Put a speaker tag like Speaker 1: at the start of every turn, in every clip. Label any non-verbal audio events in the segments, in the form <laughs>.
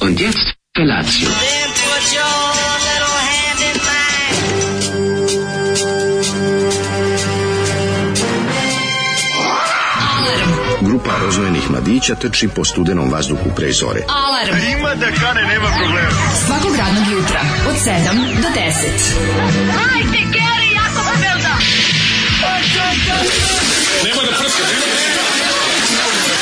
Speaker 1: Und jetzt Felatio.
Speaker 2: Then put your little hand in mine.
Speaker 3: Grupa rozvojenih mladića trči po studenom vazduhu pre zore.
Speaker 4: Alarm. Ima da kane, nema problema. Svakog radnog jutra, od 7 do 10.
Speaker 5: <laughs>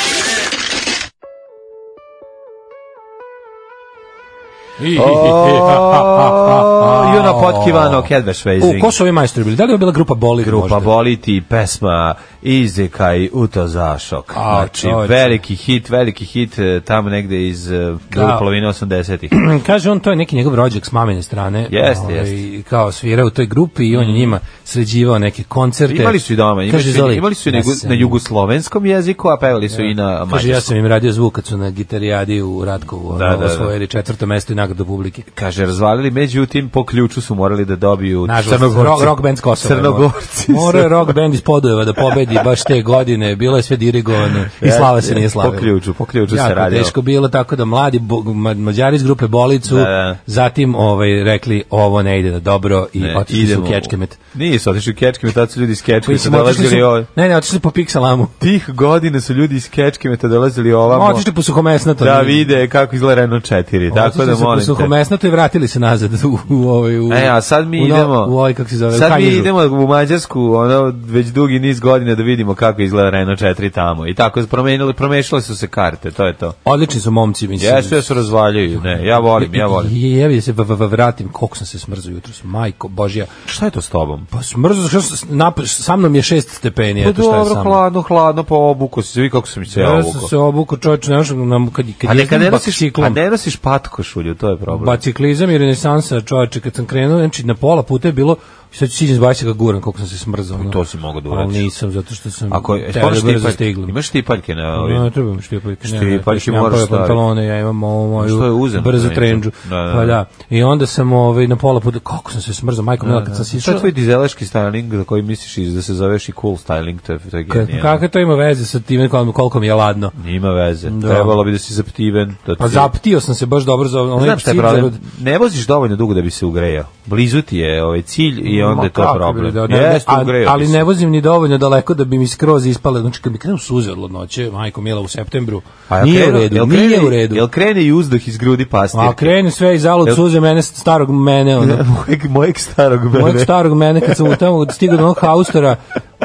Speaker 6: O, Juna Potkivano, Kedveš
Speaker 5: U,
Speaker 6: Vezing.
Speaker 5: ko su ovi majstori bili? Da li je bila grupa Boli?
Speaker 6: Grupa
Speaker 5: možda?
Speaker 6: Voliti, pesma Izekaj, Uto Zašok.
Speaker 5: A,
Speaker 6: Znači,
Speaker 5: čoveče.
Speaker 6: veliki hit, veliki hit e, tamo negde iz e, druge
Speaker 5: Da.
Speaker 6: polovine
Speaker 5: <clears throat>
Speaker 6: 80-ih.
Speaker 5: <clears throat> Kaže on, to je neki njegov rođak s mamine strane.
Speaker 6: Jeste,
Speaker 5: Ovaj,
Speaker 6: jeste.
Speaker 5: Kao svira u toj grupi i on je njima sređivao neke koncerte.
Speaker 6: Mm. Imali su i doma, imali
Speaker 5: Kaže,
Speaker 6: su,
Speaker 5: Zoli,
Speaker 6: imali su i
Speaker 5: ja
Speaker 6: na, jugo-
Speaker 5: sam-
Speaker 6: na jugoslovenskom jeziku, a pevali su i na
Speaker 5: Kaže, ja
Speaker 6: mađarskom.
Speaker 5: sam im radio zvuk kad su na gitarijadi u Ratkovu
Speaker 6: Da,
Speaker 5: ono,
Speaker 6: da, da.
Speaker 5: osvojili četvrto mesto i nagradu publike.
Speaker 6: Kaže, razvalili, međutim, po ključu su morali da dobiju
Speaker 5: Nažalost,
Speaker 6: crnogorci.
Speaker 5: rock, rock band s Kosova.
Speaker 6: Crnogorci.
Speaker 5: Mora rock band iz Podujeva da pobedi baš te godine. Bilo je sve dirigovano i
Speaker 6: Jeste,
Speaker 5: slava se
Speaker 6: jeste.
Speaker 5: nije slavila.
Speaker 6: Po ključu, po ključu se
Speaker 5: jako
Speaker 6: radilo.
Speaker 5: teško bilo, tako da mladi bo, ma, mađari iz grupe Bolicu,
Speaker 6: Da, da.
Speaker 5: zatim ovaj, rekli ovo ne ide na dobro i
Speaker 6: Ne,
Speaker 5: otišli su
Speaker 6: idemo
Speaker 5: u Kečkemet.
Speaker 6: Nisu otišli u Kečkemet, tad su ljudi iz Kečkemeta
Speaker 5: Mislim, otišli
Speaker 6: dolazili
Speaker 5: su-
Speaker 6: ovo.
Speaker 5: Ne, ne, otišli su po Piksalamu.
Speaker 6: Tih godina su ljudi iz Kečkemeta dolazili ovamo.
Speaker 5: Otišli po suhomesnato.
Speaker 6: Pa da
Speaker 5: Ne,
Speaker 6: vide kako izgleda Renault 4. Tako
Speaker 5: Otišli
Speaker 6: da
Speaker 5: su po
Speaker 6: molim te.
Speaker 5: suhomesnato i vratili se nazad u, u, ovaj- u,
Speaker 6: E, a sad mi
Speaker 5: u no-
Speaker 6: idemo.
Speaker 5: U ovaj, kako se zove, u
Speaker 6: sad mi
Speaker 5: Kanjižu.
Speaker 6: idemo u Mađarsku, ono već dugi niz godina da vidimo kako izgleda Renault 4 tamo. I tako promenili, promešale su se karte, to je to.
Speaker 5: Odlični su momci, mislim.
Speaker 6: Jesu, jesu razvaljuju. Ne, ja volim, ja volim.
Speaker 5: Je, jevi da se v- v- v- vratim, koliko sam se smrzao jutros, majko božja.
Speaker 6: Šta je to s tobom?
Speaker 5: Pa smrzao, što sam, s- nap- sa mnom je šest stepeni,
Speaker 6: Pa
Speaker 5: eto šta je sa
Speaker 6: dobro,
Speaker 5: mnom.
Speaker 6: hladno, hladno, pa obuko si se, vi kako sam se ja
Speaker 5: Ja sam
Speaker 6: obuko.
Speaker 5: se obuku čovječ, ne možem, nam- kad, kad
Speaker 6: A ne,
Speaker 5: jezdim
Speaker 6: kad ne nosiš, a
Speaker 5: biciklom,
Speaker 6: ne nosiš patkošulju, to je problem.
Speaker 5: biciklizam i renesansa čovječe, kad sam krenuo, znači na pola puta je bilo, sad ću siđen zbaciti ga guran, koliko sam se smrzao. ono.
Speaker 6: Pa to si mogao da uradiš.
Speaker 5: Ali nisam, zato što sam
Speaker 6: Ako
Speaker 5: teo
Speaker 6: je
Speaker 5: da brzo
Speaker 6: štipaljke,
Speaker 5: stignem.
Speaker 6: imaš štipaljke na ovim?
Speaker 5: Ne, ne trebam štipaljke. ne, ne,
Speaker 6: Štipaljke
Speaker 5: ja imam
Speaker 6: pa moraš
Speaker 5: prave
Speaker 6: staviti.
Speaker 5: pantalone, ja imam ovu moju
Speaker 6: Što je uzem,
Speaker 5: brzu
Speaker 6: ne,
Speaker 5: trendžu.
Speaker 6: da, da,
Speaker 5: Pa
Speaker 6: da.
Speaker 5: da. I onda sam ovaj, na pola puta, kako sam se smrzao, majko mila, kad sam
Speaker 6: Šta
Speaker 5: sišao...
Speaker 6: je tvoj dizelaški styling za koji misliš i da se zoveš i cool styling, to je, to je
Speaker 5: Ka-
Speaker 6: genijalno.
Speaker 5: Kakve to ima veze sa time koliko, koliko mi je ladno?
Speaker 6: Nima veze.
Speaker 5: Da.
Speaker 6: Trebalo bi da si zaptiven. Da
Speaker 5: Pa
Speaker 6: ti-
Speaker 5: zaptio sam se baš dobro za ono- onaj
Speaker 6: Znam šta je problem. Ne voziš dovoljno dugo da bi se ugrejao. Blizu ti je ovaj cilj i onda je to problem.
Speaker 5: Da, da,
Speaker 6: Jeste,
Speaker 5: a-
Speaker 6: ugrejao
Speaker 5: ali
Speaker 6: bi se.
Speaker 5: ne vozim ni dovoljno daleko da bi mi skroz ispale. Znači, kad mi krenu suze od hladnoće, majko Mila, u septembru,
Speaker 6: Pa jel
Speaker 5: nije u
Speaker 6: krene-
Speaker 5: redu,
Speaker 6: jel
Speaker 5: nije
Speaker 6: krene-
Speaker 5: u redu.
Speaker 6: Jel krene i uzdah iz grudi pastirke?
Speaker 5: A krene sve i zalud
Speaker 6: Jel-
Speaker 5: suze mene, starog mene, ono.
Speaker 6: <laughs> mojeg, mojeg starog mene.
Speaker 5: mojeg starog mene kad sam u tamo stigao do onog haustora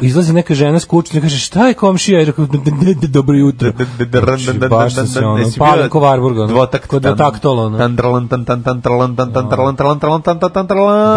Speaker 5: izlazi neka žena s kućne kaže šta je komšija i rekao "D- d- d- d- dobro jutro Znači, baš sam se ono palim ko Varburg ono,
Speaker 6: Dvotak.
Speaker 5: ko dvotaktolo ono.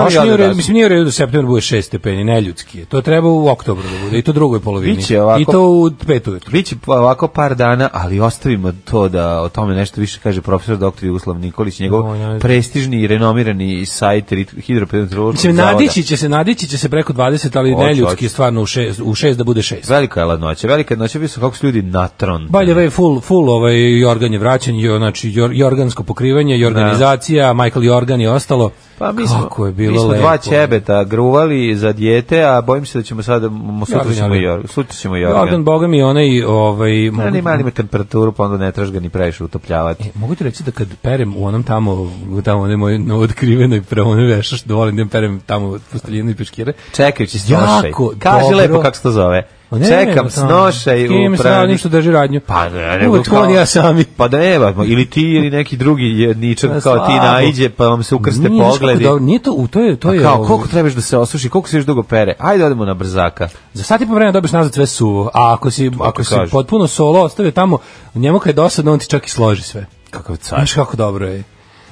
Speaker 5: baš nije u redu mislim nije u redu da septembar bude 6 stepeni neljudski je to treba u oktobru da bude i to drugoj polovini
Speaker 6: Biće ovako.
Speaker 5: i to u pet ujutru
Speaker 6: Biće ovako par dana, ali ostavimo to da o tome nešto više kaže profesor doktor Jugoslav Nikolić, njegov
Speaker 5: O, ja-
Speaker 6: prestižni i renomirani sajt hidropedometeorološkog
Speaker 5: Mislim,
Speaker 6: zavoda.
Speaker 5: nadići će se, nadići će se preko 20, ali
Speaker 6: Hoće,
Speaker 5: neljudski
Speaker 6: hoće.
Speaker 5: je stvarno u 6, u 6 da bude 6.
Speaker 6: Velika je ladnoća, velika je ladnoća, vidio sam kako su ljudi natron.
Speaker 5: By the way, full, full ovaj jorgan je vraćen, jo, znači jor, jorgansko pokrivanje, jorganizacija, Michael Jorgan i ostalo.
Speaker 6: Pa mi smo,
Speaker 5: Kako je bilo
Speaker 6: mi smo
Speaker 5: lepo.
Speaker 6: dva ćebeta gruvali za dijete, a bojim se da ćemo sada, m, sutra
Speaker 5: Jorgan,
Speaker 6: ćemo,
Speaker 5: Jorgan.
Speaker 6: jor, sutra ćemo jorgan.
Speaker 5: Jorgan, boga mi, onaj, ovaj,
Speaker 6: Ne,
Speaker 5: mogu,
Speaker 6: ne, ima temperaturu, pa onda ne trebaš ga ni previše utopljavati.
Speaker 5: mogu ti reći da kad perem u onom tamo, u tamo onoj moj otkrivenoj pravonoj ono vešaš, da volim da perem tamo posteljinu i peškire,
Speaker 6: Čekajući snošaj.
Speaker 5: Jako
Speaker 6: Kaži
Speaker 5: dobro.
Speaker 6: lepo kako se to zove.
Speaker 5: A Pa ne,
Speaker 6: Čekam
Speaker 5: ne,
Speaker 6: snošaj
Speaker 5: s kim
Speaker 6: u
Speaker 5: se
Speaker 6: prani.
Speaker 5: radim što drži radnju.
Speaker 6: Pa ne,
Speaker 5: Uvek
Speaker 6: nego
Speaker 5: to on i ja sami.
Speaker 6: Pa da evo, ili ti ili neki drugi jedničak
Speaker 5: Pa,
Speaker 6: kao ti
Speaker 5: slabo.
Speaker 6: naiđe, pa vam se
Speaker 5: Nije,
Speaker 6: ukrste
Speaker 5: znaš kako
Speaker 6: pogledi.
Speaker 5: dobro, nije to, u, to je, to je,
Speaker 6: Pa kao,
Speaker 5: ovaj,
Speaker 6: koliko trebaš da se osuši, koliko se još dugo pere? Ajde, odemo na brzaka.
Speaker 5: Za sat i po vremena dobiješ nazad sve suvo, a ako si, ako
Speaker 6: ti
Speaker 5: si
Speaker 6: kažem.
Speaker 5: potpuno solo ostavio tamo, njemu kad je dosadno, on ti čak i složi sve.
Speaker 6: Kakav car.
Speaker 5: Znaš kako dobro je.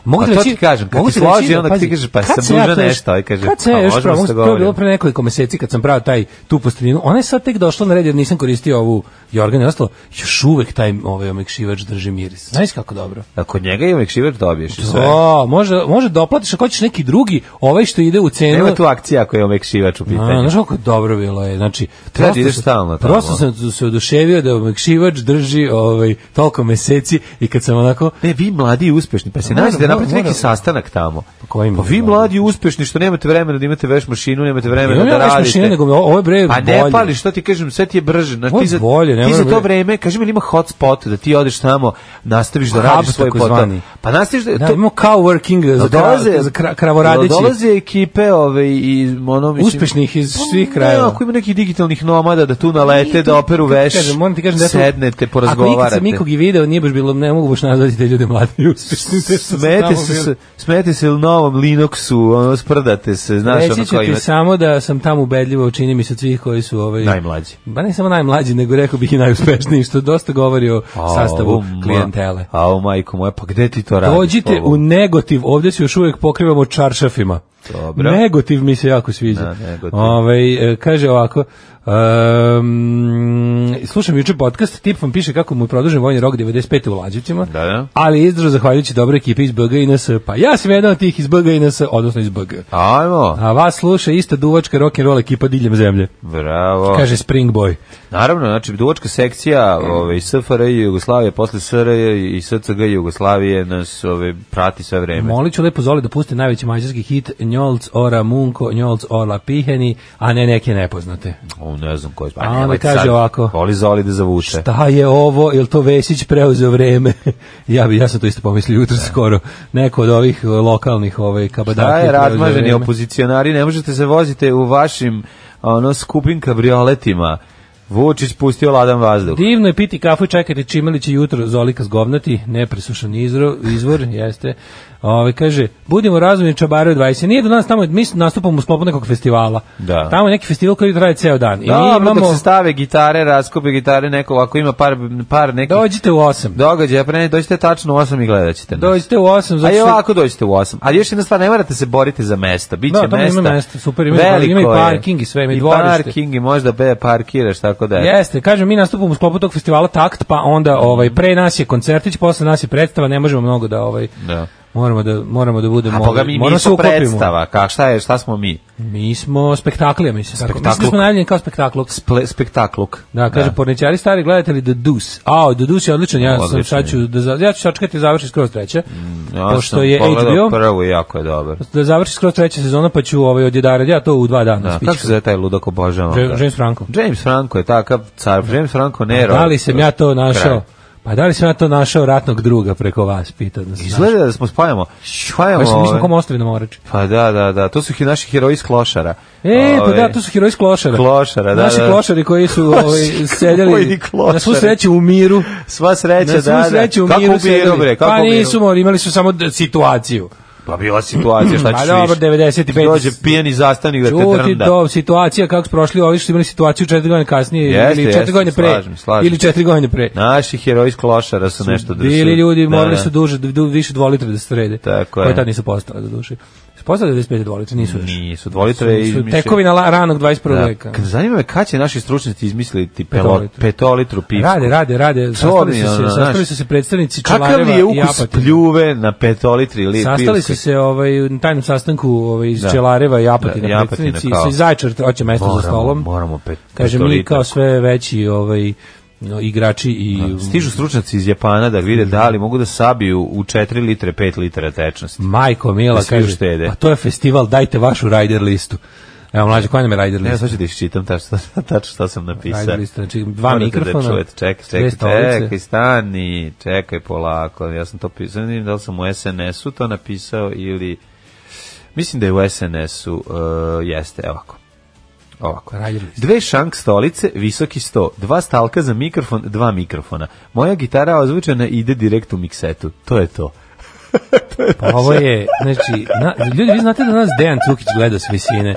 Speaker 5: Mogu
Speaker 6: A
Speaker 5: ti
Speaker 6: Pa- to
Speaker 5: reći-
Speaker 6: ti kažem, kad
Speaker 5: mogu
Speaker 6: ti
Speaker 5: reći
Speaker 6: složi,
Speaker 5: da,
Speaker 6: onda ti
Speaker 5: pazi,
Speaker 6: kaže, pa
Speaker 5: kad
Speaker 6: sam
Speaker 5: sam ja
Speaker 6: dužan
Speaker 5: to još-
Speaker 6: nešto, ovaj kaže,
Speaker 5: kad sam ja
Speaker 6: pa
Speaker 5: još
Speaker 6: možemo
Speaker 5: pravo,
Speaker 6: se
Speaker 5: to je
Speaker 6: dogovorimo.
Speaker 5: bilo pre nekoliko meseci kad sam pravio taj, tu posteljinu, ona je sad tek došla na red jer nisam koristio ovu jorgan i ostalo, još uvek taj ovaj omekšivač drži miris. Znaš kako dobro?
Speaker 6: A kod njega je uvijek šiver dobiješ i sve.
Speaker 5: O, može, može da oplatiš ako hoćeš neki drugi, ovaj što ide u cenu.
Speaker 6: Nema tu akcija ako je omek šivač u
Speaker 5: A,
Speaker 6: pitanju.
Speaker 5: znaš kako je dobro bilo je, znači,
Speaker 6: Treba da
Speaker 5: prosto
Speaker 6: ideš
Speaker 5: sam-
Speaker 6: stalno tamo. ono?
Speaker 5: Prosto sam se oduševio da omekšivač drži ovaj, toliko meseci i kad sam onako,
Speaker 6: Ne, vi mladi i uspešni, pa se
Speaker 5: Moram,
Speaker 6: nađete, napraviti
Speaker 5: mora-
Speaker 6: neki sastanak tamo.
Speaker 5: Pa koji mi
Speaker 6: Pa vi
Speaker 5: je
Speaker 6: mladi uspešni što nemate vremena da imate veš mašinu, nemate vremena
Speaker 5: Imam
Speaker 6: da
Speaker 5: ja veš
Speaker 6: radite.
Speaker 5: mašine, nego mi ovo- ovo je bre
Speaker 6: A ne
Speaker 5: bolje.
Speaker 6: pali, što ti kažem, sve ti je brže. Znači,
Speaker 5: Ovo je
Speaker 6: ti za,
Speaker 5: bolje, ne
Speaker 6: ti za
Speaker 5: moram
Speaker 6: to
Speaker 5: bre-
Speaker 6: vreme, kaži mi, ili ima hotspot, da ti odeš tamo, nastaviš da
Speaker 5: Hub
Speaker 6: radiš svoj
Speaker 5: tako
Speaker 6: posao.
Speaker 5: zvani.
Speaker 6: Pa nastaviš da...
Speaker 5: Da,
Speaker 6: to-
Speaker 5: imamo coworking za, kra, za kra, kravoradići.
Speaker 6: Dolaze ekipe ove iz ono mislim
Speaker 5: Uspešnih iz
Speaker 6: Pa
Speaker 5: svih
Speaker 6: ne,
Speaker 5: krajeva.
Speaker 6: Ako ima nekih digitalnih nomada da tu nalete, da operu veš.
Speaker 5: Kažem, moram ti kažem da ja sam- Ako
Speaker 6: sednete,
Speaker 5: nikad sam
Speaker 6: porazgovarate.
Speaker 5: ikog i video, nije baš bilo, ne mogu baš nazvati te ljude mladi i uspešni. te što su
Speaker 6: Smete
Speaker 5: tamo
Speaker 6: se,
Speaker 5: bili.
Speaker 6: se, smete se u novom Linuxu, ono, sprdate se, znaš ono
Speaker 5: Reći ću
Speaker 6: koji
Speaker 5: ti
Speaker 6: ima...
Speaker 5: samo da sam tamo ubedljivo, čini mi se od svih koji su ovaj,
Speaker 6: Najmlađi.
Speaker 5: Ba ne samo najmlađi, nego rekao bih i najuspešniji, što dosta govori o
Speaker 6: Au,
Speaker 5: sastavu
Speaker 6: ma-
Speaker 5: klijentele.
Speaker 6: Au, majko moja, pa gde ti to radiš?
Speaker 5: Dođite
Speaker 6: pobogu?
Speaker 5: u Negotiv, ovdje se još uvijek pokrivamo čaršafima.
Speaker 6: Dobro.
Speaker 5: Negotiv mi se jako sviđa.
Speaker 6: Da, Negotiv.
Speaker 5: Ovaj, e, kaže ovako, um, slušam juče podcast, tip vam piše kako mu je produžen vojni rok 95. u Lađevcima,
Speaker 6: Da, da.
Speaker 5: ali je izdržao zahvaljujući dobre ekipe iz BG i NS. Pa ja sam jedan od tih iz BG i NS, odnosno iz BG.
Speaker 6: Ajmo,
Speaker 5: A vas sluša ista duvačka rock'n'roll ekipa diljem zemlje.
Speaker 6: bravo.
Speaker 5: Kaže Mm. Spring Boy.
Speaker 6: Naravno, znači, duvačka sekcija ovaj, SFRJ Jugoslavije, posle SRJ i SCG Jugoslavije nas ovaj, prati sve vreme.
Speaker 5: Molit ću lepo Zoli da pusti najveći mađarski hit Njolc ora munko, Njolc ora piheni, a ne neke nepoznate.
Speaker 6: O, ne znam koji je. pa
Speaker 5: A onda kaže ovako.
Speaker 6: Voli zoli da zavuče.
Speaker 5: Šta je ovo? Jel to Vesić preuzeo vreme? <laughs> ja bi ja sam to isto pomislio jutro skoro. Neko od ovih e, lokalnih ovaj kabadaki.
Speaker 6: Da je
Speaker 5: preuzeo
Speaker 6: razmaženi
Speaker 5: vreme.
Speaker 6: opozicionari, ne možete se vozite u vašim ono skupim kabrioletima. Vučić pustio ladan vazduh.
Speaker 5: Divno je piti kafu i čekati Čimelić i jutro Zolika zgovnati, nepresušan izro, izvor, <laughs> jeste. Ove, kaže, budimo razumni čabare od 20. Nije do nas tamo, mi nastupamo u sklopu nekog festivala.
Speaker 6: Da.
Speaker 5: Tamo je neki festival koji traje ceo dan. I mi
Speaker 6: Dobro, dok
Speaker 5: imamo,
Speaker 6: se stave gitare, raskope gitare, neko ako ima par, par nekih
Speaker 5: dođite u 8.
Speaker 6: događaja, pre ne, dođite tačno u 8 i gledat ćete nas.
Speaker 5: Dođite u 8,
Speaker 6: A
Speaker 5: zato
Speaker 6: i
Speaker 5: što
Speaker 6: ovako dođete u 8. Ali još jedna stvar, ne morate se boriti za mesta. Biće
Speaker 5: Da, tamo
Speaker 6: mesta.
Speaker 5: ima mesta, super, ima i-
Speaker 6: Veliko
Speaker 5: ima i
Speaker 6: je.
Speaker 5: parking i sve, ima i
Speaker 6: I
Speaker 5: dvorište.
Speaker 6: parking i možda be parkiraš, tako da je.
Speaker 5: Jeste, kažem, mi nastupamo u sklopu tog festivala Takt, pa onda ovaj, pre nas je koncertić, posle nas je predstava, ne možemo mnogo da... Ovaj,
Speaker 6: Da.
Speaker 5: Moramo da moramo da budemo
Speaker 6: A
Speaker 5: ovaj,
Speaker 6: boga mi
Speaker 5: moramo se
Speaker 6: nismo
Speaker 5: uklopimo.
Speaker 6: predstava, ka, šta, je, šta smo mi?
Speaker 5: Mi smo spektaklija, mislim. Spektakl. Mislim da
Speaker 6: Spektakl.
Speaker 5: smo najavljeni kao spektakl.
Speaker 6: Sple, spektakluk.
Speaker 5: Da, kaže, porničari stari gledatelji The Deuce. A, The Deuce je odličan, ja sam
Speaker 6: Odličan
Speaker 5: sad ću, da, za- ja ću sačekati da završi skroz treće,
Speaker 6: Ja
Speaker 5: pošto
Speaker 6: sam
Speaker 5: je
Speaker 6: pogledao
Speaker 5: HBO,
Speaker 6: Prvo i jako je dobar.
Speaker 5: da završi skroz treća sezona, pa ću ovaj, odjedarati, ja to u dva dana
Speaker 6: Da,
Speaker 5: da,
Speaker 6: kako se zove taj ludak obožavam? ga.
Speaker 5: James Franco.
Speaker 6: James Franco je takav car, James Franco Nero.
Speaker 5: Da li sam ja to našao?
Speaker 6: Kralj.
Speaker 5: Pa da li sam ja to našao ratnog druga preko vas, pita nas.
Speaker 6: Izgleda da smo spajamo. Spajamo.
Speaker 5: Pa smo, mi smo
Speaker 6: ove-
Speaker 5: ko mostovi na morači.
Speaker 6: Pa da, da, da, to su hi- naši heroji iz Klošara.
Speaker 5: E, pa
Speaker 6: Ove,
Speaker 5: da, tu su heroji iz klošara.
Speaker 6: Ovaj, Klošara, da,
Speaker 5: Naši
Speaker 6: da.
Speaker 5: klošari koji
Speaker 6: <laughs>
Speaker 5: su ovaj, sedjeli
Speaker 6: Koji klošari?
Speaker 5: na svu sreću u miru.
Speaker 6: Sva sreća,
Speaker 5: Na svu
Speaker 6: da, da.
Speaker 5: sreću u
Speaker 6: Kako
Speaker 5: miru
Speaker 6: ubiru,
Speaker 5: sedjeli.
Speaker 6: bre, kako
Speaker 5: pa
Speaker 6: ubiru?
Speaker 5: nisu morali, imali su samo d- situaciju.
Speaker 6: Pa bila situacija, šta
Speaker 5: Pa
Speaker 6: ćeš
Speaker 5: dobro,
Speaker 6: više?
Speaker 5: 95.
Speaker 6: Dođe pijani zastanik da te
Speaker 5: Čuti
Speaker 6: drnda.
Speaker 5: do situacija kako su prošli ovi što su imali situaciju četiri godine kasnije
Speaker 6: Jeste,
Speaker 5: ili četiri
Speaker 6: jeste,
Speaker 5: godine pre.
Speaker 6: slažem, slažem.
Speaker 5: Ili četiri godine pre.
Speaker 6: Naši heroji iz Klošara su nešto da su...
Speaker 5: Bili ljudi,
Speaker 6: da,
Speaker 5: morali
Speaker 6: da.
Speaker 5: su duže, du, više dvolitra da srede.
Speaker 6: Tako
Speaker 5: Koje
Speaker 6: je.
Speaker 5: tad nisu postale do duše. Su postale 95 dvolitra, nisu još.
Speaker 6: Nisu, dvolitre je
Speaker 5: Su
Speaker 6: izmišljen.
Speaker 5: tekovina la- ranog 21.
Speaker 6: Da.
Speaker 5: veka.
Speaker 6: Kad zanima me kad će naši stručnjaci izmisliti pelot,
Speaker 5: Petolitru.
Speaker 6: petolitru pivsku.
Speaker 5: Rade, rade, rade. Sastali
Speaker 6: mi je
Speaker 5: su se,
Speaker 6: ono,
Speaker 5: sastali
Speaker 6: znaš.
Speaker 5: su se predstavnici Čelareva
Speaker 6: Kakav li je
Speaker 5: i
Speaker 6: ukus
Speaker 5: Apatina.
Speaker 6: pljuve na petolitri ili
Speaker 5: Sastali
Speaker 6: pivskoj?
Speaker 5: su se ovaj, na tajnom sastanku ovaj, iz
Speaker 6: Da.
Speaker 5: Čelareva i Apatina.
Speaker 6: Da, i Apatina
Speaker 5: predstavnici
Speaker 6: kao-
Speaker 5: su iz Zaječar, hoće mesto
Speaker 6: moramo,
Speaker 5: za stolom.
Speaker 6: Moramo pet,
Speaker 5: Kaže, mi
Speaker 6: petolitru.
Speaker 5: kao sve veći ovaj, no, igrači i...
Speaker 6: Stižu stručnjaci iz Japana da vide da li mogu da sabiju u 4 litre, 5 litara tečnosti.
Speaker 5: Majko Mila,
Speaker 6: Da svi
Speaker 5: kaže,
Speaker 6: uštede.
Speaker 5: pa to je festival, dajte vašu rider listu. Evo, mlađe, koja nam je rider
Speaker 6: Ne,
Speaker 5: lista?
Speaker 6: sad ću da iščitam tačno, tačno šta sam napisao.
Speaker 5: Rider lista, znači dva
Speaker 6: Morate
Speaker 5: mikrofona,
Speaker 6: Da čujete, čekaj,
Speaker 5: dve
Speaker 6: čekaj,
Speaker 5: stolice.
Speaker 6: čekaj, stani, čekaj polako. Ja sam to pisao, ne vidim da li sam u SNS-u to napisao ili... Mislim da je u SNS-u, uh, jeste, evo ovako. Ovako.
Speaker 5: Rider list.
Speaker 6: Dve šank stolice, visoki sto, dva stalka za mikrofon, dva mikrofona. Moja gitara ozvučena ide direkt u miksetu. To je to.
Speaker 5: Pa ovo je, znači, na, ljudi, vi znate da nas Dejan Cukić gleda s visine.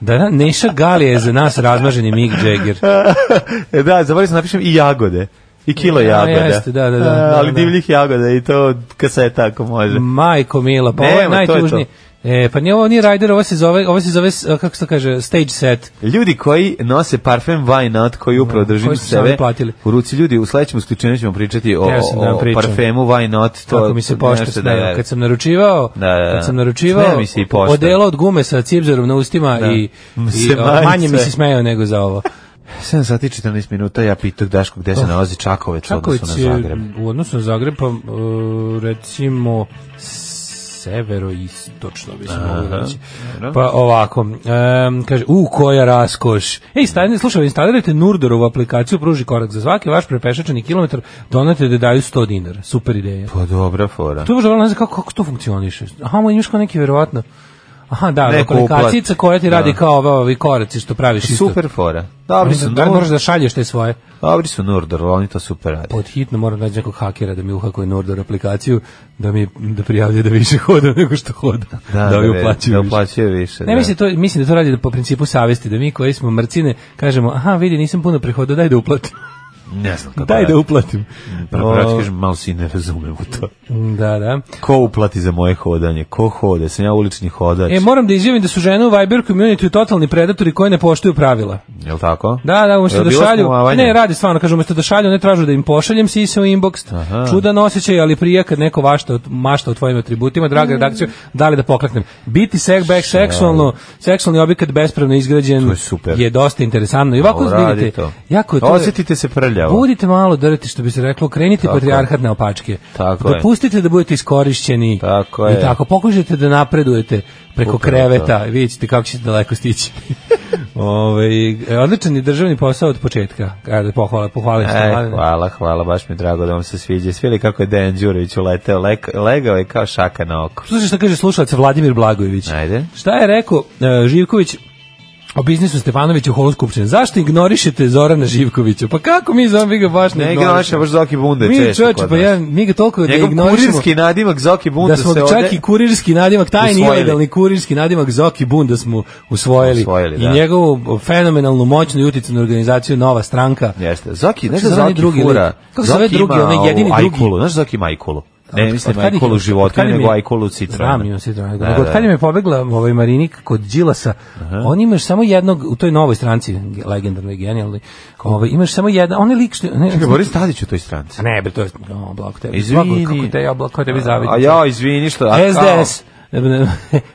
Speaker 5: Da na, Neša Gali je za nas razmaženi Mick Jagger.
Speaker 6: E, da, zaboravio sam napišem i jagode. I kilo
Speaker 5: Ja,
Speaker 6: jagoda.
Speaker 5: jeste, da, da, da,
Speaker 6: E,
Speaker 5: da,
Speaker 6: ali
Speaker 5: da.
Speaker 6: divljih jagoda i to kaseta ako može.
Speaker 5: Majko Mila, pa ovo je
Speaker 6: Nema, to je
Speaker 5: najtužnije. E, pa nije ovo nije Rider, ovo se zove, ovo se zove, s- kako se to kaže, stage set.
Speaker 6: Ljudi koji nose parfem Why Not, koji upravo držim
Speaker 5: koji su sami
Speaker 6: sebe
Speaker 5: platili.
Speaker 6: u ruci ljudi, u sledećem isključenju ćemo pričati o,
Speaker 5: Teo sam da vam
Speaker 6: o
Speaker 5: pričam.
Speaker 6: parfemu Why Not. To
Speaker 5: Kako mi se pošta
Speaker 6: nešto
Speaker 5: smejao.
Speaker 6: je.
Speaker 5: Kad sam naručivao,
Speaker 6: Da, da, da.
Speaker 5: kad sam naručivao
Speaker 6: Smeja mi se i pošta.
Speaker 5: odelo od gume sa cipzerom na ustima
Speaker 6: Da.
Speaker 5: i,
Speaker 6: M,
Speaker 5: i
Speaker 6: se
Speaker 5: o,
Speaker 6: majice.
Speaker 5: manje mi se smejao nego za ovo.
Speaker 6: 7 sati i 14 minuta, ja pitak Daško gde
Speaker 5: Oh,
Speaker 6: se nalazi Čakovec,
Speaker 5: Čaković
Speaker 6: odnosno na
Speaker 5: je
Speaker 6: Zagreb.
Speaker 5: u odnosu na Zagreb, pa, e, recimo s- severoistočno bi se
Speaker 6: Aha,
Speaker 5: moglo reći.
Speaker 6: dobro.
Speaker 5: Pa ovako, em, kaže, u koja raskoš. Ej, stavite, slušaj, instalirajte Nurdorovu aplikaciju, pruži korak za svaki vaš prepešačeni kilometar, donate da daju 100 dinara. Super ideja.
Speaker 6: Pa dobra fora.
Speaker 5: To je možda ne znam kako, kako to funkcioniše. Aha, moj imaš kao neki verovatno. Aha, da,
Speaker 6: Neko
Speaker 5: aplikacijica
Speaker 6: uplat-
Speaker 5: koja ti radi
Speaker 6: da. Pa
Speaker 5: kao ove ovi koraci što praviš isto.
Speaker 6: Super fora.
Speaker 5: Dobri
Speaker 6: Dobri
Speaker 5: su,
Speaker 6: su
Speaker 5: da moraš
Speaker 6: Nordor,
Speaker 5: da šalješ te svoje.
Speaker 6: dobri su Nordor, oni to super rade.
Speaker 5: Pod hitno moram naći nekog hakera da mi uhakuje Nordor aplikaciju, da mi da prijavlja da više <laughs> hoda nego što hoda. Da, da, mi
Speaker 6: ve-
Speaker 5: uplaćuju
Speaker 6: da
Speaker 5: više.
Speaker 6: uplaćuje više.
Speaker 5: Ne,
Speaker 6: da.
Speaker 5: mislim, to, mislim da to radi da po principu savesti, da mi koji smo mrcine kažemo, aha, vidi, nisam puno prihodao, daj da uplatim. <laughs>
Speaker 6: Ne znam kako
Speaker 5: daj
Speaker 6: rade.
Speaker 5: Pa da uplatim.
Speaker 6: Prvo ja ti kažem, malo si ne razumem u to.
Speaker 5: Da, da. E,
Speaker 6: Ko uplati za moje hodanje? Ko hode? Sam ja ulični hodač.
Speaker 5: E, moram da izjavim da su žene u Viber community totalni predatori koji ne poštuju pravila.
Speaker 6: Jel tako?
Speaker 5: Da, da,
Speaker 6: Jel
Speaker 5: umesto da
Speaker 6: bilo
Speaker 5: šalju.
Speaker 6: smuvavanje?
Speaker 5: Ne, radi stvarno, kažu umesto da šalju, ne tražu da im pošaljem sise u inbox.
Speaker 6: Aha.
Speaker 5: Čudan osjećaj, ali prije kad neko vašta od, mašta o tvojim atributima, draga redakciju, da li da pokleknem. Biti sexback seksualno, seksualni objekat bespravno izgrađen
Speaker 6: To je super.
Speaker 5: je dosta interesantno. I ovako
Speaker 6: Dobro, radi
Speaker 5: vidite,
Speaker 6: to.
Speaker 5: jako je to.
Speaker 6: Osjetite se prljavo.
Speaker 5: Budite malo drti, što bi se reklo, krenite
Speaker 6: Tako je.
Speaker 5: patrijarhat na opačke.
Speaker 6: Tako je.
Speaker 5: Dopustite da budete iskorišćeni.
Speaker 6: Tako
Speaker 5: I
Speaker 6: je.
Speaker 5: tako, pokušajte da napredujete preko
Speaker 6: Upravo
Speaker 5: kreveta, vidjet ćete kako ćete daleko stići. <laughs> Ove, odličan je državni posao od početka. Ajde, pohvala, pohvalim se.
Speaker 6: E,
Speaker 5: Mladene.
Speaker 6: hvala, hvala, baš mi je drago da vam se sviđa. Svi li kako je Dejan Đurović uleteo, lek- legao je kao šaka na oko.
Speaker 5: Slušaj šta kaže slušalac Vladimir Blagojević.
Speaker 6: Ajde.
Speaker 5: Šta je rekao e, Živković o biznisu Stefanovića u Holu Skupštine? Zašto ignorišete Zorana Živkovića? Pa kako mi Zoran, vi ga baš ne,
Speaker 6: Ne igra naša
Speaker 5: ignorišemo?
Speaker 6: baš Zoki Bunde
Speaker 5: Mi
Speaker 6: često
Speaker 5: čoveče,
Speaker 6: kod
Speaker 5: pa
Speaker 6: nas.
Speaker 5: ja, mi ga toliko da
Speaker 6: Njegov
Speaker 5: ignorišemo.
Speaker 6: kurirski nadimak Zoki Bunde
Speaker 5: da smo
Speaker 6: se
Speaker 5: ga
Speaker 6: ovde...
Speaker 5: čak i kurirski nadimak, tajni
Speaker 6: usvojili.
Speaker 5: ilegalni kurirski nadimak Zoki Bun da smo usvojili,
Speaker 6: Usvojili,
Speaker 5: i
Speaker 6: da.
Speaker 5: njegovu fenomenalnu moćnu i uticanu organizaciju Nova stranka.
Speaker 6: Jeste. Zoki, ne
Speaker 5: Kako se
Speaker 6: znam
Speaker 5: zove onaj
Speaker 6: Zoki
Speaker 5: drugi
Speaker 6: drugi, fura.
Speaker 5: lik? Kako se zove
Speaker 6: Zoki
Speaker 5: drugi,
Speaker 6: ima
Speaker 5: onaj jedini
Speaker 6: ovu
Speaker 5: drugi?
Speaker 6: Ajkulu. Znaš Zoki ima Ajkulu? Ne, mislim
Speaker 5: Od kad
Speaker 6: Ajkulu
Speaker 5: ih- od
Speaker 6: životinju,
Speaker 5: kad im je-
Speaker 6: nego Ajkulu
Speaker 5: Znam,
Speaker 6: citranu.
Speaker 5: imam citranu.
Speaker 6: Da,
Speaker 5: Nego od
Speaker 6: da.
Speaker 5: kad im je pobegla ovaj Marinik kod Đilasa, on imaš samo jednog, u toj novoj stranci, legendarnoj, genijalnoj, ovaj, imaš samo jedan, on je lik što... Ne,
Speaker 6: Čekaj, Boris Tadić u toj stranci.
Speaker 5: A ne, bre, to je o, blago tebi.
Speaker 6: Izvini.
Speaker 5: Blago, kako te ja, blago tebi zavidim.
Speaker 6: A ja, izvini što... a kao-
Speaker 5: SDS.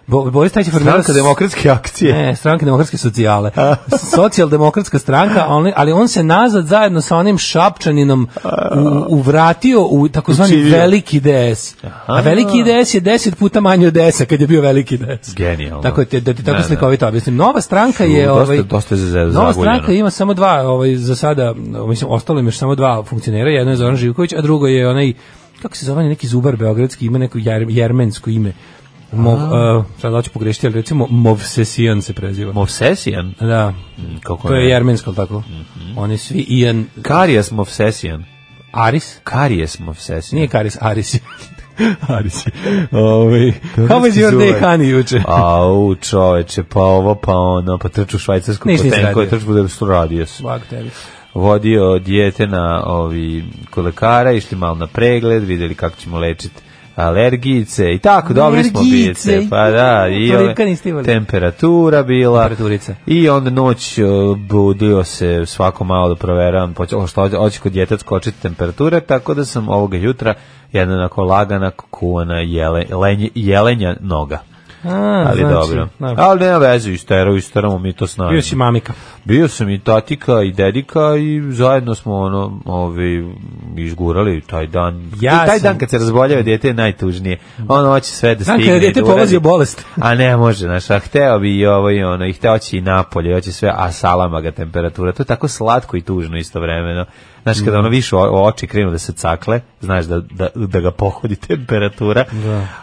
Speaker 5: Bo- Boris Tadić je formirao
Speaker 6: Stranka demokratske akcije.
Speaker 5: Ne, stranka demokratske socijale. <laughs> Socijaldemokratska stranka, ali, ali on se nazad zajedno sa onim Šapčaninom u, uvratio u takozvani
Speaker 6: U čivio.
Speaker 5: veliki DS. A veliki DS je 10 puta manji od DS-a kad je bio veliki DS.
Speaker 6: Genijalno.
Speaker 5: Tako te, da ti tako
Speaker 6: Da, da.
Speaker 5: slikovito objasnim. Nova stranka je
Speaker 6: dosta-
Speaker 5: ovaj
Speaker 6: dosta je za-
Speaker 5: Nova
Speaker 6: zaguljeno.
Speaker 5: stranka ima samo dva, ovaj za sada, mislim ostalo im je još samo dva funkcionera, jedno je Zoran Živković, a drugo je onaj kako se zove neki zubar beogradski, ima neko jer, jermensko ime. Mov, uh, sad da ću pogrešiti, ali recimo Movsesijan se preziva.
Speaker 6: Movsesijan?
Speaker 5: Da.
Speaker 6: Hmm, Kako
Speaker 5: To je
Speaker 6: ne?
Speaker 5: jermensko, ali tako?
Speaker 6: Mhm.
Speaker 5: Oni svi Ian
Speaker 6: Karijas Movsesijan.
Speaker 5: Aris?
Speaker 6: Karijas Movsesijan.
Speaker 5: Nije Karis, Aris.
Speaker 6: <laughs>
Speaker 5: je. Aris. je. Ovaj <laughs> How was
Speaker 6: si
Speaker 5: your day,
Speaker 6: zubar.
Speaker 5: honey, juče?
Speaker 6: Au, čoveče, pa ovo, pa ono, pa trču u švajcarsku
Speaker 5: Ništa nisi
Speaker 6: patenku, je
Speaker 5: radio.
Speaker 6: trču da su radio se.
Speaker 5: Blag tebi.
Speaker 6: Vodio dijete na ovi, kod lekara, išli malo na pregled, videli kako ćemo lečiti alergijice i tako, dobri smo
Speaker 5: Alergijice,
Speaker 6: bice, pa da, i
Speaker 5: to
Speaker 6: ove-
Speaker 5: ripka niste imali.
Speaker 6: temperatura bila,
Speaker 5: Temperaturica.
Speaker 6: i onda noć e, budio se svako malo da proveravam, poče- o, što hoće kod djeteta skočiti temperatura, tako da sam ovoga jutra jedna onako lagana kuvana jele, lenje- jelenja noga.
Speaker 5: A,
Speaker 6: Ali
Speaker 5: znači,
Speaker 6: dobro.
Speaker 5: da.
Speaker 6: Ali nema veze, isterao, isteramo mi to snažno.
Speaker 5: Bio si mamika.
Speaker 6: Bio sam i tatika i dedika i zajedno smo ono, ovi, izgurali taj dan.
Speaker 5: Ja
Speaker 6: I taj
Speaker 5: sam-
Speaker 6: dan kad se razboljava djete je najtužnije. Ono hoće sve
Speaker 5: Dan
Speaker 6: da
Speaker 5: kad
Speaker 6: stigne.
Speaker 5: je
Speaker 6: i
Speaker 5: dete
Speaker 6: da uradi.
Speaker 5: povozio bolest.
Speaker 6: A ne može, znaš, a hteo bi i ovo i ono, i hteo će i napolje, i hoće sve, a salama ga temperatura. To je tako slatko i tužno istovremeno. Znaš,
Speaker 5: Mm.
Speaker 6: kada ono više o- oči krenu da se cakle, znaš da, da, da ga pohodi <laughs> temperatura.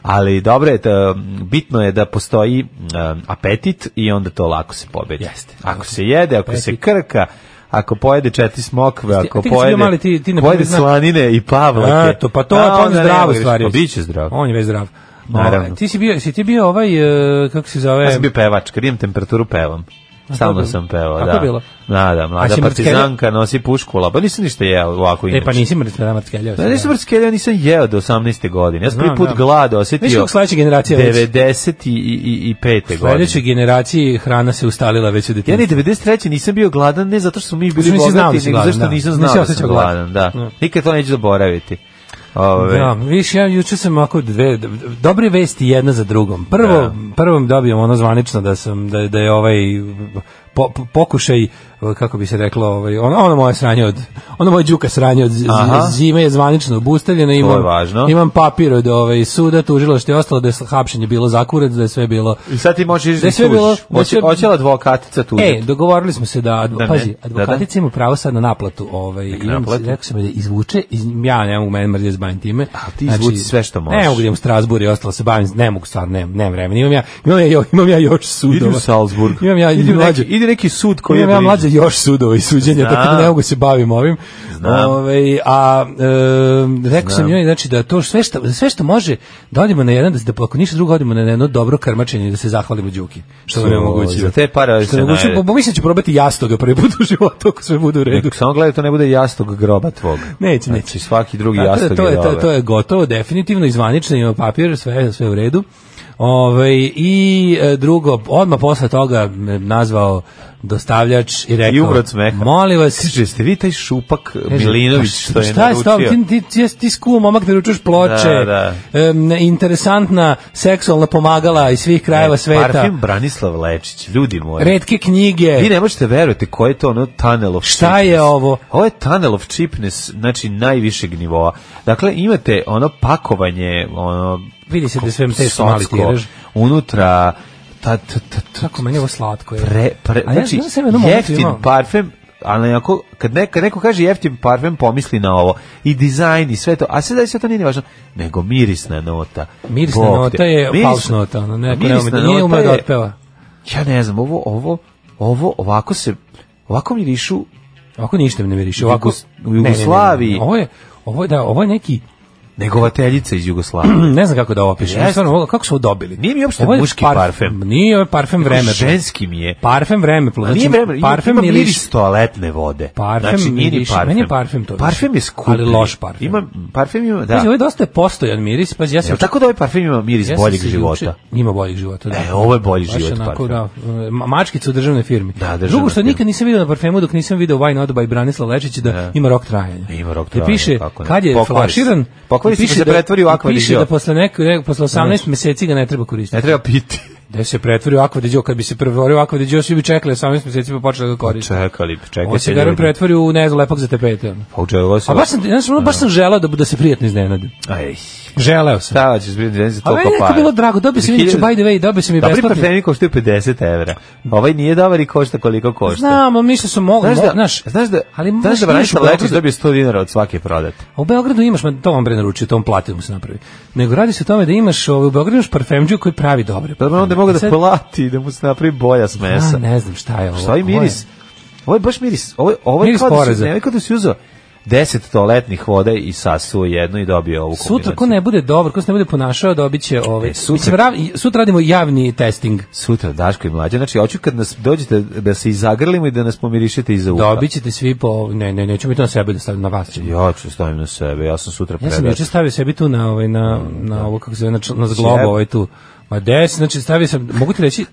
Speaker 6: Ali dobro je, da, bitno je da postoji um, apetit i onda to lako se pobedi.
Speaker 5: Jeste.
Speaker 6: Ako se jede, ako se krka, ako pojede četiri smokve,
Speaker 5: Jeste, a
Speaker 6: ako
Speaker 5: ti kad si bio
Speaker 6: pojede,
Speaker 5: mali, ti- ti ne
Speaker 6: pojede
Speaker 5: poznaš-
Speaker 6: slanine i pavlake.
Speaker 5: Eto, pa to
Speaker 6: A,
Speaker 5: je pa on
Speaker 6: onda nema
Speaker 5: zdravo
Speaker 6: greške.
Speaker 5: stvari.
Speaker 6: Pa biće zdrav.
Speaker 5: On je već zdrav.
Speaker 6: Naravno.
Speaker 5: O, ti si bio, si ti bio ovaj, e, kako se zove?
Speaker 6: Ja sam bio pevač, kad imam temperaturu pevam. Stalno
Speaker 5: bilo?
Speaker 6: sam pevao, da.
Speaker 5: Kako je bilo?
Speaker 6: Da, da,
Speaker 5: A
Speaker 6: mlada
Speaker 5: si
Speaker 6: partizanka nosi puškula, pa nisam ništa jeo ovako inače.
Speaker 5: E, pa nisi mrtva da mrtkeljao.
Speaker 6: Da, nisam brskelja, nisam jeo do 18. godine. Ja sam
Speaker 5: Znam,
Speaker 6: prvi put
Speaker 5: da.
Speaker 6: glad
Speaker 5: Viš
Speaker 6: osetio
Speaker 5: kako sledeća generacija već.
Speaker 6: 90. i, i, i 5. godine.
Speaker 5: Sledećoj generaciji hrana se ustalila već u
Speaker 6: Ja
Speaker 5: detinjstvu.
Speaker 6: ni 93. nisam bio gladan, ne zato što smo mi bili
Speaker 5: Zato što nisi znao da
Speaker 6: bogati,
Speaker 5: si
Speaker 6: nego
Speaker 5: gladan,
Speaker 6: zašto
Speaker 5: da.
Speaker 6: nisam
Speaker 5: Nisi
Speaker 6: znao da
Speaker 5: osjećao
Speaker 6: sam
Speaker 5: glad.
Speaker 6: gladan. Da.
Speaker 5: Da.
Speaker 6: Nikad to neću zaboraviti. Ove,
Speaker 5: Da, viš, ja juče sam ovako dve, dobre vesti jedna za drugom. Prvo,
Speaker 6: Da.
Speaker 5: prvom dobijam ono zvanično da sam, da, je- da je ovaj po, po- pokušaj uh, kako bi se reklo ovaj ono, ono moje sranje od ono moje đuka sranje od z-
Speaker 6: Aha.
Speaker 5: zime je zvanično obustavljeno imam
Speaker 6: važno.
Speaker 5: imam papir od ovaj suda tužilaštvo je ostalo da je hapšenje bilo zakurat da je sve bilo
Speaker 6: I sad ti možeš
Speaker 5: Da je
Speaker 6: ići
Speaker 5: sve
Speaker 6: tužiš.
Speaker 5: bilo- da je
Speaker 6: Hoće,
Speaker 5: sve-
Speaker 6: hoće li advokatica tužiti?
Speaker 5: E, dogovorili smo se da, advo-
Speaker 6: Da ne.
Speaker 5: pazi,
Speaker 6: Da,
Speaker 5: advokatica ima pravo sad na naplatu, ovaj, imam,
Speaker 6: naplati.
Speaker 5: rekao sam joj da izvuče, iz, ja ne mogu mene mrzio se bavim time. A
Speaker 6: ti izvuci sve što možeš.
Speaker 5: Ne mogu da imam Strasbourg i ostalo se bavim, ne mogu stvarno, nemam, nemam vremena, imam ja, imam ja, jo- imam ja još sudova.
Speaker 6: Idi u Salzburg.
Speaker 5: Imam ja
Speaker 6: idi, u neki,
Speaker 5: mlađe,
Speaker 6: idi neki sud koji je
Speaker 5: imam ja
Speaker 6: bliži.
Speaker 5: mlađe još sudova i suđenja,
Speaker 6: Znam.
Speaker 5: tako da ne mogu se bavim ovim.
Speaker 6: Znam.
Speaker 5: Ovaj, a e, rekao sam joj, znači, da to sve što, sve što može, da odimo na jedan, da, da ako ništa drugo odimo na jedno dobro krmačenje i da se zahvalimo Đuki. Što nam je
Speaker 6: Su,
Speaker 5: omogućio.
Speaker 6: za te pare
Speaker 5: Što
Speaker 6: se
Speaker 5: nam je omogućio,
Speaker 6: najde.
Speaker 5: bo mislim da ću probati jastoga prvi put u životu ako sve bude u redu.
Speaker 6: Nek- Samo gledaj, to ne bude jastog groba tvog.
Speaker 5: <laughs> Neće,
Speaker 6: Znači,
Speaker 5: neće.
Speaker 6: svaki drugi
Speaker 5: Tako da
Speaker 6: jastog
Speaker 5: to je, to,
Speaker 6: dobar.
Speaker 5: to je gotovo, definitivno, izvanično ima papir, sve, sve u redu. Ove, I e, drugo, odmah posle toga me nazvao dostavljač i rekao...
Speaker 6: I umro od smeha.
Speaker 5: Molim vas,
Speaker 6: Kaže, ste vi taj šupak
Speaker 5: Kaže,
Speaker 6: Milinović
Speaker 5: pa
Speaker 6: što je
Speaker 5: šta je s tobom?
Speaker 6: naručio?
Speaker 5: Ti, ti, ti, ti skuo momak da ručuješ ploče,
Speaker 6: Da, da.
Speaker 5: em, interesantna seksualna pomagala iz svih
Speaker 6: E,
Speaker 5: krajeva sveta,
Speaker 6: Parfim Branislav Lečić, ljudi moji.
Speaker 5: redke knjige.
Speaker 6: Vi ne možete verujete koje je to ono tunnel of
Speaker 5: Šta
Speaker 6: cheapness.
Speaker 5: je ovo?
Speaker 6: Ovo je tunnel of cheapness, znači najvišeg nivoa. Dakle, imate ono pakovanje, ono...
Speaker 5: Vidi se da je sve te su
Speaker 6: socko,
Speaker 5: mali tiraž.
Speaker 6: Unutra... Ta, ta, ta, ta,
Speaker 5: Kako meni je ovo slatko je.
Speaker 6: pre, pre,
Speaker 5: A ja
Speaker 6: znači,
Speaker 5: znam da sam u jednom momentu
Speaker 6: jeftin
Speaker 5: imao-
Speaker 6: parfem, ali ako, kad neko, neko kaže jeftin parfem, pomisli na ovo. I dizajn i sve to. A sve da je sve to nije ni važno. Nego mirisna nota.
Speaker 5: Mirisna
Speaker 6: Bog te.
Speaker 5: nota je
Speaker 6: Mirisna-
Speaker 5: falš nota, ono, neko ne
Speaker 6: mirisna
Speaker 5: ume, nije
Speaker 6: nota
Speaker 5: ume da
Speaker 6: je-
Speaker 5: otpeva.
Speaker 6: Ja ne znam, ovo, ovo, ovo, ovako se, ovako mirišu
Speaker 5: Ovako ništa mi ne miriše. Ovako,
Speaker 6: Jugos- u Jugoslaviji.
Speaker 5: Ne, ne, ne, ne. Ovo je, ovo je, da, ovo je neki,
Speaker 6: negovateljica iz Jugoslavije.
Speaker 5: ne znam kako da opišem.
Speaker 6: Jeste.
Speaker 5: Stvarno, ovo- kako su ovo dobili?
Speaker 6: Nije mi uopšte
Speaker 5: Ovo je
Speaker 6: muški parfem.
Speaker 5: Nije, ovo je parfem <clears throat> vreme.
Speaker 6: Ženski mi je.
Speaker 5: Parfem vreme. znači,
Speaker 6: Pa nije vreme,
Speaker 5: parfem
Speaker 6: ima
Speaker 5: miriše.
Speaker 6: miris toaletne vode.
Speaker 5: Parfem
Speaker 6: znači, nije ni
Speaker 5: miriše,
Speaker 6: parfem.
Speaker 5: meni je parfem to više.
Speaker 6: Parfem je skuplji.
Speaker 5: Ali loš parfem.
Speaker 6: Ima, parfem ima, da.
Speaker 5: Pazi, ovo je dosta postojan miris. Pazi, ja sam
Speaker 6: Jel tako da ovaj parfem ima miris
Speaker 5: ja sam
Speaker 6: boljeg
Speaker 5: se
Speaker 6: života?
Speaker 5: juče- Ima boljeg života, da.
Speaker 6: E, ovo je bolji
Speaker 5: Baš
Speaker 6: život
Speaker 5: onako,
Speaker 6: parfem.
Speaker 5: da, e, ma- mačkica u državnoj firmi.
Speaker 6: Da, državna
Speaker 5: Drugo što
Speaker 6: firma.
Speaker 5: nikad nisam video na parfemu dok nisam video Why Not by Branislav Lečić da ima rok trajanja.
Speaker 6: Ima rok
Speaker 5: I
Speaker 6: trajanja,
Speaker 5: piše
Speaker 6: kako ne.
Speaker 5: kad je
Speaker 6: Pokvari se.
Speaker 5: flaširan,
Speaker 6: Pokvari se
Speaker 5: i piše
Speaker 6: pa se pretvori u
Speaker 5: i
Speaker 6: Aqua di
Speaker 5: Piše
Speaker 6: Gio.
Speaker 5: da posle neko, ne, posle 18 meseci ga ne treba koristiti.
Speaker 6: Ne treba
Speaker 5: <laughs>
Speaker 6: piti.
Speaker 5: Da se pretvori u Aqua di Gio, kad bi se pretvorio u Aqua di Gio, svi bi čekali 18 meseci pa počeli da ga koriste.
Speaker 6: Čekali,
Speaker 5: On
Speaker 6: čekaj
Speaker 5: se
Speaker 6: se
Speaker 5: garan
Speaker 6: ljudi.
Speaker 5: pretvori u ne znam lepak za tepete. ono.
Speaker 6: Pa učeo se.
Speaker 5: A baš sam, znaš, ono, baš sam želeo da, bu- da se prijatno iznenadim.
Speaker 6: Aj,
Speaker 5: Želeo sam. Pa
Speaker 6: šta hoćeš biti ženzi
Speaker 5: A
Speaker 6: toliko
Speaker 5: meni
Speaker 6: para?
Speaker 5: je nekako bilo drago, dobio sam inače,
Speaker 6: Hiljadu-
Speaker 5: by the way, dobio sam i
Speaker 6: Dobri
Speaker 5: besplatni.
Speaker 6: parfemi koštaju 50 evra. Ovaj nije dobar i košta koliko košta.
Speaker 5: Znam, ali mislio sam mogu,
Speaker 6: Pa Znaš da,
Speaker 5: znaš,
Speaker 6: znaš da,
Speaker 5: ali
Speaker 6: znaš
Speaker 5: možda
Speaker 6: da
Speaker 5: imaš u
Speaker 6: Branislav Lečić
Speaker 5: Beogradu-
Speaker 6: dobije 100 dinara od svake prodate.
Speaker 5: A u Beogradu imaš, ma to vam bre naručio, to vam plati da mu se napravi. Nego radi se o tome da imaš, ovaj, u Beogradu imaš parfemđu koji pravi dobre.
Speaker 6: Pa
Speaker 5: E
Speaker 6: Dobro, onda mogu da
Speaker 5: Sad-
Speaker 6: plati, da mu se napravi bolja
Speaker 5: Ja
Speaker 6: smesa.
Speaker 5: ne znam šta je ovo.
Speaker 6: Šta je
Speaker 5: Ovo je-
Speaker 6: miris? Ovo je baš miris. Ovo, je- ovo je
Speaker 5: Miris
Speaker 6: kao da si,
Speaker 5: poreza.
Speaker 6: ne, ovo je kao da si uzeo 10 toaletnih voda i sasuo jednu i dobio ovu kombinaciju.
Speaker 5: Sutra ko ne bude dobar, ko se ne bude ponašao, dobit će ovaj.
Speaker 6: E, sutra-
Speaker 5: Mislim, rav- sutra radimo javni testing.
Speaker 6: Sutra, Daško i mlađe, znači, hoću kad nas dođete da se izagrlimo i da nas pomirišete iza uha.
Speaker 5: Dobit ćete svi po... Ne, ne, neću mi to na sebe da stavim na vas. ću.
Speaker 6: Ja ću stavim na sebe, ja sam sutra
Speaker 5: Ja
Speaker 6: predat.
Speaker 5: sam juče stavio sebi tu na ovaj na na ovo kako se zove na, čl- na zglobu
Speaker 6: Mm, Sjeb.
Speaker 5: ovaj tu. Ma des, znači stavio sam, mogu ti reći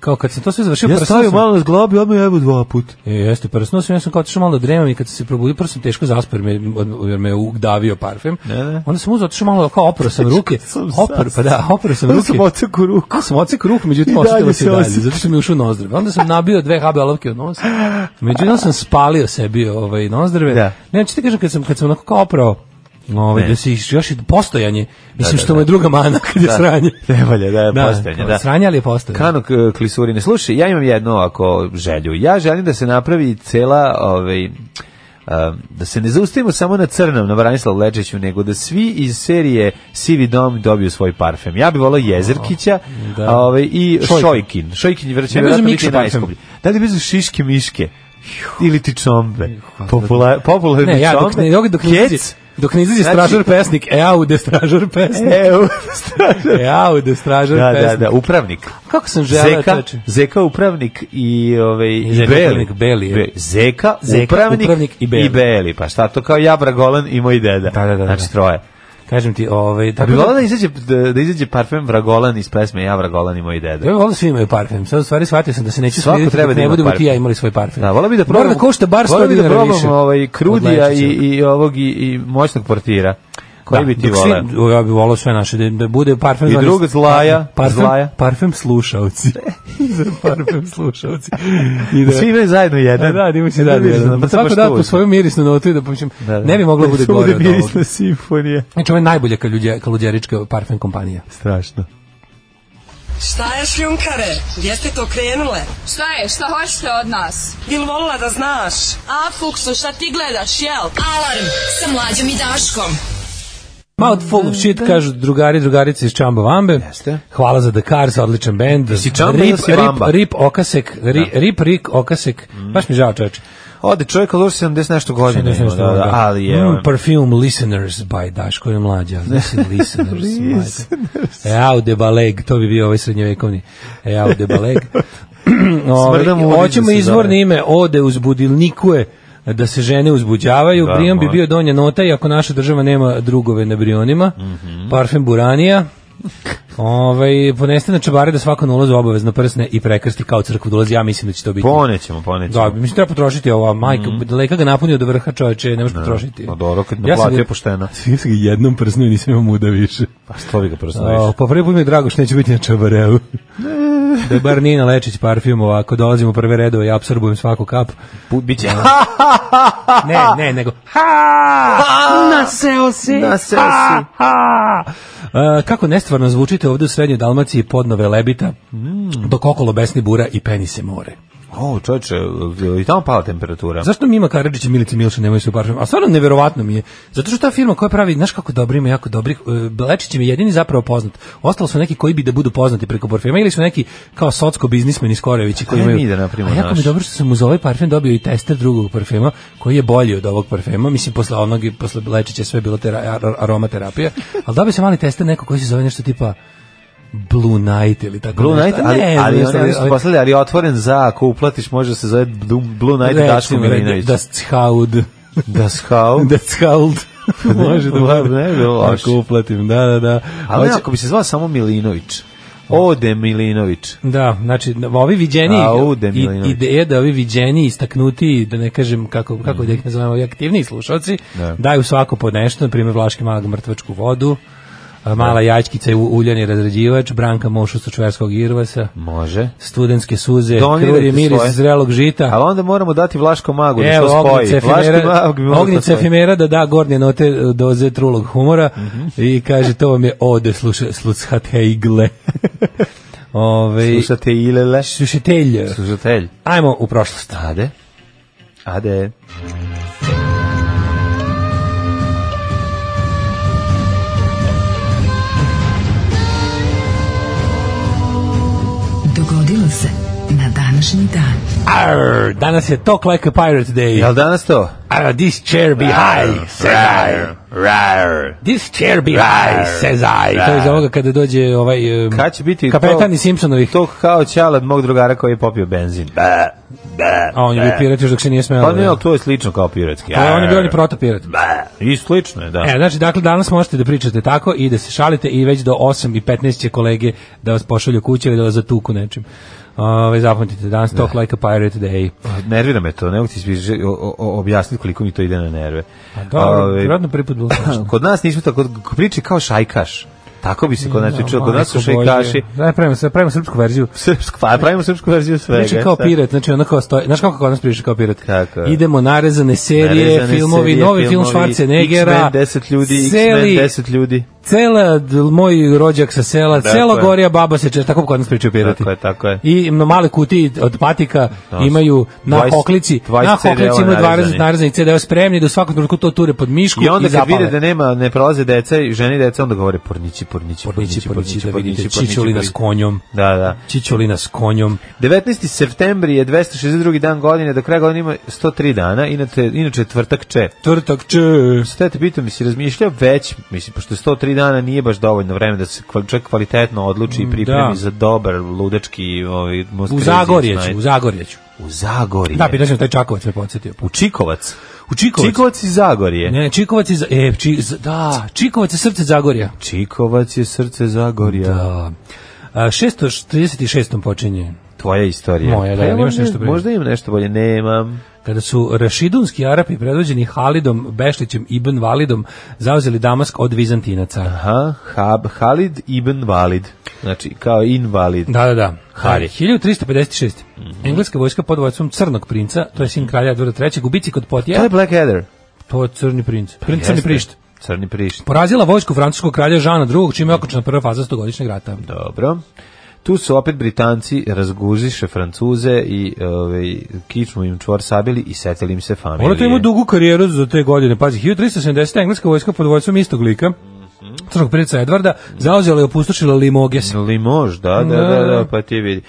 Speaker 5: kao kad sam to sve završio,
Speaker 6: Ja
Speaker 5: prsno
Speaker 6: stavio
Speaker 5: sam-
Speaker 6: malo na zglobi, odmah evo dva put.
Speaker 5: E, jeste, prsno sam, ja sam kao otišao malo da dremam i kad sam se probudio, prvo sam teško zaspao jer me, od- jer me ugdavio parfem.
Speaker 6: Ne, ne.
Speaker 5: Onda sam uzeo, otišao malo, kao oprao
Speaker 6: <laughs>
Speaker 5: sam ruke.
Speaker 6: sam
Speaker 5: Opr, pa da, oprao sam
Speaker 6: Onda
Speaker 5: ruke.
Speaker 6: sam oceku ruku.
Speaker 5: Ja sam ocek ruku,
Speaker 6: I
Speaker 5: međutim
Speaker 6: dalje
Speaker 5: ostavilo se
Speaker 6: se
Speaker 5: i dalje,
Speaker 6: osjeća.
Speaker 5: zato što mi je ušao nozdrave. Onda sam nabio dve HB olovke od nosa, međutim sam spalio sebi ovaj, nozdrave.
Speaker 6: Da.
Speaker 5: Ne, znači ti kažem, kad sam, kad sam onako kao oprao, ovaj,
Speaker 6: Ne.
Speaker 5: da se iš- još i postojanje, mislim
Speaker 6: da,
Speaker 5: što mu je druga mana <laughs> kad je sranje.
Speaker 6: Ne valja, da, da postojanje, da.
Speaker 5: Sranje, ali je postojanje.
Speaker 6: Kano k- klisurine. Slušaj, ja imam jednu ovako želju. Ja želim da se napravi cela, ovaj, em, da se ne zaustavimo samo na crnom, na Branislav Lečiću, nego da svi iz serije Sivi dom dobiju svoj parfem. Ja bih volao Jezerkića
Speaker 5: da.
Speaker 6: a, ovaj, i
Speaker 5: Šojkin.
Speaker 6: Šojkin. Šojkin je vrće
Speaker 5: Ne bi uzeo
Speaker 6: vjerojatno
Speaker 5: Mikšu
Speaker 6: biti
Speaker 5: parfem.
Speaker 6: najskuplji. Da li bi uzeo Šiške Miške? Ili ti čombe? Popula, popularni
Speaker 5: pa Ne, ja dok
Speaker 6: čombe.
Speaker 5: ne, dok, dok ne
Speaker 6: Kec?
Speaker 5: izađe, dok ne izađe
Speaker 6: Znači-
Speaker 5: stražar pesnik, e aude stražar pesnik,
Speaker 6: E,
Speaker 5: <laughs>
Speaker 6: u- stražar.
Speaker 5: e aude stražar
Speaker 6: Da,
Speaker 5: pesnik.
Speaker 6: da, da, upravnik.
Speaker 5: Kako sam želeo,
Speaker 6: Zeka,
Speaker 5: čoveče.
Speaker 6: Zeka upravnik i ovaj i,
Speaker 5: Zeka
Speaker 6: Beli.
Speaker 5: upravnik, Beli, je.
Speaker 6: Be- Zeka,
Speaker 5: Zeka,
Speaker 6: upravnik,
Speaker 5: upravnik i
Speaker 6: i
Speaker 5: Beli.
Speaker 6: Beli. Pa šta to kao Jabra Golan i moj deda.
Speaker 5: Da, da, da, da. Pa
Speaker 6: Znači troje.
Speaker 5: Kažem ti, ovaj,
Speaker 6: Da
Speaker 5: tako
Speaker 6: bi volao
Speaker 5: da,
Speaker 6: da izađe da, da izađe parfem Vragolan iz pesme Jabra Golan i moj deda.
Speaker 5: ja volim da svi imaju parfem. Sad u stvari shvatio sam da se neću
Speaker 6: Svako
Speaker 5: smiriti,
Speaker 6: treba
Speaker 5: dok
Speaker 6: da
Speaker 5: ne
Speaker 6: ima
Speaker 5: budemo ti
Speaker 6: parfem.
Speaker 5: ja imali svoj parfem.
Speaker 6: Da, volao bi da probam.
Speaker 5: Mora da košta bar 100
Speaker 6: volao bi da
Speaker 5: dinara
Speaker 6: probam,
Speaker 5: više.
Speaker 6: ovaj
Speaker 5: od
Speaker 6: Krudija i
Speaker 5: Lečića.
Speaker 6: i ovog i, i moćnog portira. Koji bi ti
Speaker 5: dok svi-
Speaker 6: voleo?
Speaker 5: Ja bih volao sve naše, da, da bude parfem...
Speaker 6: I
Speaker 5: zvani-
Speaker 6: drug zlaja,
Speaker 5: parfem,
Speaker 6: zlaja.
Speaker 5: Parfem slušalci. <laughs> Za parfem slušalci. I da,
Speaker 6: Svi imaju zajedno jedan.
Speaker 5: da, Pa da, da, se
Speaker 6: Da,
Speaker 5: da, da,
Speaker 6: vidiš,
Speaker 5: da,
Speaker 6: pa to
Speaker 5: svako
Speaker 6: baš
Speaker 5: da po
Speaker 6: tužno.
Speaker 5: svoju mirisnu notu i da počnem, ne bi moglo da bude
Speaker 6: Svuda
Speaker 5: gore ono. od ovoga.
Speaker 6: mirisna simfonija.
Speaker 5: Znači, ovo je najbolja kaludje- kaludjerička parfem kompanija.
Speaker 6: Strašno.
Speaker 1: Šta je šljunkare? Gdje ste to krenule?
Speaker 7: Šta je? Šta hoćete od nas?
Speaker 1: Bil volila da znaš?
Speaker 7: A, Fuksu, šta ti gledaš, jel?
Speaker 4: Alarm sa mlađom i Daškom.
Speaker 5: Mouth full of shit, kažu drugari, drugarice iz Čamba Vambe.
Speaker 6: Jeste.
Speaker 5: Hvala za Dakar, za odličan bend.
Speaker 6: Jesi Čamba ili si
Speaker 5: rip,
Speaker 6: Vamba?
Speaker 5: rip Okasek, ri, rip Rik Okasek. Baš mi žao čoveče.
Speaker 6: Ode čovjek od 70 nešto godina. ima, da, da, ali je... ono,
Speaker 5: Mm,
Speaker 6: on-
Speaker 5: perfume Listeners by Daško je mlađa. Mislim,
Speaker 6: <laughs>
Speaker 5: listeners. listeners. Eau de Baleg, to bi bio ovaj srednjevekovni. Eau de
Speaker 6: <laughs>
Speaker 5: Baleg. Ove,
Speaker 6: Smrdam ulic
Speaker 5: hoćemo
Speaker 6: da se
Speaker 5: izvorno
Speaker 6: zove.
Speaker 5: ime Ode uzbudilnikuje da se žene uzbuđavaju,
Speaker 6: Da,
Speaker 5: Brion bi
Speaker 6: može.
Speaker 5: bio donja nota i ako naša država nema drugove na Brionima,
Speaker 6: Mhm.
Speaker 5: parfem
Speaker 6: <laughs>
Speaker 5: Buranija, ovaj, poneste na čabare da svako na ulazu obavezno prsne i prekrsti kao crkvu dolazi, ja mislim da će to biti.
Speaker 6: Ponećemo, ponećemo.
Speaker 5: Da, mislim treba potrošiti ova majka, mm. leka ga napunio do vrha čoveče, ne možeš potrošiti.
Speaker 6: Pa dobro, kad
Speaker 5: Ja sam
Speaker 6: naplatio
Speaker 5: ga-
Speaker 6: pošteno.
Speaker 5: <laughs> Ja sam ga jednom prsnuo i nisam imao muda više.
Speaker 6: Pa što bi ga prosnoviš?
Speaker 5: O, pa prvi put mi je drago što neće biti na čabareu. da bar Nina Lečić parfim ovako, dolazim u prve redove i apsorbujem svaku kap.
Speaker 6: Biće...
Speaker 5: Ne, ne, nego... Ha! Naseo si!
Speaker 6: Naseo
Speaker 5: Ha!
Speaker 6: si.
Speaker 5: Ha! E, kako nestvarno zvučite ovde u srednjoj Dalmaciji podno velebita, dok okolo besni bura i peni se more.
Speaker 6: O, čovječe, i tamo pala temperatura.
Speaker 5: Zašto Mima Karadžić i Milica Milša nemaju svoj parfem? A stvarno neverovatno mi je. Zato što ta firma koja pravi, znaš kako dobri ima jako dobrih, e, Belečić im je jedini zapravo poznat. Ostalo su neki koji bi da budu poznati preko parfema ili su neki kao socko biznismeni Skorevići koji
Speaker 6: Ajde
Speaker 5: imaju.
Speaker 6: mi da napravimo
Speaker 5: A jako mi
Speaker 6: naš.
Speaker 5: je dobro što sam uz ovaj parfem dobio i tester drugog parfema koji je bolji od ovog parfema. Mislim posle onog i posle Belečića sve je bilo tera, ar- aromaterapija, ali dobio sam mali tester neko koji se zove nešto tipa Blue Night ili tako
Speaker 6: Blue
Speaker 5: nešto.
Speaker 6: Night, ali,
Speaker 5: Ne,
Speaker 6: ali,
Speaker 5: nešto,
Speaker 6: ali, ali,
Speaker 5: ali-
Speaker 6: poslali, ali je otvoren za, ako uplatiš, može se zove Blue- Blue Night Daško
Speaker 5: recimo,
Speaker 6: Milinović.
Speaker 5: Da, Schaud.
Speaker 6: Da <laughs> schau.
Speaker 5: <laughs> That's held. Može da bude.
Speaker 6: Ne bi <laughs> bilo loše.
Speaker 5: Ako uplatim, da, da, da.
Speaker 6: Ali ne,
Speaker 5: Hoće-
Speaker 6: ako bi se zvao samo Milinović. Ode Milinović.
Speaker 5: Da, znači, ovi viđeni,
Speaker 6: Aude Milinović.
Speaker 5: ideje da ovi viđeni istaknuti, da ne kažem kako, kako da ih nazovemo, ovi aktivniji slušalci,
Speaker 6: Da.
Speaker 5: daju svako po nešto, na primjer Vlaški mag mrtvačku vodu, a, mala jačkica i u- uljani razređivač, Branka Mošu sa čverskog irvasa,
Speaker 6: Može.
Speaker 5: studentske suze,
Speaker 6: Mm. Donirajte
Speaker 5: kruri miris
Speaker 6: svoje.
Speaker 5: zrelog žita.
Speaker 6: Ali onda moramo dati Vlaško Magu da
Speaker 5: Evo,
Speaker 6: to
Speaker 5: ognjice
Speaker 6: spoji. Vlaško
Speaker 5: efimera,
Speaker 6: Magu bi mogao to
Speaker 5: ognjice
Speaker 6: spoji.
Speaker 5: efimera da da gornje note e, doze trulog humora
Speaker 6: Mhm.
Speaker 5: i kaže to vam je ode sluša, slušat heigle. <laughs> Ove,
Speaker 6: Slušate Ilele.
Speaker 5: slušatelj.
Speaker 6: Slušatelj.
Speaker 5: Ajmo u prošlost.
Speaker 6: Ade. Ade.
Speaker 4: Dogodilo se na današnji dan.
Speaker 5: Arr, danas je Talk Like a Pirate Day.
Speaker 6: Jel danas to?
Speaker 5: Arr, this chair be high, says I. This chair be high, says I. To je za ovoga kada dođe ovaj... em,
Speaker 6: Kad će biti
Speaker 5: Kapetan
Speaker 6: to-
Speaker 5: iz Simpsonovih.
Speaker 6: To kao ćalad mog drugara koji je popio benzin.
Speaker 5: A on je bio pirat još dok se nije smelo.
Speaker 6: e. Pa ne, ali to je slično kao piratski.
Speaker 5: Pa on je bio on je protopirat.
Speaker 6: I slično je, da.
Speaker 5: E, znači, dakle, danas možete da pričate tako i da se šalite i već do 8 i 15 će kolege da vas pošalju kuće ili da vas zatuku nečim. Ove, zapamtite, danas talk like a pirate day.
Speaker 6: Pa, Nervira me to, ne mogu ti svi objasniti koliko mi to ide na nerve.
Speaker 5: Pa Dobro,
Speaker 6: Ovaj,
Speaker 5: vjerojatno prvi put
Speaker 6: <laughs>
Speaker 5: bilo slično.
Speaker 6: <clears throat> Kod nas nismo tako, k- priči kao šajkaš. Tako bi se kod nas pričalo, Pa, znači, kod nas su
Speaker 5: Majko Božja.
Speaker 6: šajkaši. <laughs>
Speaker 5: Da, pravimo, sve, pravimo srpsku verziju.
Speaker 6: Srpsku, pa pravimo srpsku verziju svega.
Speaker 5: Priča kao
Speaker 6: sad.
Speaker 5: pirat, znači ono kao stoji, znaš kako kod nas priča kao pirat?
Speaker 6: Kako je?
Speaker 5: Idemo narezane serije,
Speaker 6: Narezane
Speaker 5: filmovi,
Speaker 6: serije,
Speaker 5: novi film
Speaker 6: filmovi,
Speaker 5: Schwarzeneggera,
Speaker 6: X-Men 10 ljudi,
Speaker 5: celi-
Speaker 6: X-Men 10 ljudi.
Speaker 5: cela d- moj rođak sa sela,
Speaker 6: Tako
Speaker 5: cela
Speaker 6: je.
Speaker 5: gorija baba se češa, tako kod nas pričaju pirati.
Speaker 6: Tako je, tako je.
Speaker 5: I na male kutiji od patika imaju na
Speaker 6: 20
Speaker 5: hoklici,
Speaker 6: 20
Speaker 5: na hoklici
Speaker 6: CD-ova
Speaker 5: imaju 20
Speaker 6: narezanih.
Speaker 5: narezanih CD-ova spremni da u svakom trenutku to ture pod mišku
Speaker 6: I onda kad
Speaker 5: zapale.
Speaker 6: vide da nema, ne prolaze deca i žene i deca, onda govore pornići, pornići,
Speaker 5: Pornići,
Speaker 6: pornići, pornići,
Speaker 5: da
Speaker 6: pornići,
Speaker 5: vidite,
Speaker 6: pornići,
Speaker 5: čičolina
Speaker 6: pornići.
Speaker 5: s konjom.
Speaker 6: Da, da.
Speaker 5: Čičolina s konjom.
Speaker 6: 19. septembri je 262. dan godine, do kraja godine ima 103 dana, inače, inače je tvrtak če.
Speaker 5: Tvrtak če.
Speaker 6: Sve te pitam, si razmišljao već, mislim, pošto je 103 dana nije baš dovoljno vreme da se kval- čovjek kvalitetno odluči i pripremi
Speaker 5: Mm, da.
Speaker 6: za dobar ludački ovaj, most
Speaker 5: U
Speaker 6: crazy
Speaker 5: Zagorje
Speaker 6: night.
Speaker 5: ću, u Zagorje ću.
Speaker 6: U Zagorje.
Speaker 5: Da, pitao sam taj Čakovac me podsjetio.
Speaker 6: U Čikovac.
Speaker 5: U Čikovac.
Speaker 6: Čikovac i Zagorje.
Speaker 5: Ne, Čikovac je, za- e, či, z- da, Čikovac je srce Zagorja.
Speaker 6: Čikovac je srce Zagorja.
Speaker 5: Da. A, 636. počinje
Speaker 6: Tvoja istorija.
Speaker 5: Moja, da,
Speaker 6: Pa ja
Speaker 5: imaš
Speaker 6: možda-
Speaker 5: nešto bolje?
Speaker 6: Možda imam nešto bolje, nemam.
Speaker 5: Kada su rašidunski Arapi predvođeni Halidom, Bešlićem, Ibn Validom zauzeli Damask od Vizantinaca.
Speaker 6: Aha, hab, Halid ibn Valid. Znači, kao invalid.
Speaker 5: Da, da, da.
Speaker 6: Hari.
Speaker 5: 1356. Engleska vojska pod vojstvom Crnog princa, to je sin kralja Edvarda III, gubici kod
Speaker 6: To
Speaker 5: Potija,
Speaker 6: je Blackadder.
Speaker 5: to je Crni princ. Princ Crni
Speaker 6: Jeste.
Speaker 5: prišt.
Speaker 6: Crni prišt.
Speaker 5: Porazila vojsku francuskog kralja Žana II, čime je okončena prva faza stogodišnjeg rata.
Speaker 6: Dobro. Tu su opet Britanci razguziše Francuze i ovaj, kičmu im čvor sabili i setili im se familije.
Speaker 5: Ona to ima dugu karijeru za te godine. Pazi, 1370. engleska vojska pod vojstvom istog lika, Crnog princa Edvarda, zauzela i opustošila Limoges.
Speaker 6: Limož, da, da, da,
Speaker 5: Da.
Speaker 6: da, pa ti vidi.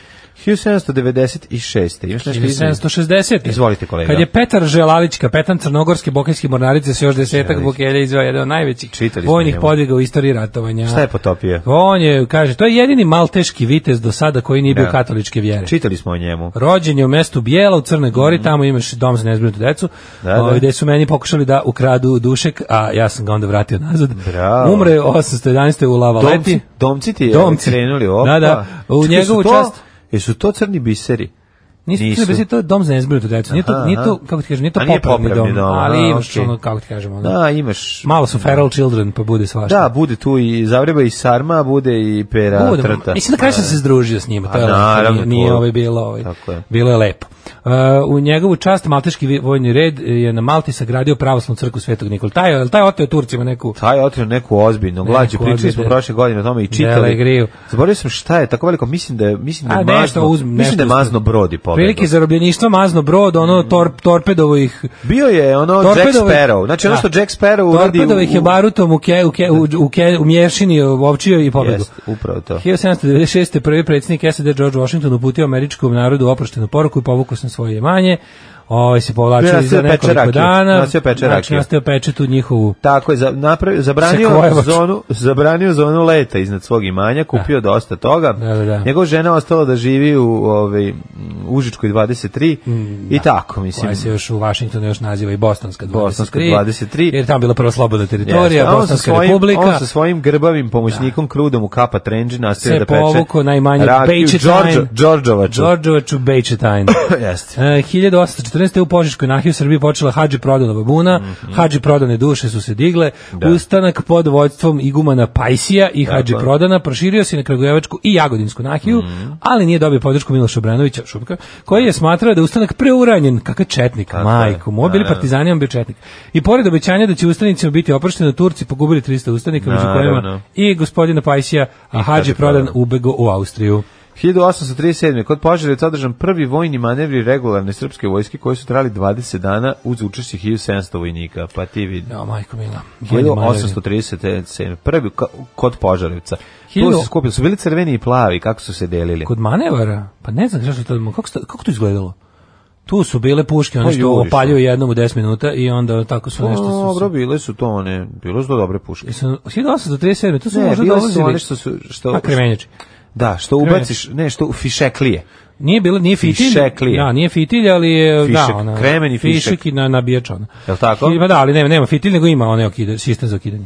Speaker 6: 1796. Imaš nešto između?
Speaker 5: 1760.
Speaker 6: Izvolite, kolega.
Speaker 5: Kad je Petar Želalić, kapetan crnogorske bokeljske mornarice sa još desetak
Speaker 6: Želalić.
Speaker 5: bokelja izveo jedan od najvećih
Speaker 6: Čitali smo
Speaker 5: vojnih
Speaker 6: njemu.
Speaker 5: podviga u istoriji ratovanja.
Speaker 6: Šta je potopio?
Speaker 5: On je, kaže, to je jedini malteški vitez do sada koji nije bio
Speaker 6: Da.
Speaker 5: katoličke vjere.
Speaker 6: Čitali smo o njemu.
Speaker 5: Rođen je u mestu Bijela u Crnoj Gori, tamo imaš dom za nezbrinutu decu,
Speaker 6: Mhm. Da, da.
Speaker 5: ovaj, gde su meni pokušali da ukradu dušek, a ja sam ga onda vratio nazad.
Speaker 6: Bravo.
Speaker 5: Umre je 811. u Lavaleti.
Speaker 6: Domci, domci ti je
Speaker 5: Pa Domci.
Speaker 6: krenuli opa.
Speaker 5: Da, da, u
Speaker 6: Čekaj,
Speaker 5: njegovu
Speaker 6: su to-
Speaker 5: čast.
Speaker 6: Jesu to crni biseri?
Speaker 5: Nisu,
Speaker 6: Nisu.
Speaker 5: nisu. Bez, to je dom za nezbrinutu decu. Nije to,
Speaker 6: Aha,
Speaker 5: nije to
Speaker 6: aha.
Speaker 5: kako ti kažem, nije to
Speaker 6: A nije
Speaker 5: popravni
Speaker 6: popravni
Speaker 5: dom,
Speaker 6: dom, a,
Speaker 5: ali imaš
Speaker 6: okej.
Speaker 5: ono, kako ti kažem, ono.
Speaker 6: Da, imaš.
Speaker 5: Malo su feral children, pa bude svašta. Pa
Speaker 6: Da, bude tu i Zavreba i Sarma, bude i Pera
Speaker 5: Budemo.
Speaker 6: Trta.
Speaker 5: Mislim, na kraju sam se združio s njima, to je
Speaker 6: A,
Speaker 5: lepo,
Speaker 6: naravno,
Speaker 5: nije, nije
Speaker 6: to-
Speaker 5: ovaj bilo, ovaj,
Speaker 6: Tako je.
Speaker 5: bilo je lepo. Uh, u njegovu čast Malteški vi- vojni red je na Malti sagradio pravoslavnu crkvu Svetog Nikola. Taj, je- taj oteo Turcima neku
Speaker 6: Taj je otrio neku ozbiljnu glađu,
Speaker 5: Neku
Speaker 6: pričali smo
Speaker 5: ozbiljnu.
Speaker 6: prošle godine o tome i čitali.
Speaker 5: griju.
Speaker 6: Zaboravio sam šta je, tako veliko, mislim da je, mislim da je
Speaker 5: A nešto
Speaker 6: mazno,
Speaker 5: uzmi,
Speaker 6: mislim da je
Speaker 5: nešto
Speaker 6: mazno brodi pobjegao.
Speaker 5: prilike zarobljeništva, mazno brod, ono tor, torpedovo ih
Speaker 6: Bio je ono Mm. Jack
Speaker 5: Torpedovo-
Speaker 6: Sparrow, znači ono što
Speaker 5: Da.
Speaker 6: Jack Sparrow uradi
Speaker 5: torpedovo ih je barutom u, ke, u, ke, u, u, ke, u mješini ovčio i pobjegu.
Speaker 6: Jest, upravo to.
Speaker 5: 1796. prvi predsjednik SAD George Washington uputio američkom narodu oproštenu poruku i povukao sam svoje imanje. Ovaj se povlačio
Speaker 6: Nasio
Speaker 5: za
Speaker 6: peče
Speaker 5: nekoliko
Speaker 6: rakiju.
Speaker 5: dana.
Speaker 6: Nasio peče
Speaker 5: Znači,
Speaker 6: rakiju.
Speaker 5: nastio peče tu njihovu
Speaker 6: Tako je, za- napravio, zabranio
Speaker 5: Sekojevač.
Speaker 6: zonu, zabranio zonu leta iznad svog imanja, kupio dosta toga.
Speaker 5: Da, da, da.
Speaker 6: Njegova žena ostala da živi u ovaj, m, Užičkoj 23 i tako, mislim.
Speaker 5: koja Mm, ovaj se još u Vašingtonu još naziva i Bostonska 23,
Speaker 6: Bostonska 23.
Speaker 5: jer tamo je bila prva slobodna teritorija,
Speaker 6: Jeste, a on sa
Speaker 5: Bostonska
Speaker 6: svojim,
Speaker 5: republika,
Speaker 6: on sa svojim grbavim pomoćnikom krudom u kapa trenđi nastavio
Speaker 5: se
Speaker 6: da peče.
Speaker 5: povukao najmanje
Speaker 6: rakiju
Speaker 5: Bejčetajn,
Speaker 6: Đorđo- Đorđovaču.
Speaker 5: Đorđevaču Bejčetajn.
Speaker 6: <laughs> Jeste.
Speaker 5: E, 1814. je u Požiškoj nahiji u Srbiji počela hađi prodanova buna, hađi prodane duše su se digle,
Speaker 6: Mhm. Da.
Speaker 5: ustanak pod vođstvom igumana Pajsija i hađi
Speaker 6: Tako je. Mhm.
Speaker 5: prodana proširio se i na Kragujevačku i Jagodinsku nahiju, ali nije dobio podršku Miloša Obrenovića Šupka, koji je smatrao da je ustanak preuranjen, kakav četnik,
Speaker 6: Tako je.
Speaker 5: majku, moj bili
Speaker 6: Naravno.
Speaker 5: partizani, on bio četnik. I pored obećanja da će ustanicima biti oprošteno, Turci pogubili 300 ustanika, među
Speaker 6: Naravno.
Speaker 5: kojima i gospodina Pajsija, a hađi
Speaker 6: Hadži
Speaker 5: prodan
Speaker 6: Prodan.
Speaker 5: ubego u Austriju.
Speaker 6: 1837. kod Požara je održan prvi vojni manevri regularne srpske vojske koji su trali 20 dana uz učešće 1700 vojnika. Pa ti vidi.
Speaker 5: Ja, majko mila. Vojni manevri.
Speaker 6: 1837. e, Prvi ka- kod Požarevca. Tu
Speaker 5: Hiljadu-
Speaker 6: se skupili, su bili crveni i plavi, kako su se delili.
Speaker 5: Kod manevara? Pa ne znam zašto to, kako, sta- kako to izgledalo? Tu su bile puške, one
Speaker 6: Pa
Speaker 5: što
Speaker 6: juriš,
Speaker 5: opaljuju jednom u 10 minuta i onda tako su nešto su...
Speaker 6: Dobro, bile su to one, bilo su to dobre puške.
Speaker 5: Jesu- 1837. Tu su
Speaker 6: Ne,
Speaker 5: možda
Speaker 6: bile su
Speaker 5: dolazili...
Speaker 6: one što su... Što,
Speaker 5: A, kremenjači.
Speaker 6: Da, što ubaciš, ne, što fišeklije.
Speaker 5: Nije bilo, nije fitilj.
Speaker 6: Fišeklije.
Speaker 5: Da, nije fitilj, ali je...
Speaker 6: Fišek,
Speaker 5: da, ona,
Speaker 6: kremeni fišek.
Speaker 5: i na, nabijač ona.
Speaker 6: Jel tako?
Speaker 5: Hi- Pa da, ali nema, nema fitilj, nego ima onaj okide, sistem za okidanje.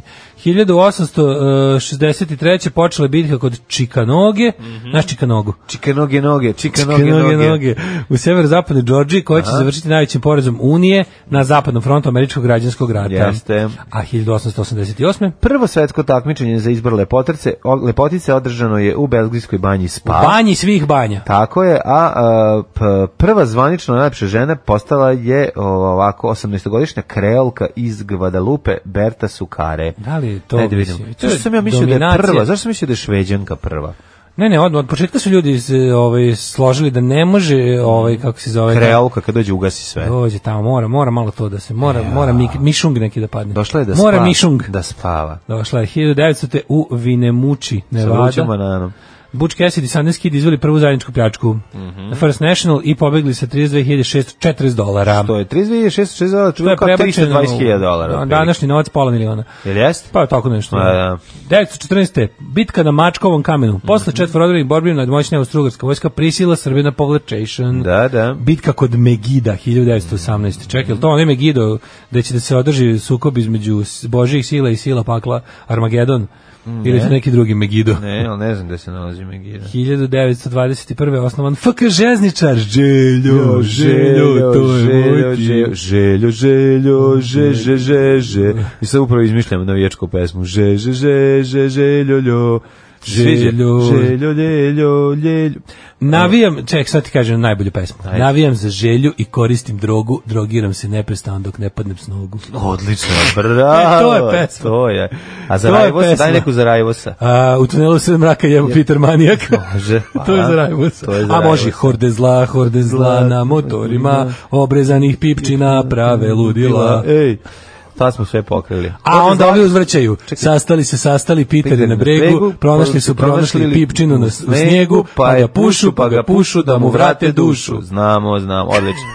Speaker 5: 1863. počela je bitka kod Čikanoge,
Speaker 6: Mhm.
Speaker 5: naš Čikanogu.
Speaker 6: Čike noge noge, čike noge
Speaker 5: Noge, noge,
Speaker 6: noge.
Speaker 5: noge. U severozapadnoj Đorđiji koja će završiti najvećim porezom Unije na zapadnom frontu američkog građanskog rata.
Speaker 6: Jeste.
Speaker 5: A 1888.
Speaker 6: Prvo svetsko takmičenje za izbor lepotice, lepotice održano je u belgijskoj banji
Speaker 5: U
Speaker 6: Spa.
Speaker 5: banji svih banja.
Speaker 6: Tako je, a, a, p- prva zvanično najlepša žena postala je o, ovako 18-godišnja kreolka iz Guadalupe Berta Sukare.
Speaker 5: Da li je to,
Speaker 6: Ajde vidimo.
Speaker 5: mislim, to je
Speaker 6: Zašto sam ja mislio da je
Speaker 5: dominacija.
Speaker 6: prva? Zašto sam mislio da je šveđanka prva?
Speaker 5: Ne, ne, od, od početka su ljudi iz, e, ovaj, složili da ne može, ovaj, kako se zove...
Speaker 6: Kreolka kad dođe ugasi sve.
Speaker 5: Dođe tamo, mora, mora malo to da se, mora, mora mi, mišung neki da padne.
Speaker 6: Došla je da
Speaker 5: Mora
Speaker 6: spava.
Speaker 5: mišung.
Speaker 6: Da spava.
Speaker 5: Došla je 1900. u Vinemuči,
Speaker 6: Sa
Speaker 5: Nevada.
Speaker 6: vrućim bananom.
Speaker 5: Butch Cassidy i Sundance Kid izveli prvu zajedničku pljačku.
Speaker 6: Mhm.
Speaker 5: The First National i pobegli sa 32.640 dolara.
Speaker 6: To je 32.660 dolara,
Speaker 5: To
Speaker 6: čuvao kao 320.000 dolara.
Speaker 5: Da, Današnji novac pola miliona.
Speaker 6: Jel jest?
Speaker 5: Pa tako nešto.
Speaker 6: Ma, da.
Speaker 5: 914. Bitka na Mačkovom kamenu. Posle
Speaker 6: Mhm.
Speaker 5: četvorodorenih borbi nad moćnja Austrougarska vojska prisila Srbe na povlačation.
Speaker 6: Da, da.
Speaker 5: Bitka kod Megida 1918. Čekaj, jel to onaj Megido gde će da se održi sukob između s- Božijih sila i sila pakla Armagedon? Ili je to neki drugi Megido.
Speaker 6: Ne, ali ne znam gde se nalazi Megida.
Speaker 5: 1921. osnovan FK Žezničar. Željo, željo,
Speaker 6: Željo,
Speaker 5: to je
Speaker 6: željo,
Speaker 5: moj ti.
Speaker 6: željo, željo, željo, že, že, že, že. I sad upravo izmišljam navijačku pesmu. Že, že, že, že, željo, ljo. Sviđa?
Speaker 5: Željo.
Speaker 6: Željo, ljeljo, ljeljo.
Speaker 5: Navijam, ček, sad ti kažem najbolju pesmu.
Speaker 6: Ajde.
Speaker 5: Navijam za želju i koristim drogu, drogiram se neprestano dok ne padnem s nogu.
Speaker 6: Odlično, bravo.
Speaker 5: <laughs> E, to je pesma.
Speaker 6: To je. A za Rajvosa,
Speaker 5: pesma.
Speaker 6: daj neku za Rajvosa.
Speaker 5: A, u tunelu sve mraka jebo Peter Manijak.
Speaker 6: Može,
Speaker 5: <laughs> to je
Speaker 6: a?
Speaker 5: za Rajmusa.
Speaker 6: To je za
Speaker 5: A može i
Speaker 6: Rajmusa.
Speaker 5: horde zla, horde zla na motorima, obrezanih pipčina, prave ludila.
Speaker 6: Ej, pa smo sve pokrili.
Speaker 5: A onda ovi uzvraćaju. Sastali se, sastali Piteri
Speaker 6: Piteri
Speaker 5: na
Speaker 6: na
Speaker 5: bregu,
Speaker 6: bregu,
Speaker 5: pronašli pa su, pronašli
Speaker 6: pronašli
Speaker 5: pipčinu na, s- u snijegu, pa ga pušu, pa ga pušu da mu vrate dušu.
Speaker 6: Znamo, znamo, odlično.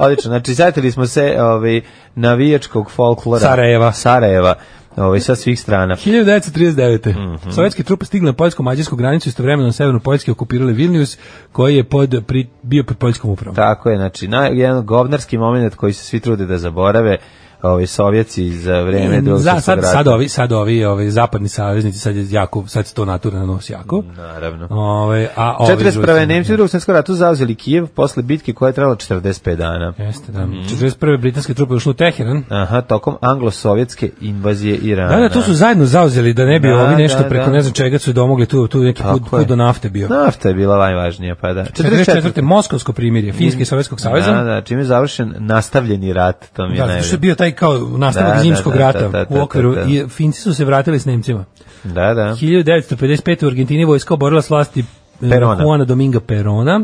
Speaker 6: Odlično, znači zatili smo se ovaj, navijačkog folklora.
Speaker 5: Sarajeva.
Speaker 6: Sarajeva, ovaj, sa svih strana.
Speaker 5: 1939. Sovjetske trupe stigle na poljsko-mađarsku granicu istovremeno na severnu Poljske okupirale Vilnius, koji je pod, pri, bio pod poljskom upravom.
Speaker 6: Tako je, znači, na, jedan govnarski moment koji se svi trude da zaborave, ovaj, sovjetci za vreme drugog
Speaker 5: Mm, Za, sad,
Speaker 6: svjetskog rata.
Speaker 5: sad ovi, sad ovi, ovi zapadni saveznici, sad je jako, sad se to natura na nos jako.
Speaker 6: Naravno.
Speaker 5: Ove, a ovi
Speaker 6: 41.
Speaker 5: Rusi-
Speaker 6: Nemci u drugom svjetskom ratu zauzeli Kijev posle bitke koja je trajala 45 dana.
Speaker 5: Jeste, da. 41. britanske trupe ušle u Teheran.
Speaker 6: Aha, tokom anglo-sovjetske invazije Irana.
Speaker 5: Da, da, to su zajedno zauzeli da ne bi
Speaker 6: Da,
Speaker 5: ovi nešto
Speaker 6: da,
Speaker 5: preko
Speaker 6: da.
Speaker 5: ne znam čega su domogli tu, tu neki
Speaker 6: Tako
Speaker 5: put, put
Speaker 6: je.
Speaker 5: do nafte bio.
Speaker 6: Nafta je bila najvažnija, pa da.
Speaker 5: 44. Moskovsko primirje, Finjske i Sovjetskog saveza.
Speaker 6: Mm. Da, da, čime je završen nastavljeni rat, to mi je
Speaker 5: Da, zato što
Speaker 6: najbolje.
Speaker 5: je bio taj kao nastavak
Speaker 6: Da, da,
Speaker 5: zimskog
Speaker 6: da,
Speaker 5: rata
Speaker 6: da, da,
Speaker 5: u
Speaker 6: da,
Speaker 5: okviru
Speaker 6: da, da.
Speaker 5: i Finci su se vratili s Nemcima.
Speaker 6: Da, da.
Speaker 5: 1955. u Argentini vojska oborila s vlasti eh,
Speaker 6: Perona.
Speaker 5: Juana Dominga Perona.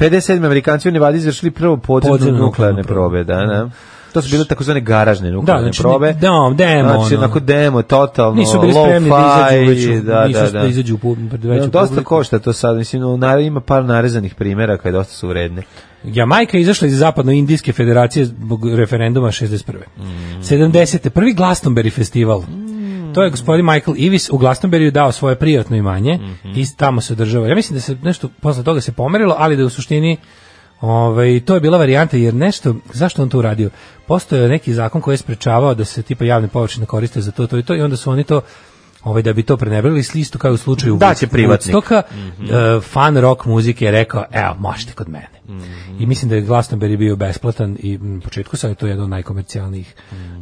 Speaker 6: 57. Amerikanci u Nevadi izvršili prvo podzemno
Speaker 5: Podzemne
Speaker 6: nuklearne,
Speaker 5: nuklearne
Speaker 6: probe, da, da. To su bile takozvane garažne
Speaker 5: Da,
Speaker 6: nuklearne
Speaker 5: znači,
Speaker 6: probe.
Speaker 5: da, demo,
Speaker 6: Znači,
Speaker 5: ono.
Speaker 6: onako demo, totalno,
Speaker 5: Nisu bili
Speaker 6: lo-fi,
Speaker 5: spremni da izađu u veću,
Speaker 6: da,
Speaker 5: nisu
Speaker 6: da, da.
Speaker 5: da izađu u pub- pred veću
Speaker 6: dosta
Speaker 5: publiku.
Speaker 6: košta to sad, mislim, no, naravno ima par narezanih primjera koje dosta su vredne.
Speaker 5: Jamajka je izašla iz Zapadno-Indijske federacije zbog referenduma 61. 70. Prvi Glastonbury festival. To je gospodin Michael Ivis u Glastonberiju dao svoje prijatno imanje i tamo se održava. Ja mislim da se nešto posle toga se pomerilo, ali da u suštini ovaj, to je bila varijanta, jer nešto, zašto on to uradio? Postoje neki zakon koji je sprečavao da se tipa javne površine koriste za to, to i to i onda su oni to ovaj da bi to prenebrali s listu kao i u slučaju
Speaker 6: Da će privatnik.
Speaker 5: Woodstocka,
Speaker 6: Mhm.
Speaker 5: e, fan rock muzike je rekao, evo, možete kod mene.
Speaker 6: Mhm.
Speaker 5: I mislim da je Glastonbury bio besplatan i m, u početku sam je to jedan od najkomercijalnijih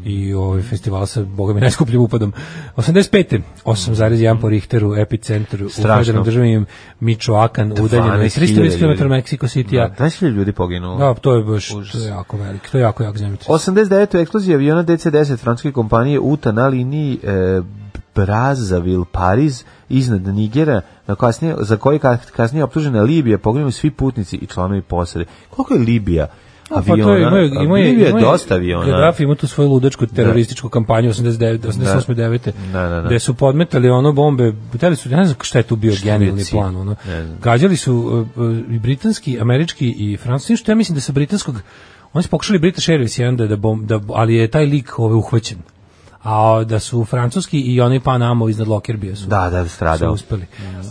Speaker 5: i
Speaker 6: Mhm.
Speaker 5: ovaj festival sa, boga mi, najskupljim upadom. 85. 8,1 po Richteru, epicentru u
Speaker 6: Strašno.
Speaker 5: federalnom državi Michoacan, udaljeno je 300
Speaker 6: 12.000
Speaker 5: km Mexico City-a.
Speaker 6: Da, 20.000 ljudi poginulo.
Speaker 5: Da, to je baš, to je jako velik, to je jako, jako zemljice.
Speaker 6: 89. eksplozija aviona DC-10 francuske kompanije UTA na liniji e, Brazzaville, Pariz, iznad Nigera, na kasnije, za koji ka- kasnije optužena Libija, pogledamo svi putnici i članovi posade. Koliko je Libija
Speaker 5: Pa
Speaker 6: aviona? Libija je dosta aviona.
Speaker 5: Gaddafi ima tu svoju ludačku terorističku kampanju 89, 88, 9.
Speaker 6: Da, da, da.
Speaker 5: Gde su podmetali ono bombe, hteli su, ja ne znam šta je tu bio genijalni
Speaker 6: cilj?
Speaker 5: plan. Ono.
Speaker 6: Ne znam.
Speaker 5: Gađali su uh, uh, i britanski, američki i francuski, što ja mislim da sa britanskog, oni su pokušali British Airways jedan da, da, bom, da, ali je taj lik ovaj, uhvaćen. A da su francuski i oni Panamo iznad Lockerbie su
Speaker 6: Da, da,
Speaker 5: su
Speaker 6: stradao.
Speaker 5: uspeli. Uh,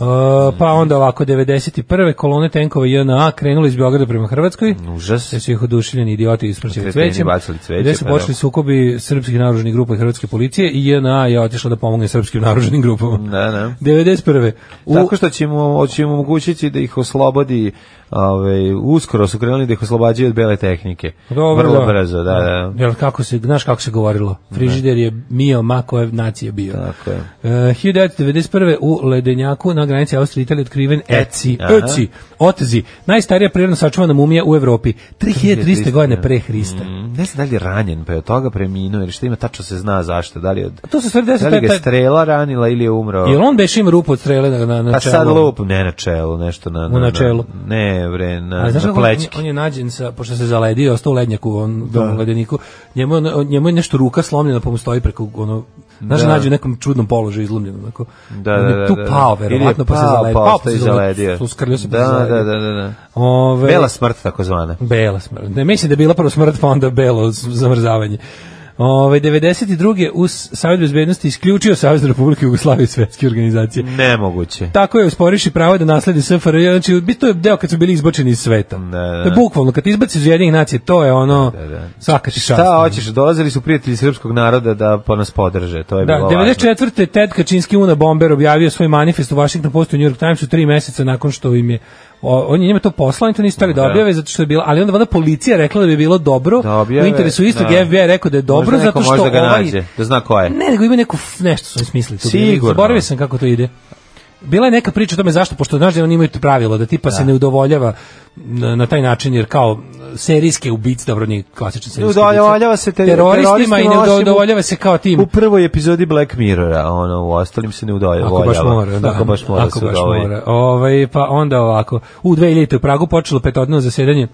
Speaker 5: pa onda ovako, 91. kolone tenkova JNA krenuli iz Beograda prema Hrvatskoj.
Speaker 6: Užas.
Speaker 5: Te su ih odušiljeni idioti ispraćali
Speaker 6: Kreteni
Speaker 5: cvećem.
Speaker 6: bacali cveće,
Speaker 5: Gde su
Speaker 6: pa
Speaker 5: počeli
Speaker 6: da.
Speaker 5: sukobi srpskih naruženih grupa i hrvatske policije i JNA je otišla da pomogne srpskim naruženim grupama.
Speaker 6: Da, da.
Speaker 5: 91. U,
Speaker 6: Tako što će mu, hoće im omogućiti da ih oslobodi, ovaj, uskoro su krenuli da ih oslobađaju od bele tehnike.
Speaker 5: Dobro,
Speaker 6: Vrlo brzo, da, da.
Speaker 5: Jel, kako se, znaš kako se govorilo? Frižider je mio ma koje nacije bio.
Speaker 6: Tako je.
Speaker 5: E, 1991. u Ledenjaku na granici Austrije i Italije otkriven Eci,
Speaker 6: E, Aha.
Speaker 5: Eci, Otzi, najstarija prirodno sačuvana mumija u Evropi, 3300 godina pre Hrista.
Speaker 6: Mm, Ne znam da li je ranjen, pa je od toga preminuo, jer šta ima, tačno se zna zašto, da li je od...
Speaker 5: To se stvari
Speaker 6: Da
Speaker 5: desilo,
Speaker 6: li ga
Speaker 5: taj-
Speaker 6: je strela ranila ili je umrao?
Speaker 5: Jel on beše ima rupu od strele na, na, na
Speaker 6: A
Speaker 5: čelu?
Speaker 6: Pa sad lup, ne na čelu, nešto na... na
Speaker 5: U načelu.
Speaker 6: Na, ne, bre, na,
Speaker 5: A znaš
Speaker 6: na
Speaker 5: kako, on,
Speaker 6: plećki.
Speaker 5: on je nađen sa, pošto se zaledio, ostao u lednjaku, on da. u ledeniku, njemu, je ono- njemu je nešto ruka slomljena, pa mu stoji preko, ono, znaš, da.
Speaker 6: Da.
Speaker 5: nađe u nekom čudnom položaju izlomljeno, onako.
Speaker 6: Da,
Speaker 5: On je
Speaker 6: da, da,
Speaker 5: Tu
Speaker 6: da.
Speaker 5: pao,
Speaker 6: Ili je
Speaker 5: verovatno, pa se
Speaker 6: pao,
Speaker 5: zaledio.
Speaker 6: pa
Speaker 5: Pao,
Speaker 6: ostao i zaledio.
Speaker 5: Uskrlio se, pa
Speaker 6: Da,
Speaker 5: se zaledio.
Speaker 6: da, da, da, da.
Speaker 5: Ove,
Speaker 6: Bela smrt, takozvana.
Speaker 5: Bela smrt. Ne, mislim da je bila prvo smrt, pa onda belo z- zamrzavanje. Ove, 92. uz Savjet bezbednosti isključio Savjez Republike Jugoslavije iz svetske organizacije.
Speaker 6: Nemoguće.
Speaker 5: Tako je usporiši pravo da nasledi SFRJ, znači bi- to je deo kad su bili izbačeni iz sveta.
Speaker 6: Da, da.
Speaker 5: To je bukvalno, kad izbaci iz jedinih nacije, to je ono,
Speaker 6: Da, da.
Speaker 5: svaka ti čast.
Speaker 6: Šta hoćeš, dolazili su prijatelji srpskog naroda da po nas podrže, to je
Speaker 5: Da,
Speaker 6: bilo
Speaker 5: 94. Ted Kačinski Una Bomber objavio svoj manifest u Washington Postu i New York Timesu tri meseca nakon što im je o, on je njima to poslao, oni to nisu stali da
Speaker 6: Da.
Speaker 5: objave zato što je bila, ali onda valjda policija rekla da bi bilo dobro.
Speaker 6: Da objave,
Speaker 5: u interesu istog
Speaker 6: da.
Speaker 5: FBI rekao da je dobro
Speaker 6: Možda neko
Speaker 5: zato što
Speaker 6: može da ga
Speaker 5: ovaj
Speaker 6: nađe, da zna ko je.
Speaker 5: Ne, nego ima neku f- nešto su oni smislili tu.
Speaker 6: E. Sigurno.
Speaker 5: Zaboravio sam kako to ide. Bila je neka priča o tome zašto, pošto znaš da oni imaju to pravilo, da tipa se ne udovoljava na, na taj način, jer kao serijske ubice, dobro nije klasični serijski ubice,
Speaker 6: udovoljava se te-
Speaker 5: teroristima i ne
Speaker 6: teroristima, osim u-
Speaker 5: udovoljava se kao tim.
Speaker 6: U prvoj epizodi Black Mirrora, ono, u ostalim se ne udovoljava.
Speaker 5: Ako baš mora, da.
Speaker 6: Ako baš mora
Speaker 5: ako
Speaker 6: se
Speaker 5: baš
Speaker 6: udovolji.
Speaker 5: mora. Ovaj, pa onda ovako. U 2000. u Pragu počelo petodnevno zasedanje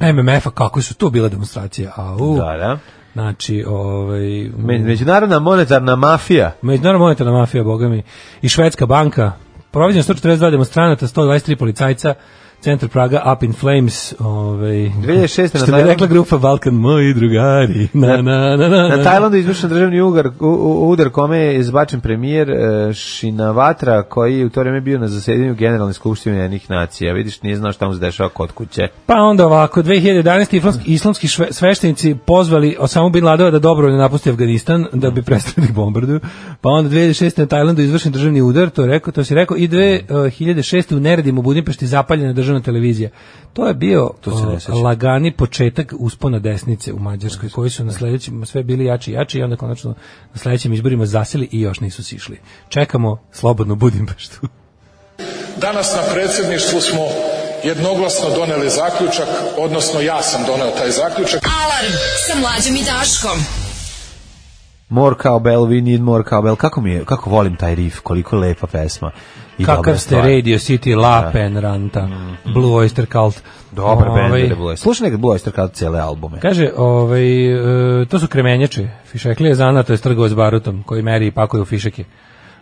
Speaker 5: MMF-a, kako su to bile demonstracije. Au.
Speaker 6: Da, da.
Speaker 5: Znači, ovaj,
Speaker 6: Me- Međunarodna monetarna mafija.
Speaker 5: Međunarodna monetarna mafija, boga mi, i Švedska banka, proviđeno 142 demonstranata, 123 policajca, centar Praga, Up in Flames, ovaj,
Speaker 6: 2006. na
Speaker 5: što bi
Speaker 6: Tajlandu-
Speaker 5: rekla grupa Balkan, moji drugari, na, na, na, na,
Speaker 6: Na Tajlandu je izvršen državni ugar, u, u, udar kome je izbačen premijer e, Shinawatra koji je u to vreme bio na zasedanju Generalne skupštine jednih nacija. Vidiš, nije znao šta mu se dešava kod kuće.
Speaker 5: Pa onda ovako, 2011. islamski, islamski šve, sveštenici pozvali Osamu Bin Ladova da dobrovoljno napusti Afganistan, da bi prestali da ih bombarduju. Pa onda 2006. na Tajlandu izvršen državni udar, to, je rekao, to si rekao, i
Speaker 6: Mhm.
Speaker 5: 2006. u Neredim u Budimpešti zapaljena državna televizija. To je bio
Speaker 6: To se ne
Speaker 5: o,
Speaker 6: sećam.
Speaker 5: lagani početak uspona desnice u Mađarskoj, koji su na
Speaker 6: Mhm.
Speaker 5: sledećim sve bili jači i jači i onda konačno na sledećim izborima zaseli i još nisu sišli. Čekamo slobodnu Budimpeštu.
Speaker 8: Danas na predsjedništvu smo jednoglasno doneli zaključak, odnosno ja sam doneo taj zaključak.
Speaker 4: Alarm sa mlađom i Daškom.
Speaker 6: More cowbell, we need more cowbell. Kako mi je, kako volim taj riff, koliko lepa pesma. I dobra
Speaker 5: Kakav ste
Speaker 6: stvar. Mhm.
Speaker 5: Radio City, La Penranta, Blue Oyster Cult.
Speaker 6: Dobar bend
Speaker 5: Ovaj,
Speaker 6: je Blue Oyster. Slušaj nekad Blue Oyster kao cele albume.
Speaker 5: Kaže, ovaj, e, to su kremenjače. Fišeklije zana, to je trgovac barutom, koji meri i pakuje u fišeke.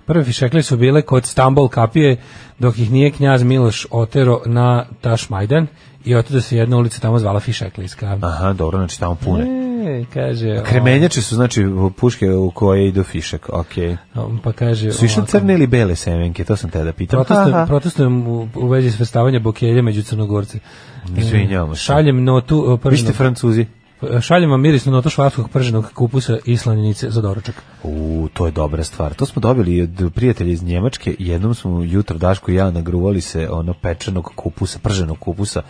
Speaker 5: Prve fišeklije su bile kod Stambol kapije, dok ih nije knjaz Miloš otero na Tašmajdan i otuda se jedna ulica tamo zvala Fišeklijska.
Speaker 6: Aha, dobro, znači tamo pune.
Speaker 5: E, kaže,
Speaker 6: Kremenjače su znači puške u koje idu fišak, okej.
Speaker 5: o, pa kaže,
Speaker 6: Su išle
Speaker 5: ovako.
Speaker 6: crne ili bele semenke, to sam te da pitam.
Speaker 5: Protestujem,
Speaker 6: Aha.
Speaker 5: protestujem u, u vezi svrstavanja bokelja među crnogorce.
Speaker 6: Izvinjavamo se.
Speaker 5: Šaljem notu e,
Speaker 6: Vi ste
Speaker 5: prženog,
Speaker 6: francuzi.
Speaker 5: šaljem vam mirisnu notu švapskog prženog kupusa i slanjenice za doručak.
Speaker 6: U, to je dobra stvar. To smo dobili od prijatelja iz Njemačke. Jednom smo jutro Daško i ja nagruvali se ono pečenog kupusa, prženog kupusa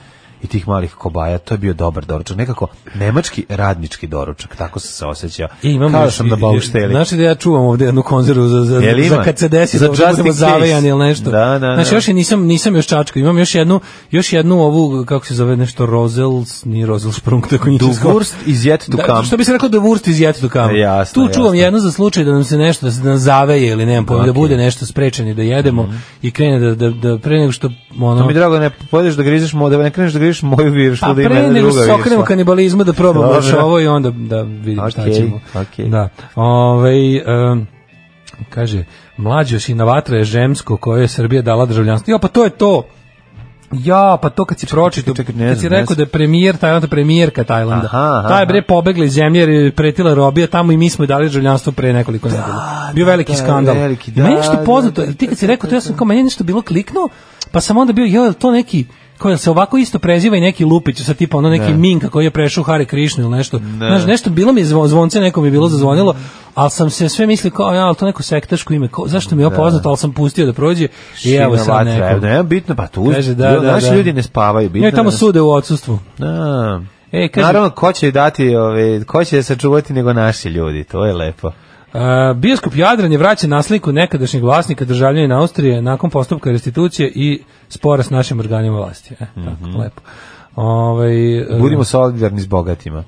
Speaker 6: i tih malih kobaja. To je bio dobar doručak. Nekako nemački radnički doručak. Tako sam se osjećao.
Speaker 5: I imam
Speaker 6: Kao da
Speaker 5: još
Speaker 6: sam
Speaker 5: i-
Speaker 6: na
Speaker 5: i-
Speaker 6: baušteli.
Speaker 5: Znaš li da ja čuvam ovde jednu konzervu za, za,
Speaker 6: Jel
Speaker 5: za
Speaker 6: ima?
Speaker 5: kad se desi
Speaker 6: Za
Speaker 5: da ovde
Speaker 6: just
Speaker 5: budemo
Speaker 6: in case.
Speaker 5: zavejani ili nešto.
Speaker 6: Da, da, da.
Speaker 5: Znači još je nisam, nisam još čačko. Imam još jednu, još jednu ovu, kako se zove nešto, Rozels, nije Rozelsprung, tako nije
Speaker 6: Du Wurst iz Jet to
Speaker 5: Da,
Speaker 6: Come.
Speaker 5: što bi se rekao da Wurst iz jetu kama.
Speaker 6: E, jasno,
Speaker 5: tu čuvam
Speaker 6: jasno.
Speaker 5: jedno za slučaj da nam se nešto da se nam zaveje ili nemam pojma da
Speaker 6: Ok. Mhm.
Speaker 5: bude nešto sprečeni da jedemo i krene da da da pre nego što ono
Speaker 6: To mi je drago, ne pojedeš da grizeš, mo- da ne kreneš da grižeš moju viršlu,
Speaker 5: pa
Speaker 6: da ima
Speaker 5: pre
Speaker 6: jedna
Speaker 5: nego
Speaker 6: druga pa.
Speaker 5: što se
Speaker 6: viršla.
Speaker 5: okrenemo kanibalizmu da probamo
Speaker 6: Dobro.
Speaker 5: još ovo i onda da vidimo šta
Speaker 6: Okej,
Speaker 5: ćemo.
Speaker 6: okej.
Speaker 5: Da. Ovaj em, kaže mlađo si na vatra je žemsko koje je Srbija dala državljanstvo. Jo pa to je to. Ja, pa to kad si pročitao,
Speaker 6: čekaj, čekaj, ne
Speaker 5: kad si
Speaker 6: znam, ne
Speaker 5: rekao
Speaker 6: znam.
Speaker 5: da je premijer Tajlanda, premijerka Tajlanda,
Speaker 6: Aha, aha,
Speaker 5: ta je
Speaker 6: aha.
Speaker 5: bre pobegla iz zemlje jer je pretila robija tamo i mi smo joj dali državljanstvo pre nekoliko nedelja. Bio
Speaker 6: da,
Speaker 5: veliki
Speaker 6: da,
Speaker 5: skandal.
Speaker 6: veliki,
Speaker 5: I meni
Speaker 6: da,
Speaker 5: je nešto
Speaker 6: da,
Speaker 5: poznato, jer ti kad si rekao E, pa to, ja sam kao, meni je nešto bilo kliknuo, pa sam onda bio, joj, je li to neki, kao jel se ovako isto preziva i neki Lupić, sad tipa ono neki Minka koji je prešao Hare Krišnu ili nešto. Znaš, nešto bilo mi je zvo- zvonce, neko mi je bilo zazvonilo, ali sam se sve mislio kao, ja, ali to neko sektaško ime, kao, zašto mi je ovo poznato, ali sam pustio da prođe i evo sad
Speaker 6: Šina vatra,
Speaker 5: neko.
Speaker 6: evo, ne, bitno, pa tu,
Speaker 5: Kaže, da, da,
Speaker 6: naši
Speaker 5: da.
Speaker 6: ljudi ne spavaju, bitno.
Speaker 5: Njoj tamo
Speaker 6: je da-
Speaker 5: sude u odsustvu.
Speaker 6: Da.
Speaker 5: E,
Speaker 6: E,
Speaker 5: kaže-
Speaker 6: Naravno, ko će dati, ove, ko će sačuvati nego naši ljudi, to je lepo.
Speaker 5: Uh, bioskop Jadran je vraćen na sliku nekadašnjeg vlasnika državljanina Austrije nakon postupka restitucije i spora s našim organima vlasti. E, tako, lepo. Ovaj, e,
Speaker 6: Mhm. Budimo solidarni s bogatima.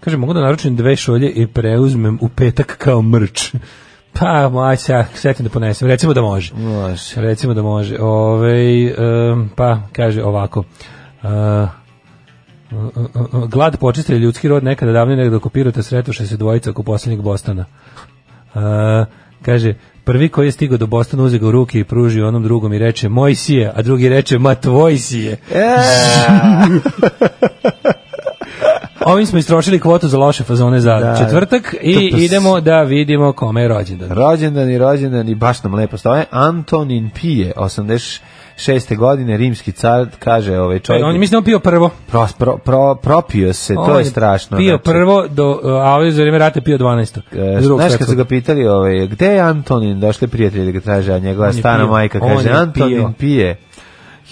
Speaker 5: Kaže, mogu da naručim dve šolje i preuzmem u petak kao mrč. <laughs> Pa, maj se ja setim da ponesem. Recimo da može.
Speaker 6: Može.
Speaker 5: Recimo da može. Ove, pa, kaže ovako. E, e, e, glad počistio je ljudski rod nekada davno nekada okupirate sretuše se dvojica oko posljednjeg Bostana. E, kaže, prvi koji je stigao do Bostona uze ga u ruke i pruži onom drugom i reče moj si je, a drugi reče ma tvoj si je.
Speaker 6: E,
Speaker 5: <laughs> Ovim smo istrošili kvotu za loše fazone za
Speaker 6: Da.
Speaker 5: četvrtak i
Speaker 6: Tupas.
Speaker 5: idemo da vidimo kome je rođendan.
Speaker 6: Rođendan i rođendan i baš nam lepo stoje. Antonin Pije, 86. godine, rimski car, kaže ovaj čovjek.
Speaker 5: E, On je mislim on pio prvo.
Speaker 6: Pro, pro, pro, propio se, to
Speaker 5: On
Speaker 6: je strašno.
Speaker 5: Pio
Speaker 6: znači.
Speaker 5: prvo do a ovaj za vreme rata je pio 12.
Speaker 6: E,
Speaker 5: Drugog
Speaker 6: Znaš kad su
Speaker 5: svetskog.
Speaker 6: ga pitali ovaj, gde je Antonin, došli prijatelji da ga traže, a njegova
Speaker 5: On je
Speaker 6: stana
Speaker 5: pio.
Speaker 6: majka
Speaker 5: On
Speaker 6: kaže,
Speaker 5: je
Speaker 6: Antonin
Speaker 5: pio.
Speaker 6: pije.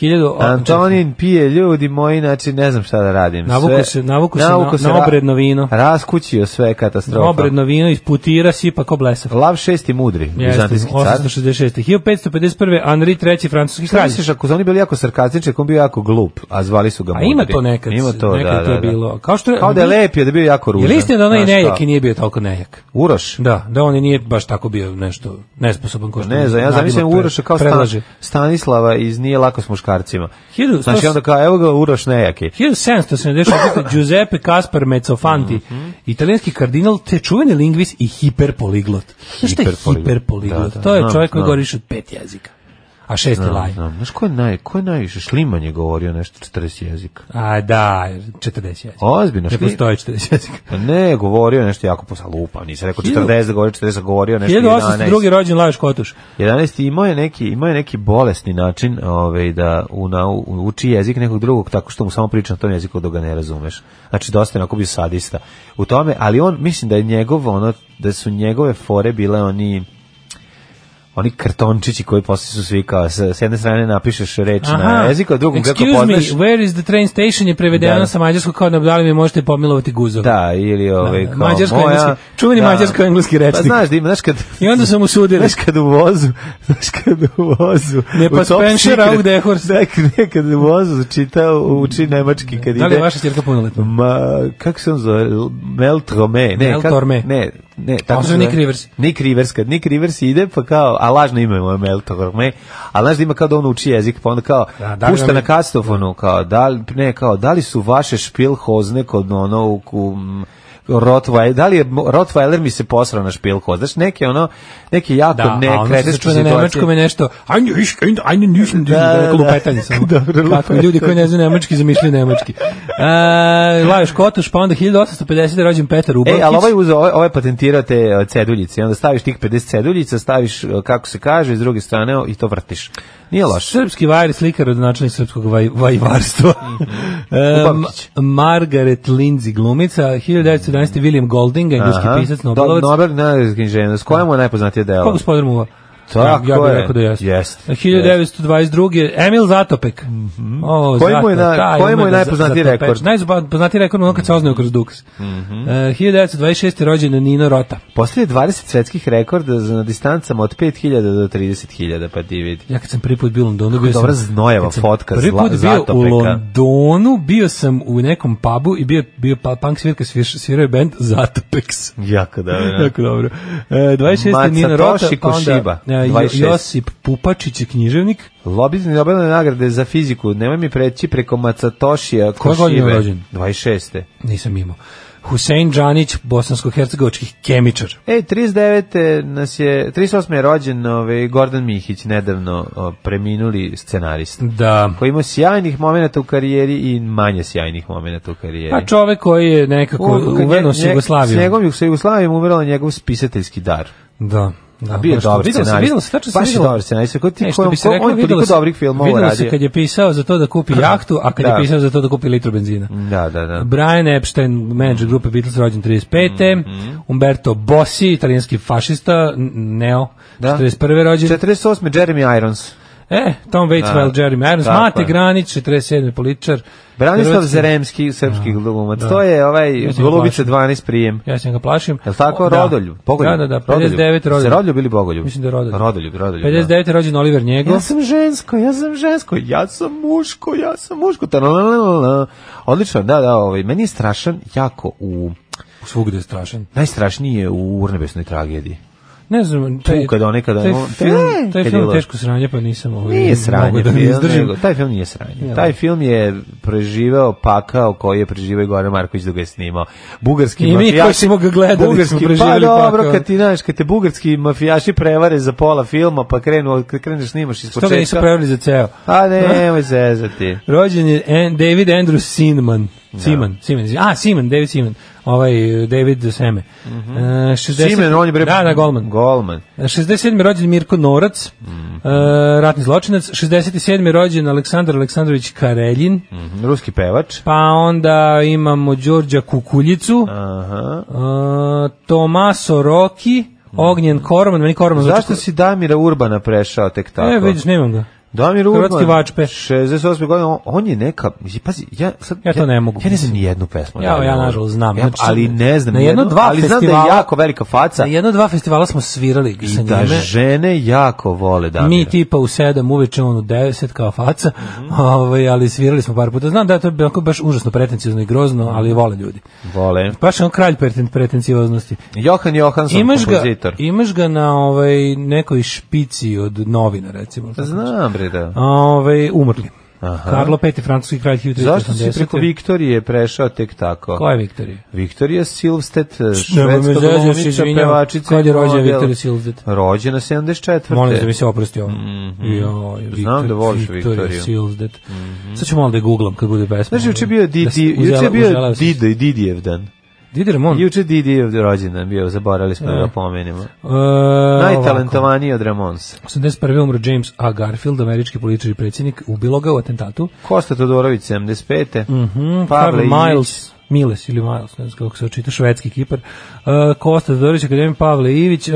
Speaker 5: 1000
Speaker 6: Antonin pije, ljudi moji, znači ne znam šta da radim.
Speaker 5: Navuku
Speaker 6: Sve-
Speaker 5: se- navuku se
Speaker 6: navuku
Speaker 5: na- na
Speaker 6: ra-
Speaker 5: obredno vino.
Speaker 6: Raskućio sve katastrofa.
Speaker 5: obredno vino isputira sipa ko blesav.
Speaker 6: Lav šesti mudri,
Speaker 5: Jeste,
Speaker 6: bizantijski car.
Speaker 5: 866. 1551. Anri III. francuski
Speaker 6: Šta
Speaker 5: kralj.
Speaker 6: misliš, ako su oni bili jako sarkastični, ako on bio jako glup, a zvali su ga
Speaker 5: A
Speaker 6: mudri.
Speaker 5: ima to nekad.
Speaker 6: Ima to,
Speaker 5: nekad
Speaker 6: da,
Speaker 5: je to
Speaker 6: da, da.
Speaker 5: bilo. Kao što
Speaker 6: Kao da je lep, je da je bio jako ružan.
Speaker 5: Je li istina da onaj
Speaker 6: Znaš
Speaker 5: nejak
Speaker 6: šta?
Speaker 5: i nije bio toliko nejak?
Speaker 6: Uroš?
Speaker 5: Da, da on i nije baš tako bio nešto nesposoban kao što
Speaker 6: Ne znam, ja
Speaker 5: Nadima
Speaker 6: zamislim
Speaker 5: pre-
Speaker 6: Uroša kao stan,
Speaker 5: predlaže.
Speaker 6: Stanislava iz Nije lako s muškarcima.
Speaker 5: 1100
Speaker 6: Znači onda kao, evo ga Uroš nejaki. <coughs>
Speaker 5: 1770. Giuseppe Caspar Mezzofanti,
Speaker 6: Mhm.
Speaker 5: italijanski kardinal, te čuveni lingvis i hiperpoliglot. Znaš šta je
Speaker 6: Hiperpoliglot?
Speaker 5: hiperpoliglot?
Speaker 6: Da, da,
Speaker 5: to je
Speaker 6: znam,
Speaker 5: čovjek koji
Speaker 6: znam.
Speaker 5: govoriš od pet jezika. A šesti laj.
Speaker 6: Znam, Znaš, ko je, naj, ko je najviše? Šliman je govorio nešto 40 jezika.
Speaker 5: A da, 40 jezika.
Speaker 6: Ozbiljno,
Speaker 5: Ne
Speaker 6: Šliman.
Speaker 5: postoje 40 jezika.
Speaker 6: Pa Ne, govorio je nešto jako posla lupa. Nisam rekao 40, da govorio 40, govorio nešto
Speaker 5: 1802.
Speaker 6: 11.
Speaker 5: rođen Lajoš Kotuš.
Speaker 6: 11. Imao je neki, imao je neki bolesni način ovaj, da u, nau- uči jezik nekog drugog tako što mu samo priča na tom jeziku dok ga ne razumeš. Znači, dosta je onako bio sadista u tome, ali on, mislim da je njegov, ono, da su njegove fore bile oni oni kartončići koji posle su svi kao, sa- s jedne strane napišeš reč Znači, na jeziku, a drugom kako
Speaker 5: excuse me,
Speaker 6: poznaš...
Speaker 5: where is the train station je prevedeno
Speaker 6: Da.
Speaker 5: sa mađarskog kao da da li mi možete pomilovati guzov.
Speaker 6: Da, ili ovaj kao moja...
Speaker 5: Mađarsko-engleski, čuveni mađarsko-engleski
Speaker 6: Pa
Speaker 5: rečnik.
Speaker 6: znaš, da ima, znaš kad...
Speaker 5: I onda su mu sudili.
Speaker 6: Znaš kad u vozu, znaš kad u vozu...
Speaker 5: Ne, pa
Speaker 6: u é Top
Speaker 5: Spencer,
Speaker 6: Secret- é
Speaker 5: auch der Horst.
Speaker 6: Nek- nekad u vozu čita, uči nemački kad
Speaker 5: Da li
Speaker 6: ide...
Speaker 5: je vaša stjerka punoletna?
Speaker 6: Ma, kako se on zove? Meltrome. Ne,
Speaker 5: Mel
Speaker 6: kako-
Speaker 5: Torme.
Speaker 6: Ne, ne,
Speaker 5: On
Speaker 6: tako
Speaker 5: se
Speaker 6: se
Speaker 5: zove
Speaker 6: zove.
Speaker 5: Nick Rivers.
Speaker 6: Nick Rivers, kad Nick Rivers ide, pa kao, a lažno ime mu je Meltrome, a znaš da ima kao da on uči jezik, pa onda kao,
Speaker 5: Da, da li
Speaker 6: pušta
Speaker 5: vam je-
Speaker 6: na kastofonu, kao, da li, ne, kao, da li su vaše špilhozne kod ono, u, u Rottweiler, da li je mo- Rottweiler mi se posrao na špilhoz, znaš, neke ono, neke jako
Speaker 5: Da, a ono što se
Speaker 6: nekretečke
Speaker 5: čuje na nemačkom je
Speaker 6: situacije.
Speaker 5: nešto ajde iš, ajde, ajde, niš, niš,
Speaker 6: Da,
Speaker 5: da,
Speaker 6: da.
Speaker 5: lupetanje samo.
Speaker 6: <laughs> Dobro,
Speaker 5: Kako
Speaker 6: lupetanje.
Speaker 5: ljudi koji ne znaju nemački zamišljaju
Speaker 6: <laughs>
Speaker 5: nemački. E, Lajoš Kotuš, pa onda 1850. je rođen Petar Ubalkić.
Speaker 6: E, ali ovaj, uzo, ovaj, ovaj patentirao te e, ceduljice, i onda staviš tih 50 ceduljica, staviš, e, kako se kaže, s druge strane o, i to vrtiš. Nije loše.
Speaker 5: Srpski vajar i slikar od srpskog vaj, vajvarstva.
Speaker 6: Mhm.
Speaker 5: <laughs> E,
Speaker 6: Ubalkić.
Speaker 5: Ma- Margaret Lindsay glumica, 1917. William Golding, engleski
Speaker 6: Aha.
Speaker 5: pisac,
Speaker 6: Do-
Speaker 5: Nobelovac.
Speaker 6: Nobel nobelski inženjer. S kojemu je najpoznatije delo?
Speaker 5: Ko gospodin Muva?
Speaker 6: Tako
Speaker 5: ja bih
Speaker 6: je.
Speaker 5: rekao da jeste.
Speaker 6: Jeste,
Speaker 5: 1922. Emil Zatopek. Mm -hmm.
Speaker 6: Mhm. Koji mu je na- koji mu je najpoznatiji rekord? Mhm.
Speaker 5: Najpoznatiji rekord je ono kad se oznao kroz duks. Mm -hmm. e, 1926. rođen je Nino Rota.
Speaker 6: Postoje 20 svetskih rekorda za- na distancama od 5000 do 30.000, pa ti vidi.
Speaker 5: Ja kad sam prvi put bio u Londonu, bio sam...
Speaker 6: Dobra znojeva
Speaker 5: kad sam
Speaker 6: fotka
Speaker 5: Prvi
Speaker 6: zla,
Speaker 5: put bio u
Speaker 6: Zatopeka.
Speaker 5: Londonu, bio sam u nekom pubu i bio, bio pa- punk svirka, svir- svirao je band Zatopeks.
Speaker 6: Jako da,
Speaker 5: <laughs> Jako dobro. E, 26.
Speaker 6: E. Maca
Speaker 5: Nino Rota,
Speaker 6: Toši
Speaker 5: pa onda
Speaker 6: Koshiba,
Speaker 5: e, Jo-
Speaker 6: 26.
Speaker 5: Josip Pupačić je književnik.
Speaker 6: Lobizne Nobelove nagrade za fiziku, nemoj mi preći preko Macatošija
Speaker 5: Koje godine je
Speaker 6: Košive.
Speaker 5: rođen?
Speaker 6: 26.
Speaker 5: Nisam imao. Husein Džanić, bosansko-hercegovački kemičar.
Speaker 6: E, 39. nas je, 38. je rođen ovaj, Gordon Mihić, nedavno o, preminuli scenarista.
Speaker 5: Da.
Speaker 6: Koji ima sjajnih momenata u karijeri i manje sjajnih momenata u karijeri.
Speaker 5: A Pa čovek koji je nekako
Speaker 6: U- kad
Speaker 5: uveno
Speaker 6: nje-
Speaker 5: s
Speaker 6: nje- S
Speaker 5: Jugoslavijom.
Speaker 6: njegovom sa Jugoslavijom umrla njegov spisateljski dar.
Speaker 5: Da. Da,
Speaker 6: Bio je
Speaker 5: baš to.
Speaker 6: dobar
Speaker 5: Videlo se,
Speaker 6: scenarij.
Speaker 5: videlo se, tačno se
Speaker 6: Baš je
Speaker 5: videlo.
Speaker 6: dobar scenarij. Ko ti-
Speaker 5: E, što
Speaker 6: ko-
Speaker 5: bi se
Speaker 6: ko-
Speaker 5: reklo,
Speaker 6: on je
Speaker 5: videlo
Speaker 6: toliko
Speaker 5: se-
Speaker 6: dobrih filmova
Speaker 5: Videlo se
Speaker 6: radio.
Speaker 5: kad je pisao za to da kupi jahtu, a kad je
Speaker 6: Da.
Speaker 5: pisao za to da kupi litru benzina.
Speaker 6: Da, da, da.
Speaker 5: Brian Epstein, menadžer grupe Beatles, rođen 35.
Speaker 6: Mhm.
Speaker 5: Umberto Bossi, italijanski fašista, n- neo,
Speaker 6: Da.
Speaker 5: 41. rođen.
Speaker 6: 48. Jeremy Irons.
Speaker 5: E, Tom Waitswell,
Speaker 6: Da.
Speaker 5: Jerry Irons,
Speaker 6: Tako
Speaker 5: Mate
Speaker 6: je.
Speaker 5: Granić, 47. političar.
Speaker 6: Branislav
Speaker 5: Hrvatski-
Speaker 6: Zeremski, srpski glumac. To je ovaj
Speaker 5: Ja se
Speaker 6: Golubice
Speaker 5: plašim. 12
Speaker 6: 12 prijem.
Speaker 5: Ja se ga plašim.
Speaker 6: Je li tako?
Speaker 5: O,
Speaker 6: Rodoljub. Pogoljub.
Speaker 5: Da, da, da,
Speaker 6: Rodoljub.
Speaker 5: 59
Speaker 6: Se
Speaker 5: Rodoljub.
Speaker 6: Rodoljub ili Bogoljub?
Speaker 5: Mislim da je Rodoljub.
Speaker 6: Rodoljub, Rodoljub.
Speaker 5: 59 je rođen Oliver Njegov.
Speaker 6: Ja sam žensko, ja sam žensko, ja sam muško, ja sam muško. Taralalalala. Odlično, da, da, ovaj, meni je strašan jako u...
Speaker 5: Svugde je strašan.
Speaker 6: Najstrašniji je u urnebesnoj tragediji.
Speaker 5: Ne znam, taj,
Speaker 6: Tu kad one- kada
Speaker 5: taj
Speaker 6: on-
Speaker 5: film, taj
Speaker 6: kad je
Speaker 5: film
Speaker 6: lo-
Speaker 5: teško sranje, pa nisam ovaj,
Speaker 6: Nije sranje,
Speaker 5: mogu da ne
Speaker 6: film,
Speaker 5: izdržim.
Speaker 6: nego- taj film nije sranje.
Speaker 5: Jel?
Speaker 6: Taj film je preživeo pakao koji je preživeo Goran Marković dok ga je snimao. Bugarski
Speaker 5: I mi
Speaker 6: mafijaši.
Speaker 5: koji smo ga gledali
Speaker 6: bugarski,
Speaker 5: smo preživjeli
Speaker 6: Pa dobro,
Speaker 5: pakao.
Speaker 6: kad ti znaš, kad te bugarski mafijaši prevare za pola filma, pa krenu, kad kreneš snimaš iz
Speaker 5: Što ga nisu
Speaker 6: početka.
Speaker 5: preveli za ceo. <laughs>
Speaker 6: A ne, nemoj zezati.
Speaker 5: Rođen je An- David Andrew Sinman. Siman, Siman. izvin- A, Siman, David Siman. Ovaj, David Seme. Mm -hmm.
Speaker 6: Simen, Mhm. on je bre...
Speaker 5: Da, da, golman.
Speaker 6: Golman.
Speaker 5: 67. rođen Mirko Norac, mm.
Speaker 6: Mhm.
Speaker 5: ratni zločinac. 67. rođen Aleksandar Aleksandrović Kareljin.
Speaker 6: Mhm, Ruski pevač.
Speaker 5: Pa onda imamo Đorđa Kukuljicu,
Speaker 6: Aha.
Speaker 5: e, Tomaso Roki, Ognjen Korman, meni Korman zvuči
Speaker 6: Mhm. Zašto
Speaker 5: ko-
Speaker 6: si Damira Urbana prešao tek tako?
Speaker 5: E, vidiš, nemam ga.
Speaker 6: Damir Urban,
Speaker 5: Hrvatski vačpe.
Speaker 6: 68. godina, on- on je neka, mislim, pazi, ja, sad,
Speaker 5: Ja to ne mogu.
Speaker 6: Ja ne znam ni jednu pesmu.
Speaker 5: Ja-
Speaker 6: Damira
Speaker 5: ja
Speaker 6: Urbana.
Speaker 5: nažalost znam.
Speaker 6: Ja,
Speaker 5: Znači,
Speaker 6: ali ne znam
Speaker 5: na
Speaker 6: ni
Speaker 5: jedno
Speaker 6: jednu,
Speaker 5: dva
Speaker 6: ali znam da je
Speaker 5: festivala-
Speaker 6: jako velika faca
Speaker 5: Na jedno dva festivala smo svirali sa
Speaker 6: i da
Speaker 5: njime.
Speaker 6: žene jako vole Damira.
Speaker 5: Mi tipa u 7 uveče on u 10 kao faca.
Speaker 6: Mhm.
Speaker 5: Ovaj ali svirali smo par puta. Znam da je to bilo onako baš užasno pretenciozno i grozno,
Speaker 6: Mhm.
Speaker 5: ali vole ljudi.
Speaker 6: Vole.
Speaker 5: Baš je on kralj preten pretencioznosti.
Speaker 6: Johan Johansson,
Speaker 5: Imaš ga,
Speaker 6: kompozitor.
Speaker 5: imaš ga na ovaj nekoj špici od novina recimo.
Speaker 6: Znam, bre, da.
Speaker 5: Ovaj umrli.
Speaker 6: Aha.
Speaker 5: Karlo V, francuski kralj 1380.
Speaker 6: Zašto si preko Viktorije prešao tek tako?
Speaker 5: Ko je Viktorija?
Speaker 6: Viktorija Silvstedt,
Speaker 5: me
Speaker 6: švedska
Speaker 5: zezaj, se
Speaker 6: glumica,
Speaker 5: izvinjavam.
Speaker 6: pevačica.
Speaker 5: Kad je rođena
Speaker 6: model.
Speaker 5: Viktorija Silvstedt?
Speaker 6: Rođena 74.
Speaker 5: Molim da mi se oprosti ovo. Joj,
Speaker 6: Mhm. Znam
Speaker 5: Viktor-
Speaker 6: da voliš Viktoriju. Mhm.
Speaker 5: Viktorija Silvstedt. Sad ću malo da je googlam kad bude pesma.
Speaker 6: Znaš, juče bio
Speaker 5: Da se
Speaker 6: Didi,
Speaker 5: uzela-
Speaker 6: juče bio
Speaker 5: uželeo sam se.
Speaker 6: Dido i Didijev dan.
Speaker 5: Didi Ramon.
Speaker 6: <laughs> Juče Didijev rođendan bio, zaboravili smo da ga pomenimo.
Speaker 5: E,
Speaker 6: Najtalentovaniji od Ramonsa.
Speaker 5: ovako. 81. umro James A. Garfield, američki političar i predsjednik, ubilo ga u atentatu.
Speaker 6: Kosta Todorović 75. Mhm.
Speaker 5: Karl Hmm, Miles, Miles ili Miles, ne znam kako se očita, švedski kipar. E, Kosta Todorić, akademik Pavle Ivić, e,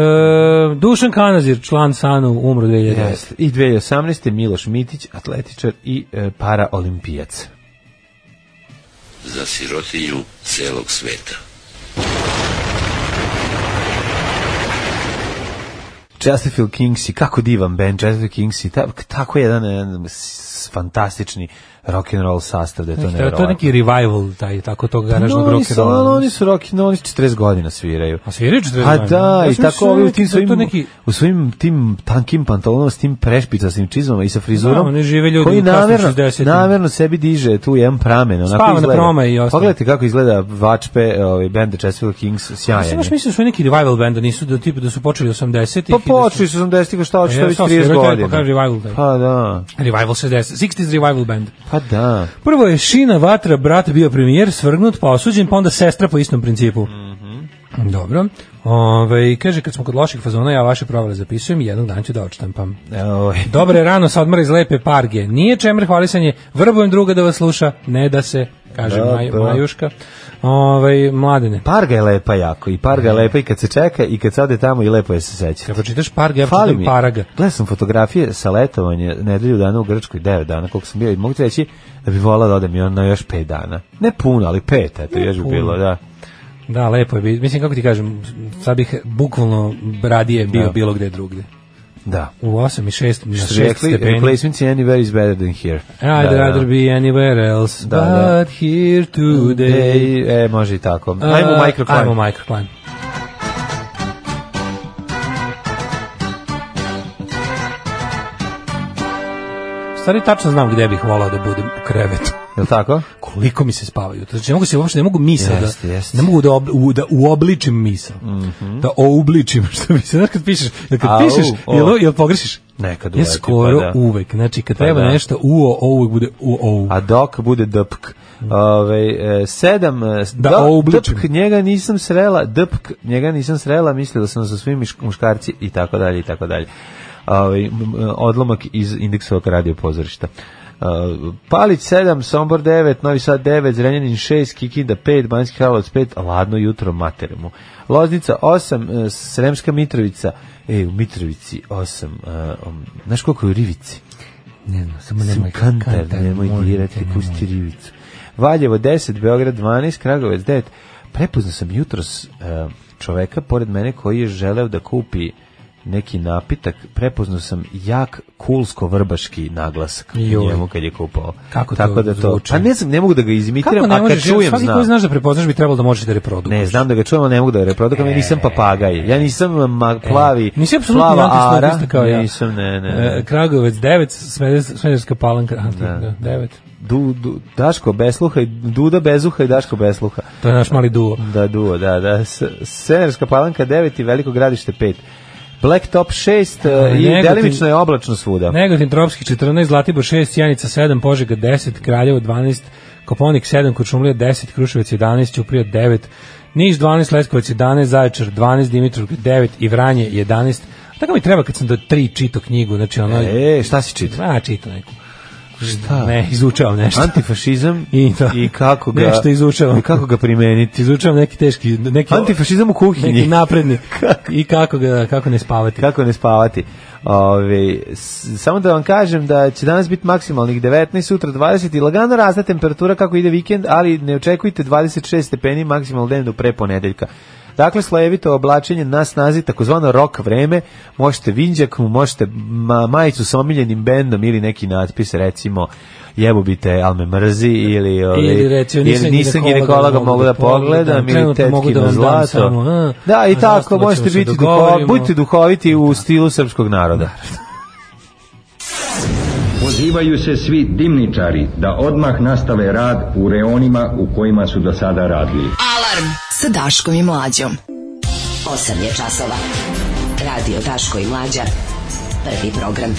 Speaker 5: Dušan Kanazir, član Sanu, umro 2011.
Speaker 6: Jeste. I 2018. Miloš Mitić, atletičar i e, paraolimpijac.
Speaker 9: za sirotinju celog sveta.
Speaker 6: Chesterfield Kingsi, kako divan band Chesterfield Kingsi, ta, tako jedan, jedan s- fantastični rock and roll sastav da je to
Speaker 5: To je to
Speaker 6: nevjerovatno.
Speaker 5: je neki revival taj tako tog garažnog Pa
Speaker 6: no, oni
Speaker 5: rock
Speaker 6: su, ali oni su rock, no, oni 40 godina sviraju.
Speaker 5: A sviraju 40
Speaker 6: A
Speaker 5: godina?
Speaker 6: da,
Speaker 5: Ja
Speaker 6: i
Speaker 5: sam
Speaker 6: tako
Speaker 5: mislio
Speaker 6: ovi u
Speaker 5: da
Speaker 6: tim
Speaker 5: je to
Speaker 6: svojim,
Speaker 5: neki-
Speaker 6: u svojim tim tankim pantalonama, s tim prešpicastim čizmama i sa frizurom,
Speaker 5: Da, oni žive ljudi
Speaker 6: koji
Speaker 5: u kasnim
Speaker 6: namerno,
Speaker 5: 60-im.
Speaker 6: namerno sebi diže tu jedan pramen. Onako
Speaker 5: Spava na
Speaker 6: izgleda.
Speaker 5: promaju i ostalo. Pa
Speaker 6: Pogledajte kako izgleda vačpe ovaj, benda Chesterfield Kings, sjajan
Speaker 5: Mislim, baš
Speaker 6: je.
Speaker 5: mislim da su neki revival band, da nisu da tipa da su počeli 80-ih.
Speaker 6: Pa
Speaker 5: i da su-
Speaker 6: počeli su 80-ih, šta
Speaker 5: Pa
Speaker 6: hoće, to
Speaker 5: ja
Speaker 6: već
Speaker 5: sam
Speaker 6: 30
Speaker 5: svirao, to je
Speaker 6: godina.
Speaker 5: pa kaže revival taj.
Speaker 6: Pa da,
Speaker 5: Revival 60, 60s revival band.
Speaker 6: pa da.
Speaker 5: Prvo je Šina Vatra, brat bio premijer, svrgnut, pa osuđen, pa onda sestra po istom principu. Mm
Speaker 6: Mhm.
Speaker 5: Dobro. Ove, kaže, kad smo kod loših fazona, ja vaše provale zapisujem i jednog dana ću da odštampam.
Speaker 6: Evo,
Speaker 5: Dobre rano sa odmora iz lepe parge. Nije čemer hvalisanje, vrbujem druga da vas sluša, ne da se, kaže
Speaker 6: Da,
Speaker 5: Maj,
Speaker 6: da.
Speaker 5: Majuška. Ove, mladene.
Speaker 6: Parga je lepa jako i parga je lepa i kad se čeka i kad sade tamo i lepo je se sećati.
Speaker 5: Kad pročitaš parge, ja
Speaker 6: Fali
Speaker 5: pročitam
Speaker 6: mi.
Speaker 5: paraga.
Speaker 6: Gledao sam fotografije sa letovanja nedelju dana u Grčkoj, 9 dana koliko sam bio i mogu ti reći da bi volao da odem i na još 5 dana. Ne puno, ali 5, eto, još bi
Speaker 5: puno.
Speaker 6: bilo, da.
Speaker 5: Da, lepo je. bi- Mislim, kako ti kažem, sad bih bukvalno radije bio
Speaker 6: Da.
Speaker 5: bilo gde drugde.
Speaker 6: Da.
Speaker 5: U 8 i 6, na
Speaker 6: Što
Speaker 5: 6
Speaker 6: rekli,
Speaker 5: stepeni. E,
Speaker 6: replacements anywhere is better than here.
Speaker 5: I'd rather be anywhere else
Speaker 6: Da, da.
Speaker 5: but here today.
Speaker 6: Ej, e, može i tako. Ajmo u
Speaker 5: A,
Speaker 6: microclimate.
Speaker 5: E, Ajmo u microclimb. Stari tačno znam gde bih volao da budem u krevetu.
Speaker 6: Jel tako?
Speaker 5: Koliko mi se spavaju. Znači, ne mogu se uopšte, ne mogu misao
Speaker 6: Jeste,
Speaker 5: da,
Speaker 6: jeste. Mhm.
Speaker 5: ne mogu da, ob, u, da uobličim misao. Da oubličim, <laughs> što mi se, znaš kad pišeš, jel kad
Speaker 6: Au,
Speaker 5: pišeš,
Speaker 6: o.
Speaker 5: jel, jel pogrešiš?
Speaker 6: Nekad
Speaker 5: Ja
Speaker 6: uleti,
Speaker 5: skoro
Speaker 6: pa da.
Speaker 5: uvek, znači kad treba
Speaker 6: da.
Speaker 5: nešto uo, o, uvek bude uo.
Speaker 6: A dok bude dpk. Ove, e, sedam, e,
Speaker 5: Da
Speaker 6: dok-
Speaker 5: obličim.
Speaker 6: dpk njega nisam srela, dpk njega nisam srela, mislila sam sa svim miš- muškarci i tako dalje i tako dalje. Ove, m- m- odlomak iz indeksovog radio pozorišta. E, Palić 7, Sombor 9, Novi Sad 9, Zrenjanin 6, Kikinda 5, Banjski Karlovac 5, ladno jutro materemu. Loznica 8, e, Sremska Mitrovica, e, u Mitrovici 8, e, um, znaš koliko je u Rivici?
Speaker 5: Ne znam, samo
Speaker 6: Pa Nemoj, kantar, nemoj
Speaker 5: molim te,
Speaker 6: dirati,
Speaker 5: nemoj.
Speaker 6: pusti rivicu. Valjevo 10, Beograd 12, Kragovec 9. Prepoznao sam jutros e, čoveka pored mene koji je želeo da kupi neki napitak. Prepoznao sam jak kulsko-vrbaški naglasak u
Speaker 5: Joj.
Speaker 6: njemu kad je kupao.
Speaker 5: Kako to
Speaker 6: Tako da
Speaker 5: zvuči?
Speaker 6: Pa ne znam, ne mogu da ga
Speaker 5: Kako
Speaker 6: izimitiram,
Speaker 5: ne
Speaker 6: a kad
Speaker 5: možeš, čujem,
Speaker 6: čujem
Speaker 5: svaki koji
Speaker 6: znam.
Speaker 5: znaš da prepoznaš bi trebalo da možeš da reprodukuješ.
Speaker 6: Ne, znam da ga čujem, ali ne mogu da ga reprodukam, ja nisam papagaj. Ja nisam ma, plavi,
Speaker 5: E. Nisi apsolutno
Speaker 6: plava ara.
Speaker 5: antislogista kao ja.
Speaker 6: Nisam, ne, ne. ne.
Speaker 5: E, Kragovec 9, Smederska, Smederska palanka, aha, ti, da. 9.
Speaker 6: Du, du, Daško Besluha i Duda Bezuha i Daško Besluha.
Speaker 5: To je naš mali duo.
Speaker 6: Da, duo, da, da. S- Senerska palanka 9 i Veliko gradište 5. Blacktop 6 e, i
Speaker 5: Negotin-
Speaker 6: delimično je oblačno svuda.
Speaker 5: Negotin Tropski 14, Zlatibor 6, Sjanica 7, Požega 10, Kraljevo 12, Koponik 7, Kočumlija 10, Kruševac 11, Ćuprija 9, Niš 12, Leskovac 11, Zaječar 12, Dimitrov 9 i Vranje 11. Tako mi treba kad sam do 3 čito knjigu, znači ono...
Speaker 6: E, šta si čitao?
Speaker 5: A, čito neku.
Speaker 6: Šta?
Speaker 5: Ne, izučavam nešto.
Speaker 6: Antifašizam
Speaker 5: I to.
Speaker 6: i kako ga
Speaker 5: Nešto izučavam.
Speaker 6: I kako ga primeniti?
Speaker 5: Izučavam neki teški... Neki,
Speaker 6: Antifašizam u
Speaker 5: Neki
Speaker 6: kuhinji. <laughs>
Speaker 5: napredni. I kako ga, kako ne spavati.
Speaker 6: Kako ne spavati? Ove, s- samo da vam kažem da će danas biti maksimalnih 19, sutra 20 i lagano razna temperatura kako ide vikend, ali ne očekujte 26 stepeni maksimalno dnevno pre ponedeljka. Dakle, slojevito oblačenje na snazi, takozvano rok vreme, možete vinđak, možete ma- majicu sa omiljenim bendom ili neki natpis, recimo jebu bite, al me mrzi, ili, ove,
Speaker 5: Ili reći, nisam,
Speaker 6: nisam ginekologa mogu da pogledam, ili
Speaker 5: trenutno mogu da
Speaker 6: tetki na
Speaker 5: vam dam
Speaker 6: zlato.
Speaker 5: samo, a,
Speaker 6: Da, i
Speaker 5: a
Speaker 6: tako,
Speaker 5: ostalo ćemo
Speaker 6: možete
Speaker 5: se
Speaker 6: biti duho,
Speaker 5: dogovorimo.
Speaker 6: budite duhoviti u stilu srpskog naroda.
Speaker 10: Pozivaju se svi dimničari da odmah nastave rad u reonima u kojima su do sada radili.
Speaker 4: Alarm sa Daškom i Mlađom.
Speaker 11: 8 je časova. Radio Daško i Mlađa. Prvi program.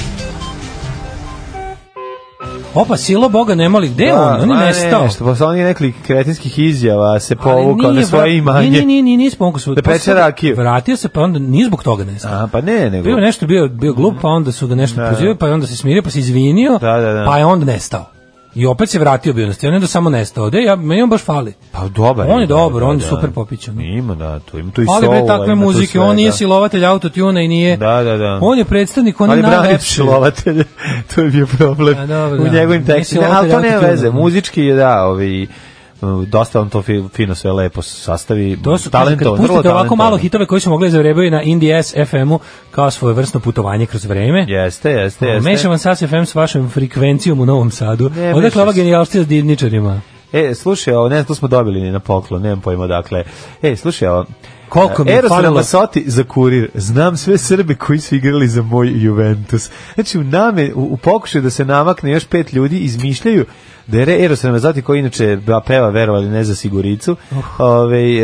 Speaker 5: Opa, silo Boga nemoli. Gde je
Speaker 6: Da,
Speaker 5: on? On
Speaker 6: ma
Speaker 5: je nestao.
Speaker 6: Nešto, posle onih nekih kretinskih izjava se
Speaker 5: Ali
Speaker 6: povukao na
Speaker 5: nije
Speaker 6: svoje
Speaker 5: vrat-
Speaker 6: imanje.
Speaker 5: Nije, nije, nije, nije spomogao svoj.
Speaker 6: Da
Speaker 5: Pa
Speaker 6: peče
Speaker 5: sad
Speaker 6: rakiju.
Speaker 5: Vratio se, pa onda nije zbog toga nestao.
Speaker 6: A, pa ne, nego...
Speaker 5: Bio je nešto, bio, bio glup, pa onda su ga nešto da. prozivali, pa je onda se smirio, pa se izvinio,
Speaker 6: Da, da, da.
Speaker 5: pa je onda nestao. I opet se vratio bio na scenu, onda samo nestao. Da, ja, meni on baš fali.
Speaker 6: Pa dobar.
Speaker 5: On je
Speaker 6: da,
Speaker 5: dobar,
Speaker 6: da,
Speaker 5: on je
Speaker 6: da.
Speaker 5: super popićan.
Speaker 6: Ima, da, tu ima tu i
Speaker 5: Ali
Speaker 6: soul,
Speaker 5: bre takve
Speaker 6: ima tu
Speaker 5: muzike,
Speaker 6: sve,
Speaker 5: on nije
Speaker 6: da.
Speaker 5: silovatelj autotuna i nije...
Speaker 6: Da, da, da.
Speaker 5: On je predstavnik, on je
Speaker 6: Ali brani
Speaker 5: najlepši.
Speaker 6: psilovatelje, <laughs> to je bio problem
Speaker 5: A, dobro,
Speaker 6: u
Speaker 5: da.
Speaker 6: njegovim
Speaker 5: Nije
Speaker 6: tekstima, ali
Speaker 5: psilovatelj
Speaker 6: to nema
Speaker 5: autotune,
Speaker 6: veze,
Speaker 5: da.
Speaker 6: muzički je da, ovi, m, dosta on to fi- fino sve lepo sastavi,
Speaker 5: To su
Speaker 6: talentovan,
Speaker 5: talentovan,
Speaker 6: vrlo
Speaker 5: kad pustite ovako malo
Speaker 6: talentovan.
Speaker 5: hitove koji su mogli zavrebaju na Indie S FM-u kao svoje vrstno putovanje kroz vreme.
Speaker 6: Jeste, jeste, jeste.
Speaker 5: Mešam vam SAS FM s vašom frekvencijom u Novom Sadu.
Speaker 6: Ne, meša
Speaker 5: Odakle ova
Speaker 6: se.
Speaker 5: genijalština s divničarima?
Speaker 6: E, slušaj, ovo, ne znam, to smo dobili ni na poklon, nemam pojma dakle. E, slušaj, ovo,
Speaker 5: Koliko mi je
Speaker 6: Eros
Speaker 5: falilo.
Speaker 6: Ramazzotti za kurir. Znam sve Srbe koji su igrali za moj Juventus. Znači, u, name, u, u pokušaju da se namakne još pet ljudi, izmišljaju da je Re- Eros Ramazzotti, koji inače ba- peva, verovali, ne za Siguricu,
Speaker 5: Uh.
Speaker 6: ovaj, e,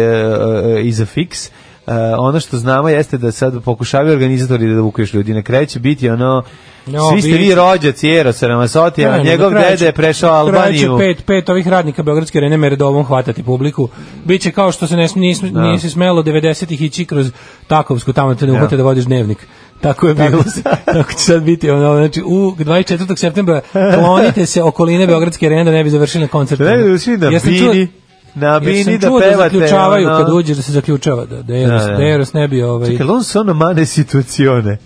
Speaker 6: e, i za Fix, e, ono što znamo jeste da sad pokušavaju organizatori da vuku još ljudi. Na kraju će biti ono,
Speaker 5: No,
Speaker 6: svi ste
Speaker 5: bit
Speaker 6: vi
Speaker 5: će.
Speaker 6: rođaci Erosa Ramazzotti, a
Speaker 5: Ne,
Speaker 6: njegov
Speaker 5: do kraja će-
Speaker 6: dede je prešao
Speaker 5: do kraja će
Speaker 6: Albaniju.
Speaker 5: Pet, pet ovih radnika Beogradske arene meredobom hvatati publiku. Biće kao što se ne, sm- nis, nije se smelo 90-ih ići kroz Takovsku, tamo te ne uhvate da vodiš dnevnik. Tako je
Speaker 6: <laughs>
Speaker 5: bilo. Tako će sad biti. Ono, znači, u 24. septembra klonite se okoline Beogradske arene da ne bi završili na koncertu.
Speaker 6: Ne, da svi na
Speaker 5: Jer sam čuo-
Speaker 6: bini, na
Speaker 5: jer
Speaker 6: bini
Speaker 5: sam
Speaker 6: da
Speaker 5: čuo da
Speaker 6: pevate.
Speaker 5: zaključavaju
Speaker 6: ono.
Speaker 5: kad uđeš da se zaključava da, da, Eros,
Speaker 6: Da,
Speaker 5: da,
Speaker 6: da.
Speaker 5: Eros ne bi ovaj...
Speaker 6: Čekaj, on sono mane situacione.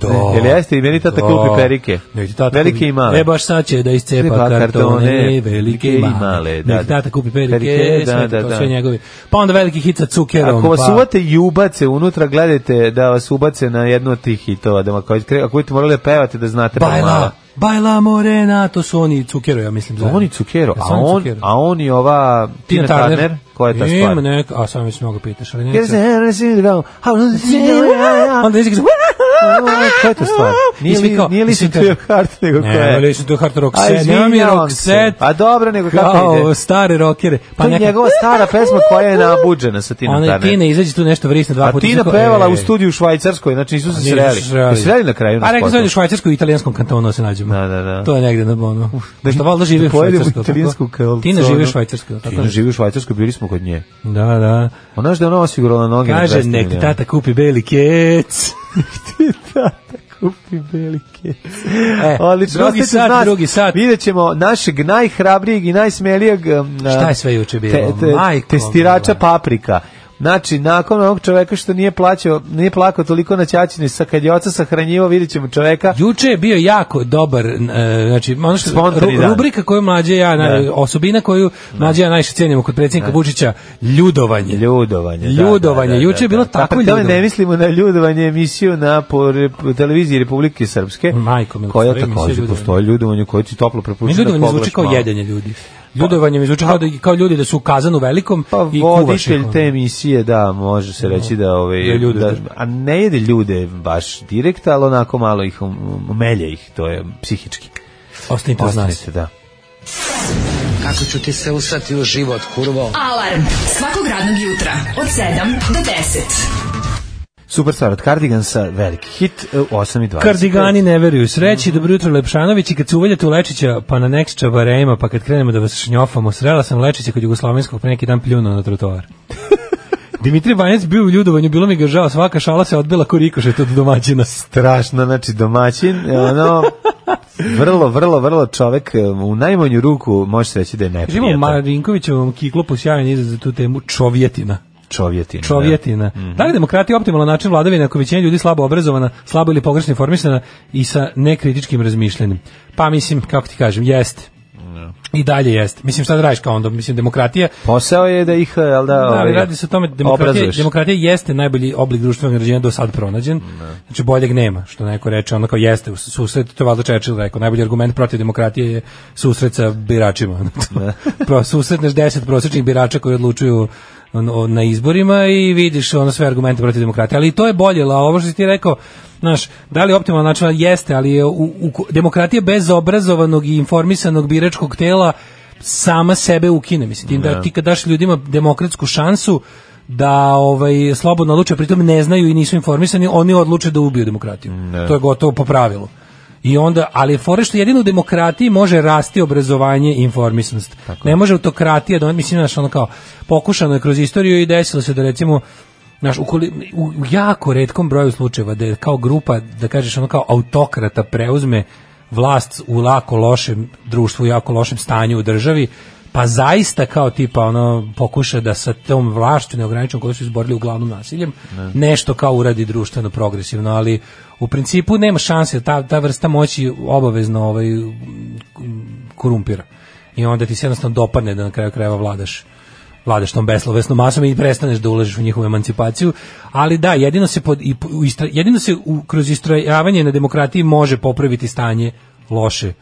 Speaker 5: Do.
Speaker 6: Jel jeste? I meni tata kupi perike.
Speaker 5: Ne, ti tata
Speaker 6: Velike
Speaker 5: kupi-
Speaker 6: i male.
Speaker 5: E baš sad će da
Speaker 6: Cepa
Speaker 5: iscepa
Speaker 6: kartone,
Speaker 5: kartone, velike i male.
Speaker 6: da,
Speaker 5: Ne, ti tata kupi perike,
Speaker 6: perike, da,
Speaker 5: sve
Speaker 6: da,
Speaker 5: to,
Speaker 6: da.
Speaker 5: sve njegovi. Pa onda veliki hit sa cukerom.
Speaker 6: Ako vas
Speaker 5: pa...
Speaker 6: uvate i ubace unutra, gledajte da vas ubace na jednu od tih hitova. Da, ako, ako budete morali da pevate, da znate pa malo.
Speaker 5: Bajla, Bajla Morena, to su oni cukero, ja mislim. zajedno.
Speaker 6: On i Cukero,
Speaker 5: Jesu
Speaker 6: a on,
Speaker 5: Cukero?
Speaker 6: a on i ova Tina Turner, koja je ta stvar?
Speaker 5: Ima neka, a sam već mnogo pitaš, ali
Speaker 6: Jer
Speaker 5: neću.
Speaker 6: se
Speaker 5: <laughs>
Speaker 6: ne razumijemo. A,
Speaker 5: Onda <laughs> izgleda,
Speaker 6: Koja je ta stvar? Nije
Speaker 5: Mislim,
Speaker 6: li,
Speaker 5: kao-
Speaker 6: nije li
Speaker 5: mislim,
Speaker 6: se tu
Speaker 5: kao-
Speaker 6: hard nego koja
Speaker 5: Ne,
Speaker 6: je?
Speaker 5: ali su to hard rock
Speaker 6: A,
Speaker 5: set, nema mi
Speaker 6: izvinjavam
Speaker 5: rock
Speaker 6: se.
Speaker 5: set.
Speaker 6: A dobro, nego kako ide?
Speaker 5: Kao stare rockere.
Speaker 6: Pa to je
Speaker 5: neka-
Speaker 6: njegova stara pesma koja je nabuđena sa Tinom
Speaker 5: Ona je
Speaker 6: Turner.
Speaker 5: Tina izađe tu nešto vrisne dva
Speaker 6: A
Speaker 5: puta. E,
Speaker 6: Tina
Speaker 5: Znaš ko-
Speaker 6: pevala
Speaker 5: Ej.
Speaker 6: u studiju u Švajcarskoj, znači nisu se
Speaker 5: Nisu
Speaker 6: sreli.
Speaker 5: se sreli.
Speaker 6: Nisu se sreli na kraju na
Speaker 5: A rekli
Speaker 6: spotu.
Speaker 5: smo da u švajcarskom i italijanskom kantonu se nađemo.
Speaker 6: Da, da, da.
Speaker 5: To je negde na ono.
Speaker 6: Da
Speaker 5: Da
Speaker 6: i-
Speaker 5: što valjda živi
Speaker 6: da
Speaker 5: u
Speaker 6: pojedemo
Speaker 5: Švajcarskoj. tako?
Speaker 6: italijansku kalconu.
Speaker 5: Tina živi u Švajcarskoj. tako?
Speaker 6: Tina živi u Švajcarskoj, bili smo kod nje.
Speaker 5: Da, da.
Speaker 6: Ona što je ona osigurala noge na
Speaker 5: Kaže,
Speaker 6: 200
Speaker 5: nek ti
Speaker 6: <laughs> miliona.
Speaker 5: tata kupi beli kec.
Speaker 6: tata kupi velike.
Speaker 5: E,
Speaker 6: Odlično,
Speaker 5: drugi
Speaker 6: ostanite
Speaker 5: sat,
Speaker 6: uz nas.
Speaker 5: drugi sat.
Speaker 6: Vidjet ćemo našeg najhrabrijeg i najsmelijeg um,
Speaker 5: Šta je sve juče bilo?
Speaker 6: te- te-
Speaker 5: Majko
Speaker 6: testirača
Speaker 5: mila.
Speaker 6: paprika. Znači, nakon onog čoveka što nije plaćao, nije plakao toliko na ćaćini, sa kad je oca sahranjivo, vidjet ćemo čoveka.
Speaker 5: Juče je bio jako dobar, e, znači ono što
Speaker 6: Spontani dan.
Speaker 5: rubrika koju mlađe ja, na,
Speaker 6: Da.
Speaker 5: osobina koju mlađe ja najviše cijenimo kod predsjednika Vučića, ljudovanje.
Speaker 6: Ljudovanje. da,
Speaker 5: Ljudovanje,
Speaker 6: da, da,
Speaker 5: juče je
Speaker 6: da,
Speaker 5: bilo
Speaker 6: da.
Speaker 5: tako
Speaker 6: Pa, pri tome
Speaker 5: ljudovanje.
Speaker 6: ne mislimo na ljudovanje emisiju na po rep- televiziji Republike Srpske,
Speaker 5: Majko mila,
Speaker 6: koja
Speaker 5: stvarno emisija
Speaker 6: takođe
Speaker 5: ljudovanje.
Speaker 6: postoji ljudovanje koje ti toplo prepušta
Speaker 5: Meni
Speaker 6: da
Speaker 5: ljudovanje
Speaker 6: pogledaš
Speaker 5: zvuči kao
Speaker 6: malo.
Speaker 5: jedenje ljudi. Ljudovanje mi zvuči kao, da, kao ljudi da su u kazanu velikom
Speaker 6: Pa
Speaker 5: i kuvaš ih. ono.
Speaker 6: voditelj te emisije, da, može se reći da ovaj
Speaker 5: Da je ljude
Speaker 6: da,
Speaker 5: drži.
Speaker 6: a ne jede ljude baš direkt, ali onako malo ih um, melje ih, to je psihički.
Speaker 5: Ostanite uz nas.
Speaker 6: Ostanite, da.
Speaker 1: Kako ću ti se usrati u život, kurvo?
Speaker 4: Alarm svakog radnog jutra od 7 do 10.
Speaker 6: Superstar od Cardigansa, veliki hit e, u 8 i 20.
Speaker 5: Kardigani ne veruju sreći,
Speaker 6: Mhm.
Speaker 5: dobro jutro Lepšanović i kad se uvaljate u Lečića pa na nekšća barejima pa kad krenemo da vas šnjofamo, srela sam Lečića kod Jugoslovenskog pre neki dan pljunuo na
Speaker 6: <laughs>
Speaker 5: trotoar. Dimitri Banjac bio u ljudovanju, bilo mi ga žao, svaka šala se odbila ko rikošet od domaćina.
Speaker 6: strašno, znači domaćin, ono, vrlo, vrlo, vrlo čovek, e, u najmanju ruku možeš reći da je
Speaker 5: Živimo u
Speaker 6: neprijetan
Speaker 5: Marinkovićevom kiklopu sjajan izraz za tu temu čovjetina.
Speaker 6: čovjetina.
Speaker 5: Čovjetina. Da li demokrati optimalan način vladavine ako većina ljudi slabo obrazovana, slabo ili pogrešno informisana i sa nekritičkim razmišljanjem? Pa mislim, kako ti kažem, jeste. I dalje jeste. Mislim, šta da radiš kao onda? Mislim, demokratija
Speaker 6: Posao je da ih, jel da,
Speaker 5: Da, ali
Speaker 6: ovaj,
Speaker 5: radi se o tome demokratija,
Speaker 6: obrazuješ.
Speaker 5: demokratija jeste najbolji oblik društvenog uređenja do sad pronađen. Znači boljeg nema, što neko reče, ono kao jeste u susret, to je valjda Churchill rekao, najbolji argument protiv demokratije je susret sa biračima. <laughs> Pro susretneš 10 prosječnih birača koji odlučuju ono, o- na izborima i vidiš ono sve argumente protiv demokratije, ali i to je bolje, la ovo što si ti rekao, Znaš, da li je optimalan način? Jeste, ali je u, u, demokratija bez obrazovanog i informisanog biračkog tela sama sebe ukine, mislim, tim da ti kad daš ljudima demokratsku šansu da ovaj slobodno odluče, pritom ne znaju i nisu informisani, oni odluče da ubiju demokratiju. To je gotovo po pravilu. I onda, ali je fore što jedino u demokratiji može rasti obrazovanje i informisanost. Ne može autokratija, da, mislim, znaš, ono kao, pokušano je kroz istoriju i desilo se da recimo, Znaš, ukoli, u u jako redkom broju slučajeva da je kao grupa, da kažeš ono kao autokrata preuzme vlast u lako lošem društvu, u jako lošem stanju u državi, pa zaista kao tipa ono pokuša da sa tom vlašću neograničenom koju su izborili uglavnom nasiljem, nešto kao uradi društveno progresivno, ali u principu nema šanse, ta, ta vrsta moći obavezno ovaj, korumpira. I onda ti se jednostavno dopadne da na kraju krajeva vladaš vladaš tom beslovesnom masom i prestaneš da ulažeš u njihovu emancipaciju, ali da, jedino se, pod, i, u istra- jedino se u, kroz istrajavanje na demokratiji može popraviti stanje loše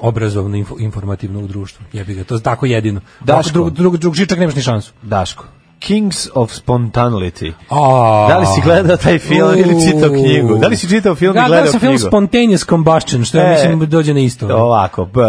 Speaker 5: obrazovno info- informativno u društvu. Jebi ga, to je tako jedino.
Speaker 6: Daško.
Speaker 5: Ako Drug, drug, drug, čak nemaš ni šansu.
Speaker 6: Daško. Kings of Spontanity.
Speaker 5: A,
Speaker 6: Da li si gledao taj film ili čitao knjigu? Da li si čitao film i
Speaker 5: Da,
Speaker 6: gledao
Speaker 5: gledao sam film
Speaker 6: knjigu?
Speaker 5: Spontaneous Combustion, što ja
Speaker 6: E,
Speaker 5: mislim dođe na isto.
Speaker 6: Ovako, b,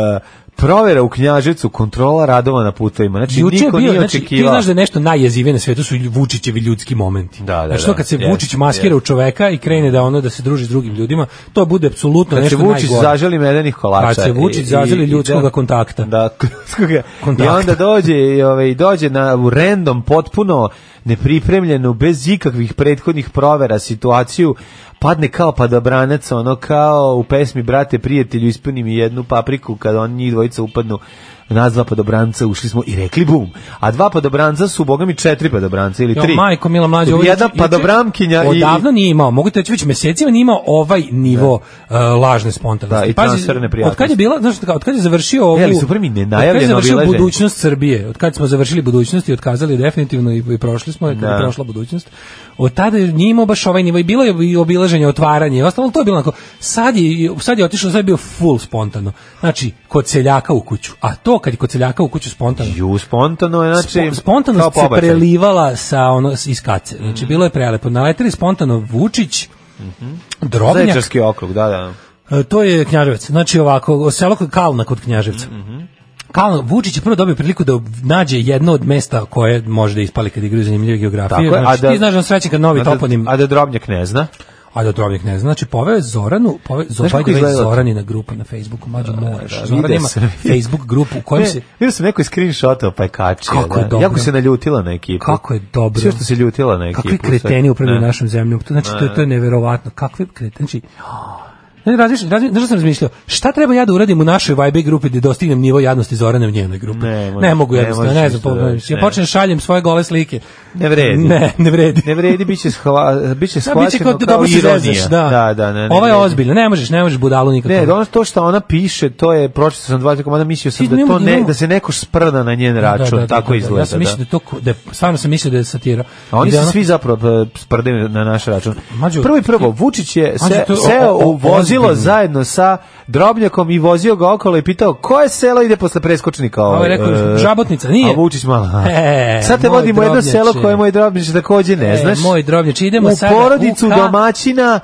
Speaker 6: provera u Knjaževcu, kontrola radova na putovima. Znači,
Speaker 5: Juče je
Speaker 6: niko
Speaker 5: bio,
Speaker 6: nije
Speaker 5: znači, ti
Speaker 6: očekivao.
Speaker 5: znaš da je nešto najjezivije na svetu su Vučićevi ljudski momenti.
Speaker 6: Da, da,
Speaker 5: znači, to
Speaker 6: da,
Speaker 5: kad se
Speaker 6: jest,
Speaker 5: Vučić maskira u čoveka i krene da ono da se druži s drugim ljudima, to bude apsolutno
Speaker 6: Kad se
Speaker 5: Pa nešto
Speaker 6: Znači, Vučić
Speaker 5: najgore.
Speaker 6: zaželi medenih kolača.
Speaker 5: Kad se Vučić
Speaker 6: i- i-
Speaker 5: zaželi
Speaker 6: i
Speaker 5: ljudskog
Speaker 6: da-
Speaker 5: kontakta.
Speaker 6: Da, <laughs> ljudskog I
Speaker 5: Kontakta.
Speaker 6: onda dođe, i, ovaj, dođe na, u random, potpuno nepripremljenu, bez ikakvih prethodnih provera situaciju, padne kao padobranac, ono kao u pesmi Brate, prijatelju, ispuni mi jednu papriku, kada on njih dvojica upadnu nas dva padobranca, ušli smo i rekli bum. A dva padobranca su, boga mi, četiri padobranca ili
Speaker 5: Jo,
Speaker 6: tri.
Speaker 5: majko, mila mlađe, ovo je-
Speaker 6: Jedna
Speaker 5: juče-
Speaker 6: padobramkinja i...
Speaker 5: Odavno nije imao, mogu te reći već mesecima nije imao ovaj nivo uh, lažne spontanosti.
Speaker 6: Da, i transferne
Speaker 5: od kad
Speaker 6: prijatnosti.
Speaker 5: je bila, znaš, od kad je završio ovu...
Speaker 6: E, ali super mi nenajavljeno
Speaker 5: od kad je završio
Speaker 6: obilaženje.
Speaker 5: budućnost Srbije, od kad smo završili budućnost i otkazali definitivno i, i prošli smo, kad
Speaker 6: Da.
Speaker 5: je prošla budućnost, od tada nije imao baš ovaj nivo i bilo je i obilaženje, otvaranje i ostalo, ali to je bilo onako, sad je, sad je otišao, sad je bio full spontano. Znači, kod seljaka u kuću. A to kad je kod seljaka u kuću spontano.
Speaker 6: Ju, spontano je, znači...
Speaker 5: Spo-
Speaker 6: kao
Speaker 5: spontanost se
Speaker 6: pobačaj. Mhm.
Speaker 5: prelivala sa ono s- iz kace. Znači bilo je prelepo. Naleteli spontano Vučić, Drobnjak,
Speaker 6: Zaječarski okrug, da, da.
Speaker 5: e, to je Knjaževac. Znači ovako, selo kod Kalna kod Knjaževca.
Speaker 6: Mhm.
Speaker 5: Kalna, Vučić je prvo dobio priliku da nađe jedno od mesta koje može da ispali kad igraju zanimljive geografije.
Speaker 6: Tako je, a
Speaker 5: znači,
Speaker 6: da-
Speaker 5: ti znaš da on srećen kad novi
Speaker 6: A da-
Speaker 5: toponim,
Speaker 6: A da Drobnjak ne zna.
Speaker 5: a da Drobnjak ne zna. Znači poveo je Zoranu, poveo,
Speaker 6: Znaš
Speaker 5: by
Speaker 6: kako
Speaker 5: the way,
Speaker 6: izgleda?
Speaker 5: Zoranina grupa na Facebooku, mlađo moraš.
Speaker 6: da,
Speaker 5: Zoran
Speaker 6: vide
Speaker 5: ima
Speaker 6: se. E,
Speaker 5: Facebook grupu u kojem
Speaker 6: Ne,
Speaker 5: se...
Speaker 6: vidio sam neko screenshotao pa je kačio.
Speaker 5: Kako je
Speaker 6: da.
Speaker 5: dobro.
Speaker 6: Jako se naljutila na ekipu.
Speaker 5: Kako je dobro.
Speaker 6: Sve što se ljutila na ekipu.
Speaker 5: Kakvi
Speaker 6: sad.
Speaker 5: kreteni upravljaju
Speaker 6: Ne.
Speaker 5: našom zemljom. To, znači, to, je- to je neverovatno. Kakvi kreteni. Znači, <gasps> ne, razmišljam, razmišljam, znaš šta sam razmišljao? Šta treba ja da uradim u našoj Vibe grupi da dostignem nivo jadnosti Zorane u njenoj grupi?
Speaker 6: Ne, možeš-
Speaker 5: ne mogu
Speaker 6: ne
Speaker 5: jednostavno,
Speaker 6: možeš
Speaker 5: ne
Speaker 6: ništa
Speaker 5: znam.
Speaker 6: da
Speaker 5: pa-
Speaker 6: radiš,
Speaker 5: ja
Speaker 6: ne.
Speaker 5: počnem šaljem svoje gole slike.
Speaker 6: Ne vredi.
Speaker 5: Ne, ne vredi.
Speaker 6: Ne vredi, bit će, shva, bit će
Speaker 5: Da, bit će
Speaker 6: shvaćeno
Speaker 5: kao,
Speaker 6: kao,
Speaker 5: dobro se
Speaker 6: ironija.
Speaker 5: zezaš, da.
Speaker 6: da, da ne, ne,
Speaker 5: Ovo je
Speaker 6: vredi.
Speaker 5: ozbiljno, ne možeš, ne možeš budalu nikako.
Speaker 6: Ne, ono to što ona piše, to je, pročito sam dva, tako mada mislio sam
Speaker 5: Ti
Speaker 6: da,
Speaker 5: nema-
Speaker 6: to ne,
Speaker 5: nema-
Speaker 6: da se neko sprda na njen račun, tako izgleda.
Speaker 5: Ja sam mislio da je to, ko- da je, stvarno sam mislio da je satira.
Speaker 6: A oni
Speaker 5: I da je
Speaker 6: se
Speaker 5: ono-
Speaker 6: svi zapravo e, sprdaju na naš račun.
Speaker 5: Mađo,
Speaker 6: prvo i prvo, Vučić je se,
Speaker 5: Mađo, to je o-
Speaker 6: seo
Speaker 5: o- o-
Speaker 6: u vozilo
Speaker 5: ozbiljno.
Speaker 6: zajedno sa Drobnjakom i vozio ga okolo i pitao koje selo ide posle preskočnika.
Speaker 5: Ovo je rekao,
Speaker 6: e,
Speaker 5: Žabotnica, nije.
Speaker 6: A Vučić malo. aha.
Speaker 5: <laughs> E,
Speaker 6: Sad te
Speaker 5: moj
Speaker 6: vodimo jedno
Speaker 5: Drobnjače.
Speaker 6: selo koje moj Drobnjač takođe ne
Speaker 5: E,
Speaker 6: znaš.
Speaker 5: moj Drobnjač, idemo
Speaker 6: u
Speaker 5: sada u
Speaker 6: porodicu
Speaker 5: ka-
Speaker 6: domaćina,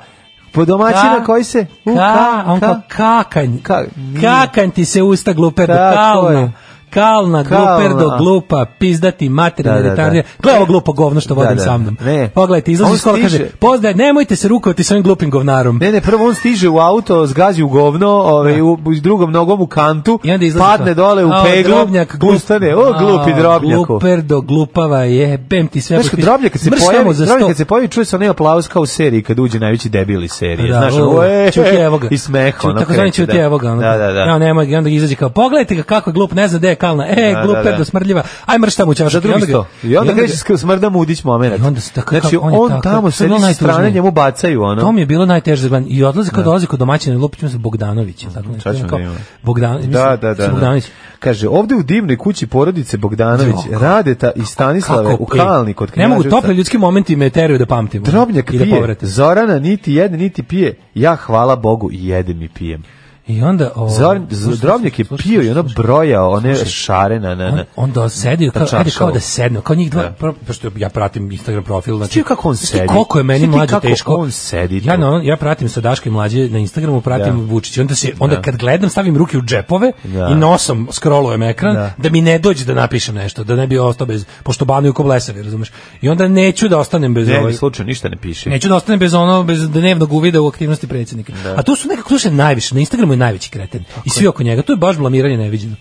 Speaker 6: po domaćina
Speaker 5: Ka-
Speaker 6: koji se... u
Speaker 5: ka,
Speaker 6: ka-
Speaker 5: on
Speaker 6: ka-
Speaker 5: kao kakanj.
Speaker 6: Ka-
Speaker 5: kakanj ti se usta glupe
Speaker 6: Tako
Speaker 5: do
Speaker 6: je.
Speaker 5: kalna. Kalna,
Speaker 6: Kalna.
Speaker 5: gluperdo, glupa, pizdati, materina,
Speaker 6: Da,
Speaker 5: da,
Speaker 6: da, da.
Speaker 5: Gle ovo glupo govno što
Speaker 6: Da,
Speaker 5: vodim
Speaker 6: da.
Speaker 5: sa mnom.
Speaker 6: Ne.
Speaker 5: Pogledajte, izlazi
Speaker 6: On
Speaker 5: iz kola, kaže,
Speaker 6: stiže.
Speaker 5: pozdaj, nemojte se rukovati sa ovim glupim govnarom.
Speaker 6: Ne, ne, prvo on stiže u auto, zgazi u govno, ovaj, u, u drugom nogom u kantu,
Speaker 5: I onda izlazi kao,
Speaker 6: padne dole u
Speaker 5: "Ao,
Speaker 6: peglu,
Speaker 5: drobnjak, glup-
Speaker 6: ustane, o, glupi
Speaker 5: Ao,
Speaker 6: drobnjaku.
Speaker 5: Gluperdo, glupava, jebem ti sve.
Speaker 6: Znaš, kad
Speaker 5: potpiš-
Speaker 6: drobnjak kad se
Speaker 5: Mrš tamo
Speaker 6: pojavi,
Speaker 5: za
Speaker 6: drobnjak
Speaker 5: sto.
Speaker 6: kad se pojavi, čuje se onaj aplauz kao u seriji, kad uđe najveći debili serije.
Speaker 5: Da,
Speaker 6: Pa Znaš,
Speaker 5: o,
Speaker 6: "Ue", <laughs>
Speaker 5: čuti evo ga.
Speaker 6: I smeh,
Speaker 5: Čuti,
Speaker 6: ono
Speaker 5: tako zvani
Speaker 6: kreće,
Speaker 5: čuti
Speaker 6: da.
Speaker 5: evo ga. Ono,
Speaker 6: Da, da, da.
Speaker 5: Evo, nema ga, i onda izađe kao, pogledajte ga kako je glup, ne zna gde je kalna. E,
Speaker 6: Da, da,
Speaker 5: glup, da,
Speaker 6: da.
Speaker 5: smrdljiva. Aj mrš tamo u čašu.
Speaker 6: Za drugi
Speaker 5: I onda
Speaker 6: sto.
Speaker 5: ga- i
Speaker 6: I onda
Speaker 5: onda
Speaker 6: kreće
Speaker 5: ga-
Speaker 6: sk- smrda mudić moment.
Speaker 5: I onda se tako-
Speaker 6: Znači,
Speaker 5: kako- on je
Speaker 6: on
Speaker 5: tako-
Speaker 6: tamo
Speaker 5: to je
Speaker 6: sedi
Speaker 5: bilo
Speaker 6: sa
Speaker 5: najtužnije.
Speaker 6: strane, njemu bacaju, ono.
Speaker 5: To mi je bilo najteže zgledan. I odlazi kod dolazi kod domaćina Lupić, mislim Bogdanović, je tako nešto.
Speaker 6: Mm, Sad ćemo
Speaker 5: Kao
Speaker 6: da imamo.
Speaker 5: Bogdan, mislim,
Speaker 6: Da, da, da. da.
Speaker 5: Bogdanović.
Speaker 6: Kaže, ovde u divnoj kući porodice Bogdanović,
Speaker 5: Jo, kako-
Speaker 6: Radeta i Stanislave
Speaker 5: Kako
Speaker 6: u
Speaker 5: pe-
Speaker 6: Kalni kod
Speaker 5: Ne mogu
Speaker 6: Knjaževca.
Speaker 5: tople ljudski momenti me teraju da pamtim. ono,
Speaker 6: Drobnjak
Speaker 5: i da
Speaker 6: pije,
Speaker 5: povratim.
Speaker 6: Zorana niti jede, niti pije. Ja, hvala Bogu, i jedem i pijem.
Speaker 5: I onda o,
Speaker 6: Zor,
Speaker 5: slušaj,
Speaker 6: Drobnjak je
Speaker 5: slušaj,
Speaker 6: pio i ono
Speaker 5: slušaj.
Speaker 6: brojao, one šare na... na, na.
Speaker 5: on, onda sedi kao,
Speaker 6: na
Speaker 5: ajde kao
Speaker 6: čaršavu.
Speaker 5: da sedne, kao njih dva,
Speaker 6: Da.
Speaker 5: prvo, pošto ja pratim Instagram profil, znači
Speaker 6: Znaš ti kako on
Speaker 5: znaš ti
Speaker 6: sedi?
Speaker 5: Koliko je meni
Speaker 6: Znaš ti
Speaker 5: mlađe
Speaker 6: kako
Speaker 5: teško.
Speaker 6: on sedi tu?
Speaker 5: Ja na on, ja pratim sa Daške mlađe na Instagramu, pratim
Speaker 6: Da.
Speaker 5: Vučića, onda se onda
Speaker 6: Da.
Speaker 5: kad gledam stavim ruke u džepove
Speaker 6: Da.
Speaker 5: i nosom scrollujem ekran
Speaker 6: Da.
Speaker 5: da. mi ne dođe da napišem nešto, da ne bi ostao bez pošto banuju ko blesavi, razumeš? I onda neću da ostanem bez
Speaker 6: Ne,
Speaker 5: ove-
Speaker 6: ni slučajno, ništa ne piše.
Speaker 5: ovaj- Neću da ostane bez ono bez dnevnog uvida u aktivnosti predsjednika. A tu su nekako tu se najviše na Instagramu je najveći kreten. I svi oko njega, to je baš blamiranje neviđeno.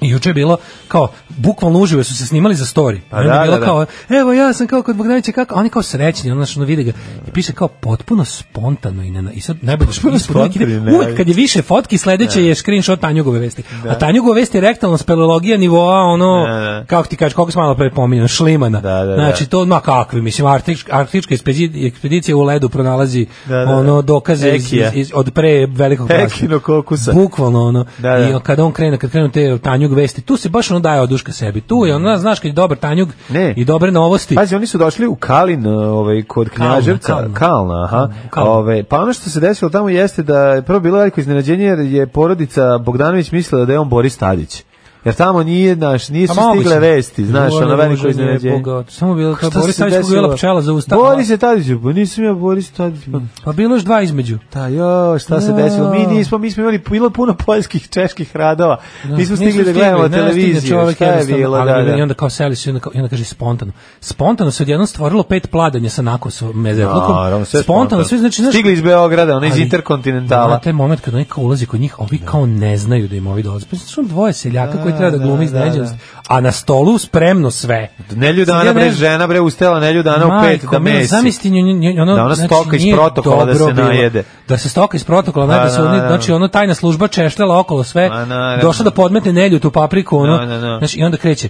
Speaker 5: I juče je bilo kao bukvalno uživo su se snimali za story.
Speaker 6: Pa
Speaker 5: Pa da,
Speaker 6: da,
Speaker 5: bilo
Speaker 6: da, da.
Speaker 5: kao evo ja sam kao kod Bogdanića kako, a oni kao srećni, ono što vide ga. I piše kao potpuno spontano i ne i sad najbolje što ispod neki-
Speaker 6: spontano i ne-
Speaker 5: uvek kad je više fotki sledeće je screenshot Tanjugove vesti. A Tanjugove vesti je rektalna speleologija nivoa ono
Speaker 6: Da, da.
Speaker 5: kako ti kažeš koliko smo malo pre pominjali šlimana.
Speaker 6: Da, da, da.
Speaker 5: znači to ma kakvi, mislim, arktička, arktička ekspedi- ekspedicija u ledu pronalazi
Speaker 6: Da, da, da.
Speaker 5: ono dokaze iz,
Speaker 6: Ekija.
Speaker 5: iz- iz- od pre velikog
Speaker 6: Ekinokokusa.
Speaker 5: Bukvalno ono.
Speaker 6: Da, da.
Speaker 5: I kada on krene, kad krenu te tanjug vesti, tu se baš ono daje oduška sebi. Tu je ono, znaš, kad je dobar tanjug
Speaker 6: Ne.
Speaker 5: i dobre novosti.
Speaker 6: Pazi, oni su došli u Kalin, ovaj kod
Speaker 5: Kalna,
Speaker 6: Knjaževca, Kalna,
Speaker 5: Kalna.
Speaker 6: aha.
Speaker 5: u Kalnu.
Speaker 6: Ovaj, pa ono što se desilo tamo jeste da je prvo bilo veliko iznenađenje jer je porodica Bogdanović mislila da je on Boris Tadić. Jer tamo nije, naš, nisu
Speaker 5: A Pa moguće.
Speaker 6: stigle vesti, znaš,
Speaker 5: Joj,
Speaker 6: ono
Speaker 5: ne
Speaker 6: veliko
Speaker 5: može,
Speaker 6: iznenađenje. Pa
Speaker 5: jeboga, Samo bilo
Speaker 6: Šta
Speaker 5: kao Boris
Speaker 6: se
Speaker 5: Tadić
Speaker 6: desilo?
Speaker 5: pobila pčela za usta.
Speaker 6: Boris je Tadić, pa nisam ja Boris Tadić. Pa,
Speaker 5: Pa bilo još dva između.
Speaker 6: da, jo, šta se
Speaker 5: Ja.
Speaker 6: desilo? Mi nismo, mi smo imali bilo puno poljskih, čeških radova. nismo stigli da gledamo
Speaker 5: ne stigne
Speaker 6: televiziju.
Speaker 5: čovjek
Speaker 6: Šta je
Speaker 5: jednostavno,
Speaker 6: bilo?
Speaker 5: ali
Speaker 6: Da,
Speaker 5: I
Speaker 6: da.
Speaker 5: onda kao seli se i onda, kao- i onda kaže spontano. Spontano se odjednom stvorilo pet pladanja sa nakosom mezevlukom.
Speaker 6: Naravno, sve
Speaker 5: spontano, sve znači znaš-
Speaker 6: Stigli iz Beograda, ono iz
Speaker 5: Ali,
Speaker 6: Interkontinentala.
Speaker 5: Na taj moment kad oni kao ulazi kod njih, ovi kao ne znaju da im ovi dolaze. Pa su dvoje seljaka koji treba da
Speaker 6: da,
Speaker 5: glumi
Speaker 6: da,
Speaker 5: iznenađenost, a na stolu spremno sve.
Speaker 6: Nelju
Speaker 5: Sad ja
Speaker 6: dana
Speaker 5: ne
Speaker 6: bre
Speaker 5: znam-
Speaker 6: žena bre ustala nelju dana u pet
Speaker 5: Majko
Speaker 6: da
Speaker 5: mila,
Speaker 6: mesi.
Speaker 5: Zamisli nju, nju, nju, ono,
Speaker 6: Da ona stoka iz
Speaker 5: nije
Speaker 6: protokola da se
Speaker 5: dobro bilo.
Speaker 6: najede. Pa,
Speaker 5: Da se stoka iz protokola najede,
Speaker 6: Da,
Speaker 5: da, se
Speaker 6: da,
Speaker 5: oni,
Speaker 6: da.
Speaker 5: znači ono tajna služba češljala okolo sve,
Speaker 6: Ma, naravno.
Speaker 5: došla da podmetne nelju tu papriku, ono,
Speaker 6: Da, da, da.
Speaker 5: znači i onda kreće,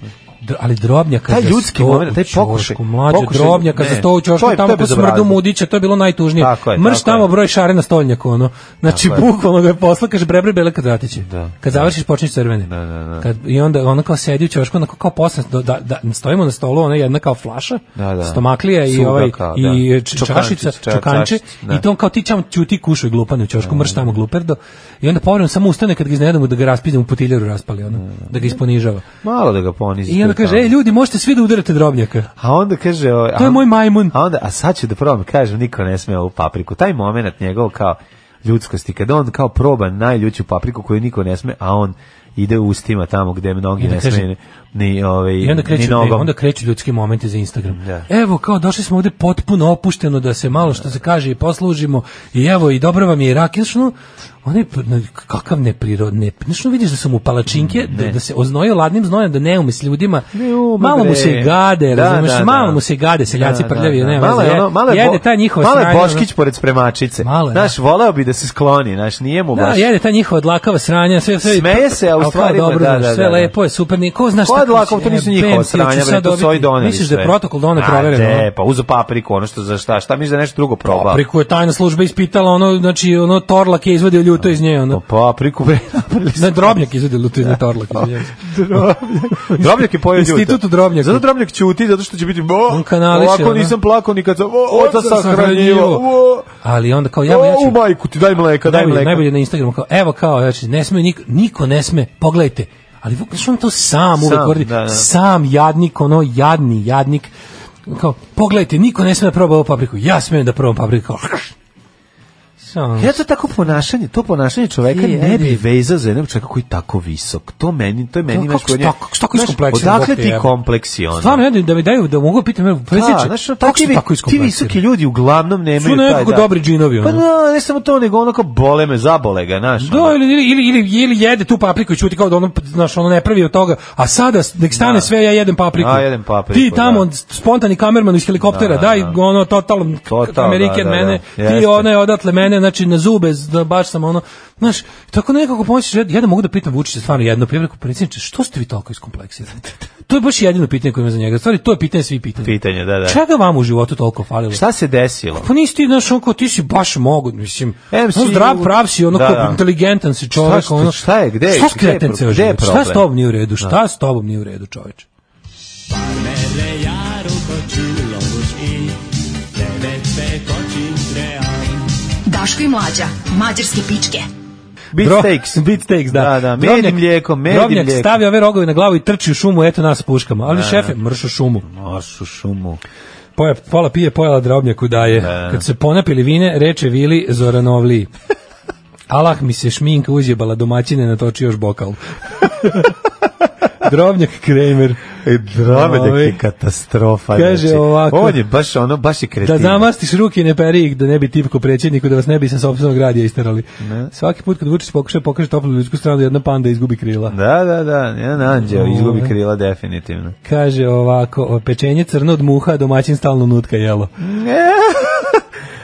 Speaker 5: Dr- ali drobnjaka
Speaker 6: Taj
Speaker 5: za
Speaker 6: ljudski
Speaker 5: sto
Speaker 6: moment,
Speaker 5: u
Speaker 6: taj pokušaj,
Speaker 5: ćošku, mlađe
Speaker 6: pokušaj,
Speaker 5: drobnjaka
Speaker 6: ne,
Speaker 5: za sto u
Speaker 6: to je- to
Speaker 5: čošku
Speaker 6: je
Speaker 5: tamo po smrdu
Speaker 6: bezobrazluk.
Speaker 5: mudića, to je bilo najtužnije.
Speaker 6: Tako je,
Speaker 5: Mrš
Speaker 6: tako je.
Speaker 5: tamo broj šare na stolnjaku, ono. Znači
Speaker 6: Tako je.
Speaker 5: bukvalno ga je posla, kaže brebre bele kad vratiće.
Speaker 6: Da.
Speaker 5: Kad završiš počneš crvene.
Speaker 6: Da, da, da.
Speaker 5: Kad, I onda ona kao sedi u čošku, onako kao posle, da, da, da, stojimo na stolu, ona jedna kao flaša,
Speaker 6: Da, da.
Speaker 5: stomaklija i
Speaker 6: Suga
Speaker 5: ovaj
Speaker 6: kao, da.
Speaker 5: i č-
Speaker 6: Čokančić,
Speaker 5: čašica,
Speaker 6: ča-
Speaker 5: čokanče
Speaker 6: čašić, da. Mm.
Speaker 5: i to on kao ti ćamo ćuti kušoj glupane u ćošku, mrš tamo gluperdo. I onda povremeno samo ustane kad ga iznenadimo da ga raspidemo u putiljeru raspali ono, da ga isponižava.
Speaker 6: Malo da ga ponizi.
Speaker 5: I onda
Speaker 6: tu
Speaker 5: kaže,
Speaker 6: Mm. tamo.
Speaker 5: ej ljudi, možete svi da udarate drobnjaka.
Speaker 6: A onda kaže, o,
Speaker 5: To
Speaker 6: a-
Speaker 5: je moj majmun.
Speaker 6: A onda, a sad ću da probam, kažem, niko ne sme ovu papriku. Taj moment njegov kao ljudskosti, kada on kao proba najljuću papriku koju niko ne sme, a on ide ustima tamo gde
Speaker 5: I
Speaker 6: mnogi
Speaker 5: onda
Speaker 6: ne
Speaker 5: kaže-
Speaker 6: sme ni, ovaj,
Speaker 5: I onda
Speaker 6: ni
Speaker 5: kreću, e,
Speaker 6: nogom.
Speaker 5: onda kreću ljudski momenti za Instagram.
Speaker 6: Da.
Speaker 5: Evo, kao došli smo ovde potpuno opušteno da se malo što se kaže i poslužimo i evo i dobro vam je i ono, rakišnu. Onaj p- na- kakav neprirodne. Znaš, ono vidiš da su mu palačinke, da, da se oznojio ladnim znojem, da ne ume s ljudima.
Speaker 6: Mm, Ne ume,
Speaker 5: malo
Speaker 6: E, bre.
Speaker 5: mu se gade,
Speaker 6: Da,
Speaker 5: razumeš,
Speaker 6: da, da.
Speaker 5: malo mu se gade, seljaci
Speaker 6: Da, da,
Speaker 5: prljavi,
Speaker 6: da.
Speaker 5: ne,
Speaker 6: Malo je ono, malo je,
Speaker 5: jede
Speaker 6: Bo-
Speaker 5: ta njihova
Speaker 6: malo je
Speaker 5: sranja, ono.
Speaker 6: Boškić pored spremačice.
Speaker 5: Malo je, da.
Speaker 6: Znaš, voleo bi da se skloni, znaš, nije mu
Speaker 5: Da,
Speaker 6: baš.
Speaker 5: jede ta njihova dlakava sranja, sve sve.
Speaker 6: Smeje se, a u
Speaker 5: Al kao
Speaker 6: stvari,
Speaker 5: dobro,
Speaker 6: da,
Speaker 5: znaš,
Speaker 6: da,
Speaker 5: sve
Speaker 6: da, da.
Speaker 5: lepo je, super, niko zna šta.
Speaker 6: Ko je
Speaker 5: kako
Speaker 6: dlakov,
Speaker 5: će-
Speaker 6: Pa to nisu
Speaker 5: e,
Speaker 6: njihova
Speaker 5: bem ti,
Speaker 6: sranja,
Speaker 5: hoću
Speaker 6: bre,
Speaker 5: sad
Speaker 6: to su ovi
Speaker 5: dobiti-
Speaker 6: doneli.
Speaker 5: Misliš da je
Speaker 6: sve.
Speaker 5: protokol da ono
Speaker 6: A,
Speaker 5: provereno?
Speaker 6: de, pa uzu papriku, ono što za šta, šta misliš da je nešto drugo probao?
Speaker 5: Papriku je tajna služba ispitala, ono, znači, ono, Torlak je izvadio ljuto iz nje, ono.
Speaker 6: Pa papriku, bre, <laughs> napravili su.
Speaker 5: Ne, Drobnjak je izvadio ljuto iz nje, Torlak.
Speaker 6: <laughs>
Speaker 5: izvinjavam se.
Speaker 6: Drobnjak je pojeo ljuta.
Speaker 5: Institutu Drobnjaku.
Speaker 6: Zato Drobnjak ćuti, zato što će biti, bo,
Speaker 5: On kanališe,
Speaker 6: ovako
Speaker 5: ono.
Speaker 6: nisam plakao nikad, sam, o, oca
Speaker 5: Oca sam
Speaker 6: sam
Speaker 5: hranjivo.
Speaker 6: hranjivo, o,
Speaker 5: Ali onda kao, evo, ja
Speaker 6: o,
Speaker 5: ću...
Speaker 6: u majku ti, daj mleka, daj
Speaker 5: najbolje,
Speaker 6: mleka.
Speaker 5: najbolje na Instagramu kao, evo kao, znači, ne sme, niko, niko ne sme, pogledajte, ali znaš on to sam uvek
Speaker 6: Sam,
Speaker 5: govori,
Speaker 6: da, da.
Speaker 5: sam jadnik, ono, jadni jadnik, kao, pogledajte, niko ne sme da proba ovu papriku, ja smem da probam papriku, kao, Samo-
Speaker 6: Ja to tako ponašanje, to ponašanje čoveka
Speaker 5: Ti,
Speaker 6: ne bi
Speaker 5: ajde.
Speaker 6: vezao za jednog čoveka koji je tako visok. To meni, to je meni
Speaker 5: Kako
Speaker 6: imaš
Speaker 5: si tako- kako si tako iskompleksan,
Speaker 6: Odakle
Speaker 5: Bog te
Speaker 6: ti
Speaker 5: jebe?
Speaker 6: kompleksi ono?
Speaker 5: Stvarno, ja da- da mi daju, da mogu pitam, evo,
Speaker 6: Da,
Speaker 5: predsjedniče,
Speaker 6: znaš, ono,
Speaker 5: kako
Speaker 6: takvi-
Speaker 5: ste tako
Speaker 6: ti
Speaker 5: iskompleksirani?
Speaker 6: visoki ljudi uglavnom nemaju
Speaker 5: Su
Speaker 6: taj,
Speaker 5: nekako
Speaker 6: da.
Speaker 5: dobri džinovi,
Speaker 6: Pa
Speaker 5: ono.
Speaker 6: da, ne samo to, nego onako bole me, zabole ga, znaš. ono,
Speaker 5: Da, ili, ili, ili, ili, ili jede tu papriku i čuti kao da ono, znaš, ono ne pravi od toga, a sada nek stane
Speaker 6: Da.
Speaker 5: sve, ja jedem papriku.
Speaker 6: Ja jedem papriku,
Speaker 5: Ti tamo,
Speaker 6: da.
Speaker 5: spontani kamerman iz helikoptera,
Speaker 6: Da,
Speaker 5: daj
Speaker 6: da.
Speaker 5: ono, total,
Speaker 6: Total,
Speaker 5: Amerikan
Speaker 6: da, da,
Speaker 5: mene,
Speaker 6: da.
Speaker 5: ti
Speaker 6: Jeste.
Speaker 5: onaj odatle mene, znači na zube, z- da, baš sam ono, znaš, tako nekako pomisliš, ja, ja da mogu da pitam Vučića stvarno jedno, pa ja bih rekao, predsjedniče, što ste vi toliko
Speaker 6: <laughs>
Speaker 5: iskompleksirani? To je baš jedino pitanje koje ima za njega, stvari, to je pitanje svih pitanja.
Speaker 6: Pitanje, da, da.
Speaker 5: Čega vam u životu toliko falilo?
Speaker 6: Šta se desilo?
Speaker 5: Pa nisi ti, znaš, on kao, ti si baš mogu, mislim,
Speaker 6: Em
Speaker 5: ono
Speaker 6: si-
Speaker 5: zdrav, prav si, ono
Speaker 6: Da,
Speaker 5: kao,
Speaker 6: da.
Speaker 5: inteligentan si čovjek,
Speaker 6: Šta-
Speaker 5: ono...
Speaker 6: šta je, gde je-
Speaker 5: Šta
Speaker 6: gde je
Speaker 5: skreten
Speaker 6: pro-
Speaker 5: ceo
Speaker 6: gde je
Speaker 5: život? Šta
Speaker 6: problem?
Speaker 5: s tobom nije u redu?
Speaker 6: Da.
Speaker 5: Šta s tobom nije u redu, čoveče?
Speaker 4: Daško i mlađa, mađarske pičke.
Speaker 6: Beat
Speaker 5: Bro-
Speaker 6: <laughs> steaks.
Speaker 5: <laughs> Beat steaks, da.
Speaker 6: Da, da, med i mlijeko, med i
Speaker 5: Drobnjak
Speaker 6: mlijeko.
Speaker 5: stavi ove rogove na glavu i trči u šumu, eto nas s puškama. Ali šefe, mršu šumu.
Speaker 6: Mašu šumu.
Speaker 5: Poje, pola pije, pojela drobnjaku daje. Kad se ponapili vine, reče Vili
Speaker 6: <laughs>
Speaker 5: Zoranovli. Allah mi se šminka uzjebala domaćine, natoči još
Speaker 6: <laughs>
Speaker 5: bokal. Drobnjak Kramer.
Speaker 6: E, Dromedak
Speaker 5: Ovaj.
Speaker 6: je katastrofa.
Speaker 5: Kaže
Speaker 6: znači.
Speaker 5: ovako.
Speaker 6: On je baš, ono, baš je kretin.
Speaker 5: Da zamastiš ruke i ne peri ih, da ne bi tipko predsjedniku, da vas ne bi sa sopstvenog radija isterali. Svaki put kad Vučić pokuša, pokaže toplu ljudsku stranu, jedna panda izgubi krila.
Speaker 6: Da, da, da, jedan anđeo
Speaker 5: Ovaj.
Speaker 6: izgubi krila definitivno.
Speaker 5: Kaže ovako, o, pečenje crno od muha, domaćin stalno nutka jelo.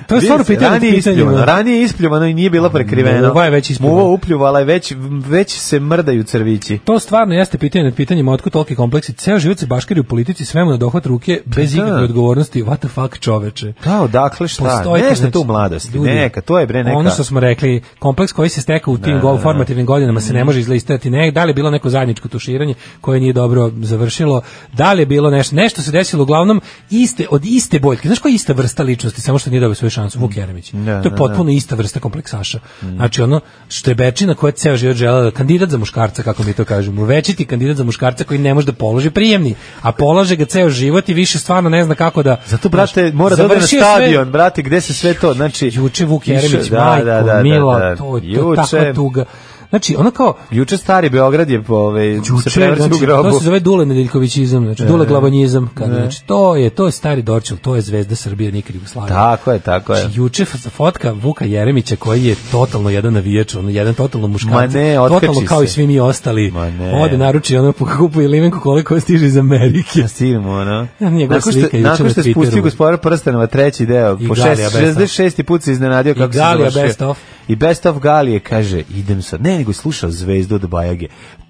Speaker 5: to je stvarno pitanje nad
Speaker 6: ranije ispljuvano,
Speaker 5: pitanjima.
Speaker 6: ranije ispljuvano i nije bila prekrivena.
Speaker 5: Muva je već ispljuvana.
Speaker 6: Muva upljuvala je već, već se mrdaju crvići.
Speaker 5: To stvarno jeste pitanje nad pitanjima, otkud toliki kompleksi. Ceo život se baškari u politici, svemu na dohvat ruke, bez
Speaker 6: da.
Speaker 5: ikakve odgovornosti. What the fuck, čoveče?
Speaker 6: Kao, dakle, šta?
Speaker 5: Postojite,
Speaker 6: Nešto
Speaker 5: znači,
Speaker 6: tu u mladosti.
Speaker 5: ljudi,
Speaker 6: neka, to je bre neka.
Speaker 5: Ono što smo rekli, kompleks koji se steka u tim gol formativnim godinama se ne može izlistati. Ne, da li je bilo neko zajedničko tuširanje koje nije dobro završilo, da li je bilo nešto, nešto se desilo uglavnom iste, od iste boljke. Znaš koja je ista vrsta ličnosti, samo što nije dobio svoju šansu, Vuk Jeremić.
Speaker 6: Mm. Da,
Speaker 5: to
Speaker 6: da, Mm.
Speaker 5: je potpuno ista vrsta kompleksaša. Znači ono štrebečina koja je ceo život želela, kandidat za muškarca, kako mi to kažemo, većiti kandidat za muškarca koji ne može da položi prijemni, a polaže ga ceo život i više stvarno ne zna kako da...
Speaker 6: Zato, brate, mora da ode na
Speaker 5: Završio sve-
Speaker 6: stadion, brate, gde se sve to, znači...
Speaker 5: Juče Vuk
Speaker 6: išao-
Speaker 5: Jeremić,
Speaker 6: da,
Speaker 5: majko,
Speaker 6: da, da, da,
Speaker 5: mila,
Speaker 6: da.
Speaker 5: to je to takva tuga. Znači, ono kao,
Speaker 6: Juče stari Beograd je po, ovaj,
Speaker 5: Juče,
Speaker 6: se prevrće u
Speaker 5: znači,
Speaker 6: grobu.
Speaker 5: to se zove Dule Nedeljkovićizam, znači Dule Glavanjizam, kad, znači to je to je stari Dorčel, to je zvezda Srbije nikad Jugoslavije.
Speaker 6: Tako je, tako je.
Speaker 5: Znači, juče f- fotka Vuka Jeremića koji je totalno jedan navijač, on jedan totalno muškarac,
Speaker 6: Ma ne, otkači
Speaker 5: totalno kao
Speaker 6: se.
Speaker 5: i svi mi ostali.
Speaker 6: Ma ne.
Speaker 5: Ode naruči ono kupuje limenku koliko stiže iz Amerike.
Speaker 6: <laughs> Ja stignem, ono.
Speaker 5: Ja, nije ga
Speaker 6: Nakon što,
Speaker 5: slika juče
Speaker 6: nakon
Speaker 5: na
Speaker 6: što je
Speaker 5: Twitteru.
Speaker 6: spustio gospodar prstenova treći deo,
Speaker 5: I
Speaker 6: po
Speaker 5: Galija
Speaker 6: šest-
Speaker 5: best of.
Speaker 6: 66. put se iznenadio kako se
Speaker 5: Galija
Speaker 6: završio.
Speaker 5: best of.
Speaker 6: I best of Galije kaže, idem sad, ne, nego je slušao zvezdu od Bajage.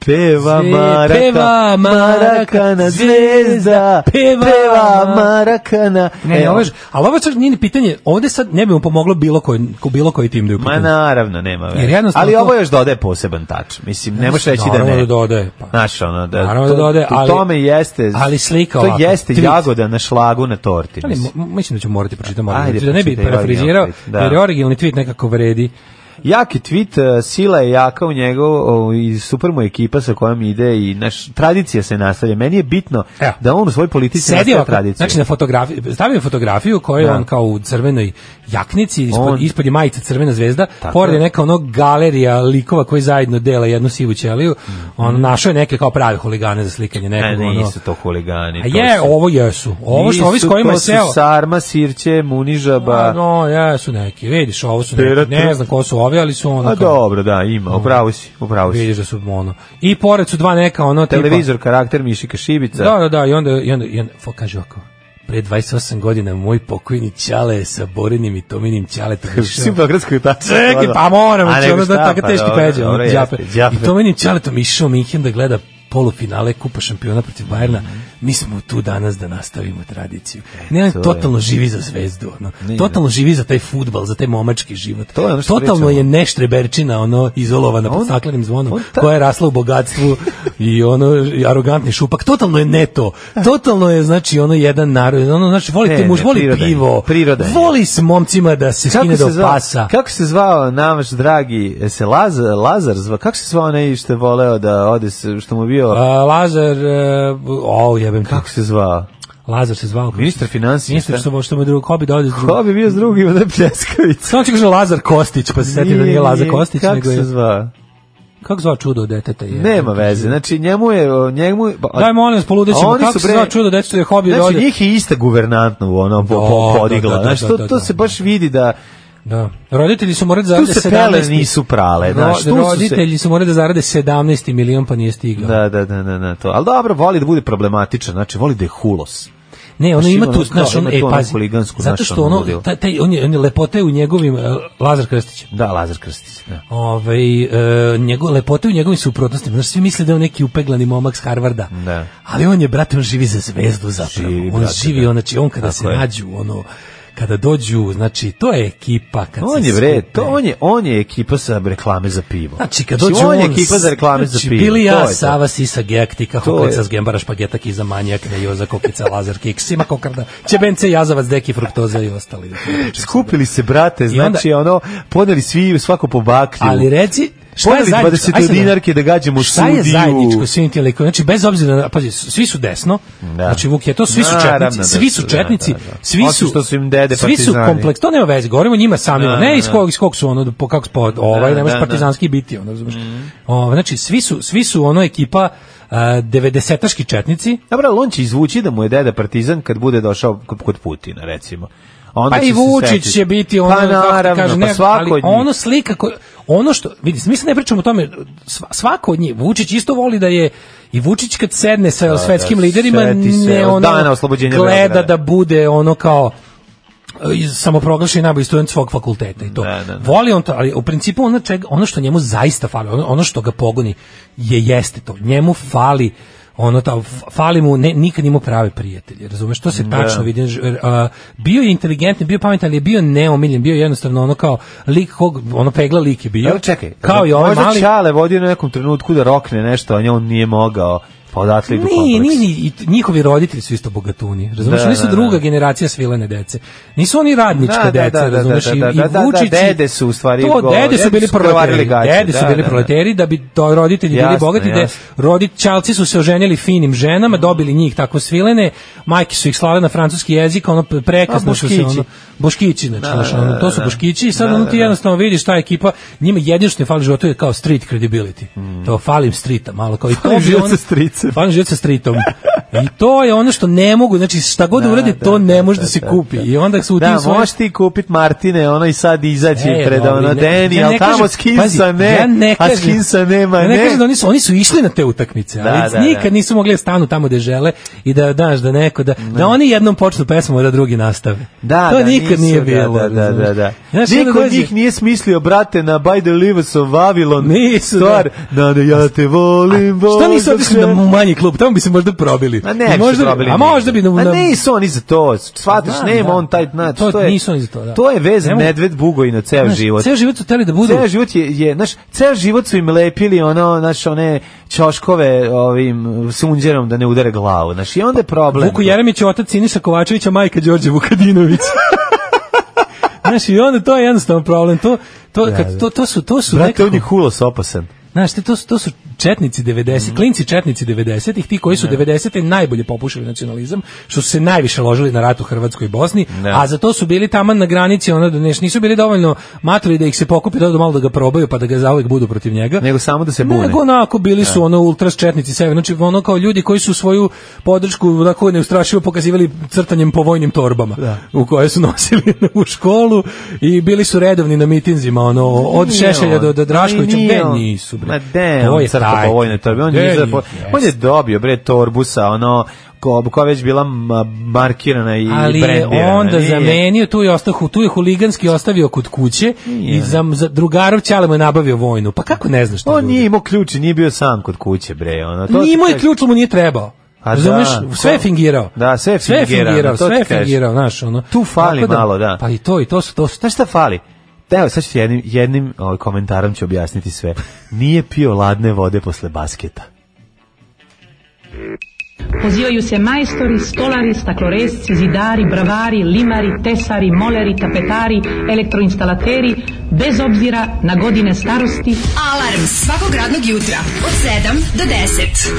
Speaker 6: Peva
Speaker 5: Zve-
Speaker 6: Maraka,
Speaker 5: peva Marakana,
Speaker 6: Marakana, zvezda,
Speaker 5: peva
Speaker 6: peva, E,
Speaker 5: Ma-
Speaker 6: Marakana.
Speaker 5: Ne, ne,
Speaker 6: Evo.
Speaker 5: ovo je- ali ovo čak nije ni pitanje, ovde sad ne bi mu pomoglo bilo koji, ko- bilo koji tim da je u
Speaker 6: Ma
Speaker 5: pitanju.
Speaker 6: naravno, nema
Speaker 5: Jer
Speaker 6: veze.
Speaker 5: jednostavno
Speaker 6: Ali
Speaker 5: to-
Speaker 6: ovo još dodaje poseban tač. Mislim, ne možeš reći da
Speaker 5: Naravno
Speaker 6: ne.
Speaker 5: da dodaje, pa.
Speaker 6: Znaš, ono, da,
Speaker 5: Naravno
Speaker 6: to,
Speaker 5: da dodaje, ali-
Speaker 6: u tome jeste,
Speaker 5: ali slika
Speaker 6: to
Speaker 5: ovako,
Speaker 6: jeste
Speaker 5: tweet.
Speaker 6: jagoda na šlagu na torti.
Speaker 5: Ali
Speaker 6: mislim.
Speaker 5: mo- mislim da ću morati pročitati malo.
Speaker 6: Ajde,
Speaker 5: da ne bi
Speaker 6: pročitaj
Speaker 5: parafrizirao,
Speaker 6: originalni tweet, da.
Speaker 5: jer je originalni tweet nekako vredi.
Speaker 6: Jak je tweet, e, sila je jaka u njegov o, i super mu je ekipa sa kojom ide i naš, tradicija se nastavlja. Meni je bitno
Speaker 5: Evo.
Speaker 6: da on u svojoj politici
Speaker 5: Sedi
Speaker 6: nastavlja
Speaker 5: ovako,
Speaker 6: tradiciju.
Speaker 5: znači na fotografiji, stavio je fotografiju koju je
Speaker 6: Da.
Speaker 5: on kao u crvenoj jaknici, ispod,
Speaker 6: On-
Speaker 5: ispod je majica crvena zvezda,
Speaker 6: Tako
Speaker 5: pored je
Speaker 6: je.
Speaker 5: neka ono galerija likova koji zajedno dela jednu sivu ćeliju,
Speaker 6: Mhm.
Speaker 5: on našao je neke kao prave huligane za slikanje nekog
Speaker 6: E,
Speaker 5: ono.
Speaker 6: nisu to huligani.
Speaker 5: A
Speaker 6: to
Speaker 5: je,
Speaker 6: su-
Speaker 5: ovo jesu. Ovo što ovi s
Speaker 6: Nisu,
Speaker 5: kojima je
Speaker 6: to su
Speaker 5: seo.
Speaker 6: Sarma, Sirće, Munižaba.
Speaker 5: A, no, jesu neki, vidiš, ovo su
Speaker 6: Pera
Speaker 5: neki,
Speaker 6: tu.
Speaker 5: ne znam ko su ovi, ali su ono
Speaker 6: A
Speaker 5: kao-
Speaker 6: dobro, da, ima, upravo si, upravo si.
Speaker 5: vidiš da su ono. I pored su dva neka ono tipa-
Speaker 6: Televizor, karakter Mišika Šibica.
Speaker 5: Da, da, da, i onda, i onda, i onda fo, kaže ovako, pre 28 godina moj pokojni Ćale je sa Borinim i Tominim Ćaletom
Speaker 6: Svi u
Speaker 5: išao.
Speaker 6: Beogradskoj tači.
Speaker 5: Čekaj, pa moramo,
Speaker 6: A
Speaker 5: će
Speaker 6: nego
Speaker 5: ono da
Speaker 6: šta,
Speaker 5: tako
Speaker 6: pa
Speaker 5: teški
Speaker 6: dobro,
Speaker 5: peđe, ono
Speaker 6: dobro,
Speaker 5: džape.
Speaker 6: jeste, džape.
Speaker 5: I Tominim Ćaletom išao u Minhen da gleda polufinale Kupa šampiona protiv Bajerna. Mi smo tu danas da nastavimo tradiciju. Ne, on
Speaker 6: Mhm. E, to je.
Speaker 5: totalno živi za zvezdu, ono.
Speaker 6: Nije.
Speaker 5: Totalno živi za taj futbal, za taj momački život.
Speaker 6: To je ono što
Speaker 5: totalno
Speaker 6: pričamo.
Speaker 5: je neštreberčina, ono, izolovana pod
Speaker 6: On-
Speaker 5: staklenim zvonom,
Speaker 6: on ta-
Speaker 5: koja je rasla u bogatstvu i ono, i arogantni šupak. Totalno je ne to. Totalno je, znači, ono, jedan narod. Ono, znači, voli
Speaker 6: Ne,
Speaker 5: te muž,
Speaker 6: ne,
Speaker 5: voli
Speaker 6: priroda je.
Speaker 5: pivo.
Speaker 6: Priroda je.
Speaker 5: Voli s momcima da se skine do
Speaker 6: zvao,
Speaker 5: pasa.
Speaker 6: Kako se zvao naš dragi, e, se Lazar, Lazar zvao, kako se zvao onaj što je voleo da ode, se- što mu bio,
Speaker 5: A, Lazar, uh, o, e, jebem ti.
Speaker 6: kako se zvao?
Speaker 5: Lazar se zvao.
Speaker 6: Ministar financija,
Speaker 5: Ministar
Speaker 6: šta?
Speaker 5: što, što mu je drugo, ko bi da ode s drugog.
Speaker 6: Ko bi bio s drugim od Pljeskavica?
Speaker 5: Samo ću kažem Lazar Kostić, pa se setio da nije Lazar Kostić,
Speaker 6: kako
Speaker 5: nego
Speaker 6: se
Speaker 5: je...
Speaker 6: zvao?
Speaker 5: Kako zvao čudo od deteta? Je,
Speaker 6: Nema veze, znači njemu je... Njemu, pa-
Speaker 5: Daj molim vas,
Speaker 6: A
Speaker 5: poludećemo,
Speaker 6: oni
Speaker 5: kako
Speaker 6: su,
Speaker 5: se
Speaker 6: bre-
Speaker 5: zvao čudo deteta je hobi da
Speaker 6: Znači,
Speaker 5: ode?
Speaker 6: njih je ista guvernantno u ono po,
Speaker 5: Da,
Speaker 6: po,
Speaker 5: da,
Speaker 6: podigla.
Speaker 5: da, da,
Speaker 6: Znaš,
Speaker 5: da,
Speaker 6: to,
Speaker 5: da,
Speaker 6: to
Speaker 5: da.
Speaker 6: se baš vidi da...
Speaker 5: Da. Roditelji su morali da
Speaker 6: Tu
Speaker 5: zarade 17...
Speaker 6: se pele nisu prale, znaš, tu su se-
Speaker 5: roditelji su morali da zarade 17 milion, pa nije stigao.
Speaker 6: Da, da, da, da, da, to. Ali dobro, voli da bude problematičan, znači voli da je hulos.
Speaker 5: Ne, ono
Speaker 6: Znaš,
Speaker 5: ima
Speaker 6: ima
Speaker 5: tu,
Speaker 6: ono
Speaker 5: znaš,
Speaker 6: kao,
Speaker 5: on,
Speaker 6: ima
Speaker 5: e,
Speaker 6: tu ono
Speaker 5: pazi,
Speaker 6: huligansku,
Speaker 5: zato
Speaker 6: znaš,
Speaker 5: što
Speaker 6: ono,
Speaker 5: ono,
Speaker 6: ludilo.
Speaker 5: taj, taj, on je, on je lepote u njegovim, e, Lazar Krstić,
Speaker 6: Da, Lazar Krstić. Da.
Speaker 5: Ove, e, njegov, lepote u njegovim suprotnostima. Znaš, svi misle da je on neki upeglani momak s Harvarda.
Speaker 6: Da.
Speaker 5: Ali on je, brate, on živi za zvezdu zapravo.
Speaker 6: Živi,
Speaker 5: on
Speaker 6: brate,
Speaker 5: živi,
Speaker 6: da.
Speaker 5: on, znači, on kada
Speaker 6: Tako
Speaker 5: se
Speaker 6: je.
Speaker 5: nađu, ono, kada dođu, znači, to je ekipa. Kad
Speaker 6: On
Speaker 5: se
Speaker 6: je bre,
Speaker 5: skupe.
Speaker 6: to on je, on je ekipa sa reklame za pivo.
Speaker 5: Znači, kad dođu
Speaker 6: on je
Speaker 5: on,
Speaker 6: ekipa za reklame za
Speaker 5: znači,
Speaker 6: pivo.
Speaker 5: Bili
Speaker 6: to
Speaker 5: ja,
Speaker 6: je to.
Speaker 5: Sava, Sisa, Gektika,
Speaker 6: To
Speaker 5: Hoklica,
Speaker 6: je.
Speaker 5: Zgembara, Špageta, Kiza, Manjak, Nejoza, Kokica, Lazar, Kiks, Sima, Kokarda, Čebence, Jazavac, Deki, Fruktoza i ostali.
Speaker 6: Skupili se, brate, znači, ono, podeli svi, svako po baklju.
Speaker 5: Ali reci, šta je
Speaker 6: Podeli
Speaker 5: zajedničko?
Speaker 6: 20 dinarke da gađamo
Speaker 5: šta je
Speaker 6: sudiju.
Speaker 5: zajedničko svim tim likovima? Znači, bez obzira, na, pazi, svi su desno,
Speaker 6: Da.
Speaker 5: znači Vuk je to, svi su
Speaker 6: Naravno
Speaker 5: četnici,
Speaker 6: da
Speaker 5: svi su
Speaker 6: su, da,
Speaker 5: četnici,
Speaker 6: da, da.
Speaker 5: svi
Speaker 6: Osim
Speaker 5: su,
Speaker 6: što su im dede
Speaker 5: svi su
Speaker 6: partizani.
Speaker 5: kompleks, to nema veze, govorimo o njima samima,
Speaker 6: Da,
Speaker 5: ne iz
Speaker 6: da.
Speaker 5: kog, iz kog su ono, po, kako, po, ovaj,
Speaker 6: Da,
Speaker 5: ne možeš
Speaker 6: da, Mhm. da.
Speaker 5: partizanski biti, ono, razumiješ. O, znači, svi su, svi su ono ekipa, Uh, 90-aški četnici,
Speaker 6: Dobro, ali on će izvući da mu je deda partizan kad bude došao kod- kod Putina, recimo. A Onda
Speaker 5: pa
Speaker 6: će
Speaker 5: i
Speaker 6: se
Speaker 5: Vučić
Speaker 6: setiti.
Speaker 5: će biti ono,
Speaker 6: pa, naravno,
Speaker 5: kako ti kažem,
Speaker 6: pa
Speaker 5: ne,
Speaker 6: svako
Speaker 5: ali
Speaker 6: od njih.
Speaker 5: ono slika, koja, ono što, vidi, mi se ne pričamo o tome, sva- svako od njih, Vučić isto voli da je, i Vučić kad sedne sa svetskim
Speaker 6: da,
Speaker 5: liderima,
Speaker 6: seti se
Speaker 5: ne
Speaker 6: od
Speaker 5: ono,
Speaker 6: dana oslobođenja
Speaker 5: gleda
Speaker 6: Beograda.
Speaker 5: da bude ono kao, e, iz- samoproglašeni najbolji student svog fakulteta i to.
Speaker 6: Da, da, da.
Speaker 5: Voli on to, ali u principu ono, čega, ono što njemu zaista fali, ono, ono što ga pogoni je jeste to. Njemu fali ono ta, f- fali mu, ne, nikad imao prave prijatelje, razumeš, to se tačno vidi, ž- a, bio je inteligentan, bio je pametan, ali je bio neomiljen, bio je jednostavno ono kao lik kog, ono pegla lik je bio,
Speaker 6: Evo čekaj,
Speaker 5: kao i ovaj
Speaker 6: možda
Speaker 5: mali,
Speaker 6: Čale vodio na nekom trenutku da rokne nešto, a nje on nije mogao, pa odatle idu
Speaker 5: Ni,
Speaker 6: kompleks.
Speaker 5: ni, ni, i t- njihovi roditelji su isto bogatuni. Razumeš,
Speaker 6: Da,
Speaker 5: oni su
Speaker 6: da,
Speaker 5: druga
Speaker 6: da.
Speaker 5: generacija svilene dece. Nisu oni radnička
Speaker 6: Da, da,
Speaker 5: deca,
Speaker 6: da, da,
Speaker 5: razumeš,
Speaker 6: da,
Speaker 5: i-
Speaker 6: da,
Speaker 5: i
Speaker 6: da, da,
Speaker 5: Vučić i-
Speaker 6: dede su u stvari
Speaker 5: To,
Speaker 6: govore,
Speaker 5: dede su
Speaker 6: dede
Speaker 5: bili
Speaker 6: su prevarili
Speaker 5: proleteri.
Speaker 6: gaće,
Speaker 5: Dede su
Speaker 6: da,
Speaker 5: bili
Speaker 6: da, da.
Speaker 5: proleteri da bi to roditelji bili
Speaker 6: Jasno,
Speaker 5: bogati, da
Speaker 6: jasno.
Speaker 5: roditelji su se oženili finim ženama, dobili njih tako svilene, majke su ih slale na francuski jezik, ono pre- prekasno
Speaker 6: A,
Speaker 5: su se
Speaker 6: Boškići.
Speaker 5: ono Boškići, znači,
Speaker 6: Da,
Speaker 5: znaš,
Speaker 6: da,
Speaker 5: ono,
Speaker 6: da,
Speaker 5: to su
Speaker 6: da.
Speaker 5: Boškići i sad
Speaker 6: Da,
Speaker 5: ono
Speaker 6: da,
Speaker 5: ti
Speaker 6: da.
Speaker 5: jednostavno vidiš ta ekipa, njima jedino što im fali u životu je kao street credibility. To falim strita malo kao i to
Speaker 6: Hmm. Fali
Speaker 5: bi
Speaker 6: život
Speaker 5: ono-
Speaker 6: sa stricem.
Speaker 5: Fan život sa streetom. I to je ono što ne mogu, znači šta god da, uradi,
Speaker 6: da,
Speaker 5: to ne
Speaker 6: da,
Speaker 5: može da,
Speaker 6: da,
Speaker 5: se
Speaker 6: da,
Speaker 5: kupi. I onda su u tim
Speaker 6: Da,
Speaker 5: svojim...
Speaker 6: možeš ti kupit Martine, ono i sad izaći
Speaker 5: E,
Speaker 6: pred
Speaker 5: dobro,
Speaker 6: ono
Speaker 5: ne-
Speaker 6: Deni,
Speaker 5: ja ne
Speaker 6: ali tamo
Speaker 5: kažem-
Speaker 6: skinsa
Speaker 5: pazi,
Speaker 6: ne,
Speaker 5: ja ne
Speaker 6: a
Speaker 5: kažem-
Speaker 6: skinsa nema,
Speaker 5: ja
Speaker 6: ne.
Speaker 5: ne kažem da oni su, oni su išli na te utakmice, ali
Speaker 6: Da, da,
Speaker 5: nikad
Speaker 6: da.
Speaker 5: nisu mogli da stanu tamo gde žele i da daš da neko da, da oni jednom počnu pesmu a da drugi nastave.
Speaker 6: Da,
Speaker 5: to
Speaker 6: da,
Speaker 5: nikad
Speaker 6: nisu,
Speaker 5: nije
Speaker 6: da,
Speaker 5: bilo.
Speaker 6: Da, da, da,
Speaker 5: razumeš?
Speaker 6: da.
Speaker 5: Znaš, i onda
Speaker 6: Niko od
Speaker 5: dođe-
Speaker 6: njih nije smislio, brate, na By the Livers of Babylon
Speaker 5: Nisu,
Speaker 6: stvar. Da, da, ja te volim, volim.
Speaker 5: Što nisu
Speaker 6: dok
Speaker 5: otišli
Speaker 6: se-
Speaker 5: na manji klub, tamo bi se možda probili.
Speaker 6: Ma
Speaker 5: I
Speaker 6: ne, bi
Speaker 5: možda,
Speaker 6: se
Speaker 5: bi-
Speaker 6: probili
Speaker 5: A
Speaker 6: nigde.
Speaker 5: možda bi na,
Speaker 6: Ma
Speaker 5: na,
Speaker 6: nisu oni za to, shvataš,
Speaker 5: Znam,
Speaker 6: nema
Speaker 5: da.
Speaker 6: on taj, znači,
Speaker 5: To
Speaker 6: to, je,
Speaker 5: nisu oni za to, da.
Speaker 6: je vez
Speaker 5: Ne mogu-
Speaker 6: medved bugojno ceo
Speaker 5: znaš,
Speaker 6: život.
Speaker 5: Ceo život su teli da budu...
Speaker 6: Ceo život je, je, znaš, ceo život su im lepili ono, znaš, one čoškove ovim sunđerom da ne udare glavu, znaš, i onda je problem.
Speaker 5: Vuku Jeremić je otac Siniša Kovačevića, majka Đorđe
Speaker 6: <laughs>
Speaker 5: Vukadinović. Znaš, i onda to je jednostavan problem. To, to, kad, to, to su, to su
Speaker 6: Brate, on je
Speaker 5: nekako-
Speaker 6: hulos opasan.
Speaker 5: Znaš, ti, to, su, to su četnici 90,
Speaker 6: Mhm.
Speaker 5: klinci četnici 90-ih, ti koji su 90-te najbolje popušili nacionalizam, što su se najviše ložili na rat u Hrvatskoj i Bosni,
Speaker 6: Ne.
Speaker 5: a za to su bili taman na granici, ono, da neš, nisu bili dovoljno maturi da ih se pokupi, da odu malo da ga probaju, pa da ga zauvek budu protiv njega.
Speaker 6: Nego samo da se bune.
Speaker 5: Nego onako bili su ono ultras četnici sebe, znači ono kao ljudi koji su svoju podršku onako neustrašivo pokazivali crtanjem po vojnim torbama u koje su <laughs> nosili u školu i bili su redovni na mitinzima ono od
Speaker 6: Nije
Speaker 5: Šešelja
Speaker 6: on.
Speaker 5: do, do Draškovića,
Speaker 6: Ma nije
Speaker 5: gde
Speaker 6: on.
Speaker 5: nisu bre.
Speaker 6: Ma de,
Speaker 5: To
Speaker 6: on
Speaker 5: je
Speaker 6: crta
Speaker 5: taj.
Speaker 6: po vojnoj torbi, on,
Speaker 5: Gde
Speaker 6: je,
Speaker 5: nije?
Speaker 6: izra- on je
Speaker 5: Jeste.
Speaker 6: dobio, bre, torbu sa ono, ko, koja je već bila ma- markirana i
Speaker 5: ali je
Speaker 6: brendirana.
Speaker 5: onda
Speaker 6: nije.
Speaker 5: zamenio tu je ostao hu- tu je huliganski ostavio kod kuće i za, za drugarov ćale mu je nabavio vojnu pa kako ne znaš to
Speaker 6: On
Speaker 5: ljudi?
Speaker 6: nije imao ključ i nije bio sam kod kuće, bre. Ono, to ti
Speaker 5: Nimao je
Speaker 6: kažem.
Speaker 5: ključ, ali mu nije trebao.
Speaker 6: A
Speaker 5: Razumeš,
Speaker 6: da,
Speaker 5: sve je
Speaker 6: to-
Speaker 5: fingirao.
Speaker 6: Da, sve je fingirano,
Speaker 5: fingirao,
Speaker 6: to
Speaker 5: sve je
Speaker 6: ti kažem.
Speaker 5: fingirao, znaš, ono.
Speaker 6: Tu fali
Speaker 5: Tako
Speaker 6: malo, da.
Speaker 5: Pa i to, i to su, to su.
Speaker 6: Znaš šta fali? Evo, sad ću ti jednim, jednim ovaj, komentarom ću objasniti sve. Nije pio ladne vode posle basketa.
Speaker 12: Pozivaju se majstori, stolari, stakloresci, zidari, bravari, limari, tesari, moleri, tapetari, elektroinstalateri, bez obzira na godine starosti,
Speaker 4: Alarm svakog radnog jutra od 7 do 10.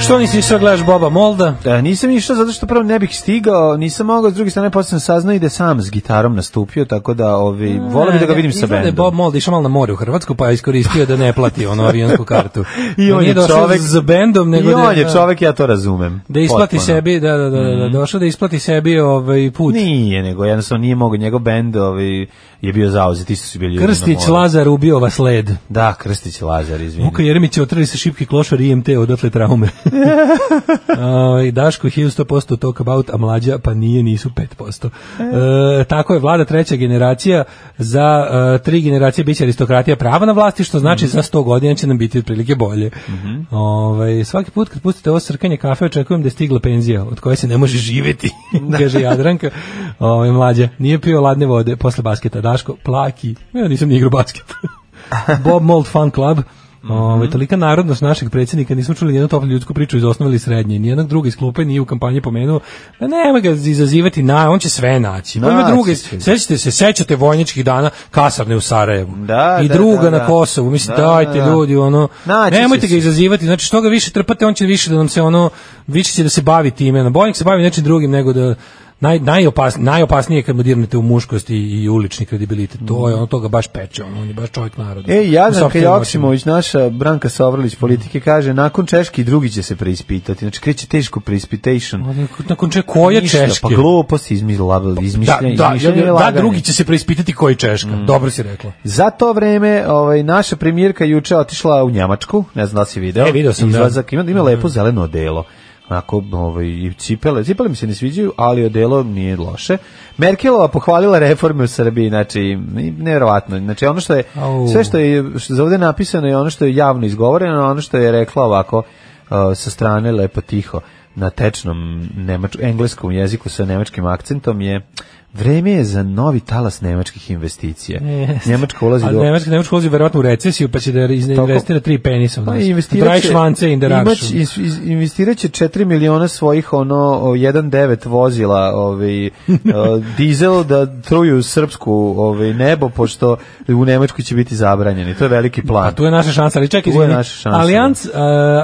Speaker 5: Što nisi išao da gledaš Boba Molda?
Speaker 6: Da, nisam išao zato što prvo ne bih stigao, nisam mogao, s druge strane posle sam saznao i da je sam s gitarom nastupio, tako da ovi, volim bi Mm, da ga vidim sa
Speaker 5: Izgleda je
Speaker 6: bendom.
Speaker 5: Bob Mold išao malo na more u Hrvatsku, pa je iskoristio da ne plati ono avionsku
Speaker 6: <laughs>
Speaker 5: kartu.
Speaker 6: I on
Speaker 5: Nije
Speaker 6: je
Speaker 5: došao
Speaker 6: čovek
Speaker 5: za bendom, nego
Speaker 6: I
Speaker 5: da-
Speaker 6: on je
Speaker 5: da-
Speaker 6: čovek, ja to razumem.
Speaker 5: Da isplati
Speaker 6: Potpuno. Mhm.
Speaker 5: sebi, da, da, da, da, da, došao da isplati sebi ovaj put.
Speaker 6: Nije, nego jednostavno nije mogao njegov bend, ovaj je bio zauzet, isto su bili ljudi na
Speaker 5: Krstić
Speaker 6: moru.
Speaker 5: Lazar ubio vas led.
Speaker 6: Da, Krstić Lazar, izvini.
Speaker 5: Vuka Jeremić je otrli sa šipki klošar IMT, odatle traume. uh, Daško 1100% talk about, a mlađa pa nije, nisu 5%. E, tako je, vlada treća generacija, za e, tri generacije biće aristokratija prava na vlasti, što znači za 100 godina će nam biti otprilike bolje. Ovaj, svaki put kad pustite ovo srkanje kafe, očekujem da je stigla penzija, od koje se ne može živjeti, <laughs> kaže Jadranka. Ovaj, mlađa, nije pio ladne vode posle basketa. Daško, plaki. Ja nisam ni igrao basket. Bob Mold Fan Club.
Speaker 6: Mhm.
Speaker 5: Ove, tolika narodnost našeg predsjednika, nismo čuli nijednu toplu ljudsku priču iz osnove ili srednje, nijednog druga iz klupe nije u kampanji pomenuo, da nema ga izazivati, na, on će sve naći. Pa ima
Speaker 6: Naći
Speaker 5: druga,
Speaker 6: će.
Speaker 5: sećate se, sećate vojničkih dana kasarne u Sarajevu.
Speaker 6: Da,
Speaker 5: I
Speaker 6: da,
Speaker 5: druga
Speaker 6: da, da.
Speaker 5: na Kosovu, mislim,
Speaker 6: Da, da,
Speaker 5: dajte
Speaker 6: da.
Speaker 5: ljudi, ono,
Speaker 6: Naći će
Speaker 5: nemojte ga
Speaker 6: se.
Speaker 5: izazivati, znači što ga više trpate, on će više da nam se ono, više će da se bavi time, na bojnik se bavi nečim drugim nego da Naj, najopas, najopasnije je kad mu dirnete u muškost i, i ulični kredibilitet. To je ono toga baš peče, ono, on je baš čovjek naroda.
Speaker 6: E,
Speaker 5: U
Speaker 6: Jadranka
Speaker 5: sopstvenim
Speaker 6: Joksimović, naša Branka Sovrlić politike, kaže, nakon Češki drugi će se preispitati. Znači, kreće teško preispitation.
Speaker 5: očima. Nakon če, koja
Speaker 6: Ništa,
Speaker 5: Češke?
Speaker 6: Pa glupost izmišlja,
Speaker 5: da,
Speaker 6: izmišlja,
Speaker 5: da,
Speaker 6: izmišljanje i
Speaker 5: da,
Speaker 6: laganje. Mm.
Speaker 5: da, drugi će se preispitati koji Češka. Dobro si rekla.
Speaker 6: Za to vreme, ovaj naša premijerka juče otišla u Njemačku, ne znam da li si video.
Speaker 5: E, video sam, da. Mhm.
Speaker 6: Izlazak, ima, ima lepo zeleno odelo. Onako, ovaj, i cipele, cipele mi se ne sviđaju, ali odelo nije loše. Merkelova pohvalila reforme u Srbiji, znači, nevjerovatno. Znači, ono što je,
Speaker 5: Au.
Speaker 6: sve što je što je ovde napisano je ono što je javno izgovoreno, ono što je rekla ovako, uh, sa strane lepo tiho, na tečnom nemač, engleskom jeziku sa nemačkim akcentom je Vreme je za novi talas nemačkih investicija.
Speaker 5: Jeste.
Speaker 6: Njemačka ulazi
Speaker 5: A
Speaker 6: do...
Speaker 5: Nemačka, Nemačka ulazi verovatno u recesiju, pa će da izne-
Speaker 6: Tako.
Speaker 5: investira tri penisa. u
Speaker 6: Pa
Speaker 5: nas.
Speaker 6: investirat
Speaker 5: Draj
Speaker 6: će-
Speaker 5: švance in the
Speaker 6: imać-
Speaker 5: Russian.
Speaker 6: ins- iz- investirat će 4 miliona svojih ono o, 1.9 vozila ovaj, <laughs> e, dizel da truju srpsku ovaj, nebo, pošto u Nemačkoj će biti zabranjeni. To je veliki plan.
Speaker 5: A tu je naša šansa, ali čekaj,
Speaker 6: Tu je
Speaker 5: izvini.
Speaker 6: naša šansa,
Speaker 5: Alijans, uh,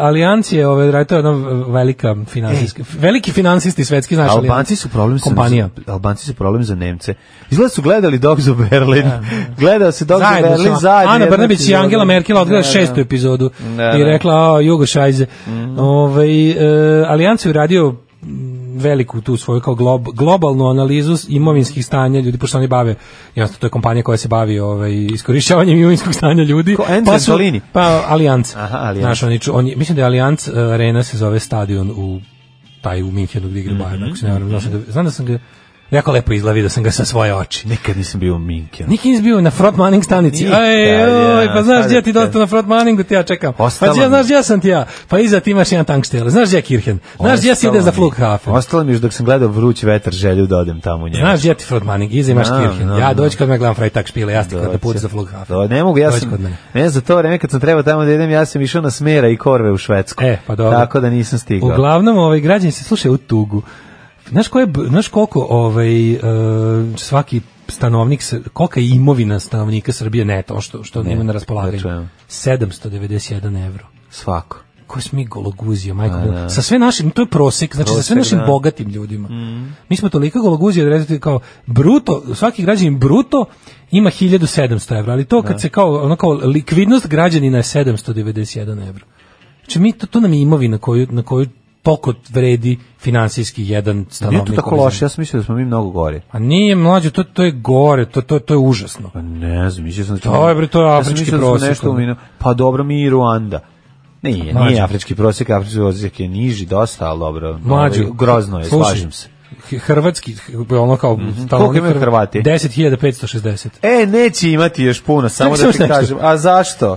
Speaker 5: Alijans je, ovaj, da, to je jedna velika finansijska, veliki finansisti svetski, znaš,
Speaker 6: Albanci
Speaker 5: Alijans.
Speaker 6: su problem sa
Speaker 5: kompanija.
Speaker 6: Albanci su problem za Nemce. Izgleda su gledali Dog za Berlin. <laughs> Gledao se Dog za
Speaker 5: Zajedno
Speaker 6: Berlin
Speaker 5: su-
Speaker 6: zajedno.
Speaker 5: Ana
Speaker 6: jedna
Speaker 5: Brnabić i
Speaker 6: epizoda.
Speaker 5: Angela Merkel odgledali
Speaker 6: Da, da.
Speaker 5: šestu epizodu
Speaker 6: Da,
Speaker 5: i
Speaker 6: da.
Speaker 5: rekla, a, Jugo Šajze.
Speaker 6: Mhm.
Speaker 5: Ovaj, e, Alijans je uradio mm, veliku tu svoju kao glob, globalnu analizu s- imovinskih stanja ljudi pošto oni bave jasno to je kompanija koja se bavi ovaj iskorišćavanjem imovinskog stanja ljudi
Speaker 6: Ko Enzo
Speaker 5: su-
Speaker 6: Antolini?
Speaker 5: pa Alijans
Speaker 6: Aha, Allianz.
Speaker 5: Znaš, oni ču- on je- mislim da je Alijans arena se zove stadion u taj u Minhenu gdje igra Bayern ako se ne varam
Speaker 6: Mhm,
Speaker 5: Znam da- znam da sam ga jako lepo izgleda vidio sam ga sa svoje oči
Speaker 6: Nikad nisam bio u Minkenu.
Speaker 5: Niki nisi bio na Front Manning stanici.
Speaker 6: Nikad,
Speaker 5: Aj, joj,
Speaker 6: ja,
Speaker 5: pa znaš
Speaker 6: sad
Speaker 5: gdje
Speaker 6: je
Speaker 5: ti
Speaker 6: to.
Speaker 5: dosta na Front Manningu, ti ja čekam.
Speaker 6: Ostalo
Speaker 5: pa gdje,
Speaker 6: mi.
Speaker 5: znaš gdje sam ti ja? Pa iza ti imaš jedan tankštel. Znaš gdje je Kirchen? Znaš gdje si ide za Flughafen?
Speaker 6: Ostalo mi je još dok sam gledao vruć vetar želju da odem tamo u njemu.
Speaker 5: Znaš gdje ti Front Manning, iza imaš
Speaker 6: Znam,
Speaker 5: Kirchen.
Speaker 6: znam,
Speaker 5: Ja
Speaker 6: znam.
Speaker 5: dođi kod me gledam Freitag špile, ja ti kod
Speaker 6: Dođi.
Speaker 5: na put za Flughafen.
Speaker 6: Do, ne mogu, ja
Speaker 5: Dođi
Speaker 6: sam,
Speaker 5: kod mene.
Speaker 6: ne, za to vreme kad sam trebao tamo da idem, ja sam išao na smera i korve u Švedsku.
Speaker 5: E, pa dobro.
Speaker 6: Tako da nisam stigao.
Speaker 5: Uglavnom, ovaj, građani se slušaju u tugu. Znaš, koje, b- znaš koliko ovaj, e, svaki stanovnik, s- kolika je imovina stanovnika Srbije neto, što, što nema na
Speaker 6: da
Speaker 5: raspolaganju?
Speaker 6: čujem.
Speaker 5: 791 evro.
Speaker 6: Svako.
Speaker 5: ko smo mi gologuzija, majko Boga. Sa sve našim, to je prosek, znači sa sve
Speaker 6: Prosek,
Speaker 5: našim
Speaker 6: da. Mm.
Speaker 5: bogatim ljudima. Mi smo toliko gologuzija da recite kao bruto, svaki građanin bruto ima 1700 evra, ali to kad se kao, ono kao likvidnost građanina je 791 evra. Znači mi, to, to nam je imovina koju, na koju toliko vredi finansijski jedan
Speaker 6: Nije
Speaker 5: stanovnik.
Speaker 6: to tako
Speaker 5: ove
Speaker 6: loše,
Speaker 5: zemlje.
Speaker 6: ja sam mislio da smo mi mnogo gori.
Speaker 5: A nije mlađe, to, to je gore, to, to, to je užasno.
Speaker 6: Pa ne znam, mislio sam da
Speaker 5: To je, Ovaj, bre, to je
Speaker 6: Ja sam
Speaker 5: afrički
Speaker 6: mislio da smo
Speaker 5: prosjek,
Speaker 6: Nešto u
Speaker 5: ono.
Speaker 6: minu... Pa dobro, mi i Ruanda. Nije,
Speaker 5: Mlađe.
Speaker 6: nije afrički prosjek, afrički prosjek je niži dosta, ali dobro.
Speaker 5: Mlađe,
Speaker 6: ovaj, grozno je,
Speaker 5: slušaj,
Speaker 6: slažem se. Mhm.
Speaker 5: h- Hrvatski, h- ono kao... Mm
Speaker 6: Koliko imaju Hrvati?
Speaker 5: 10.560.
Speaker 6: E, neće imati još puno, samo
Speaker 5: Samo
Speaker 6: da ti
Speaker 5: nešto.
Speaker 6: kažem. A zašto?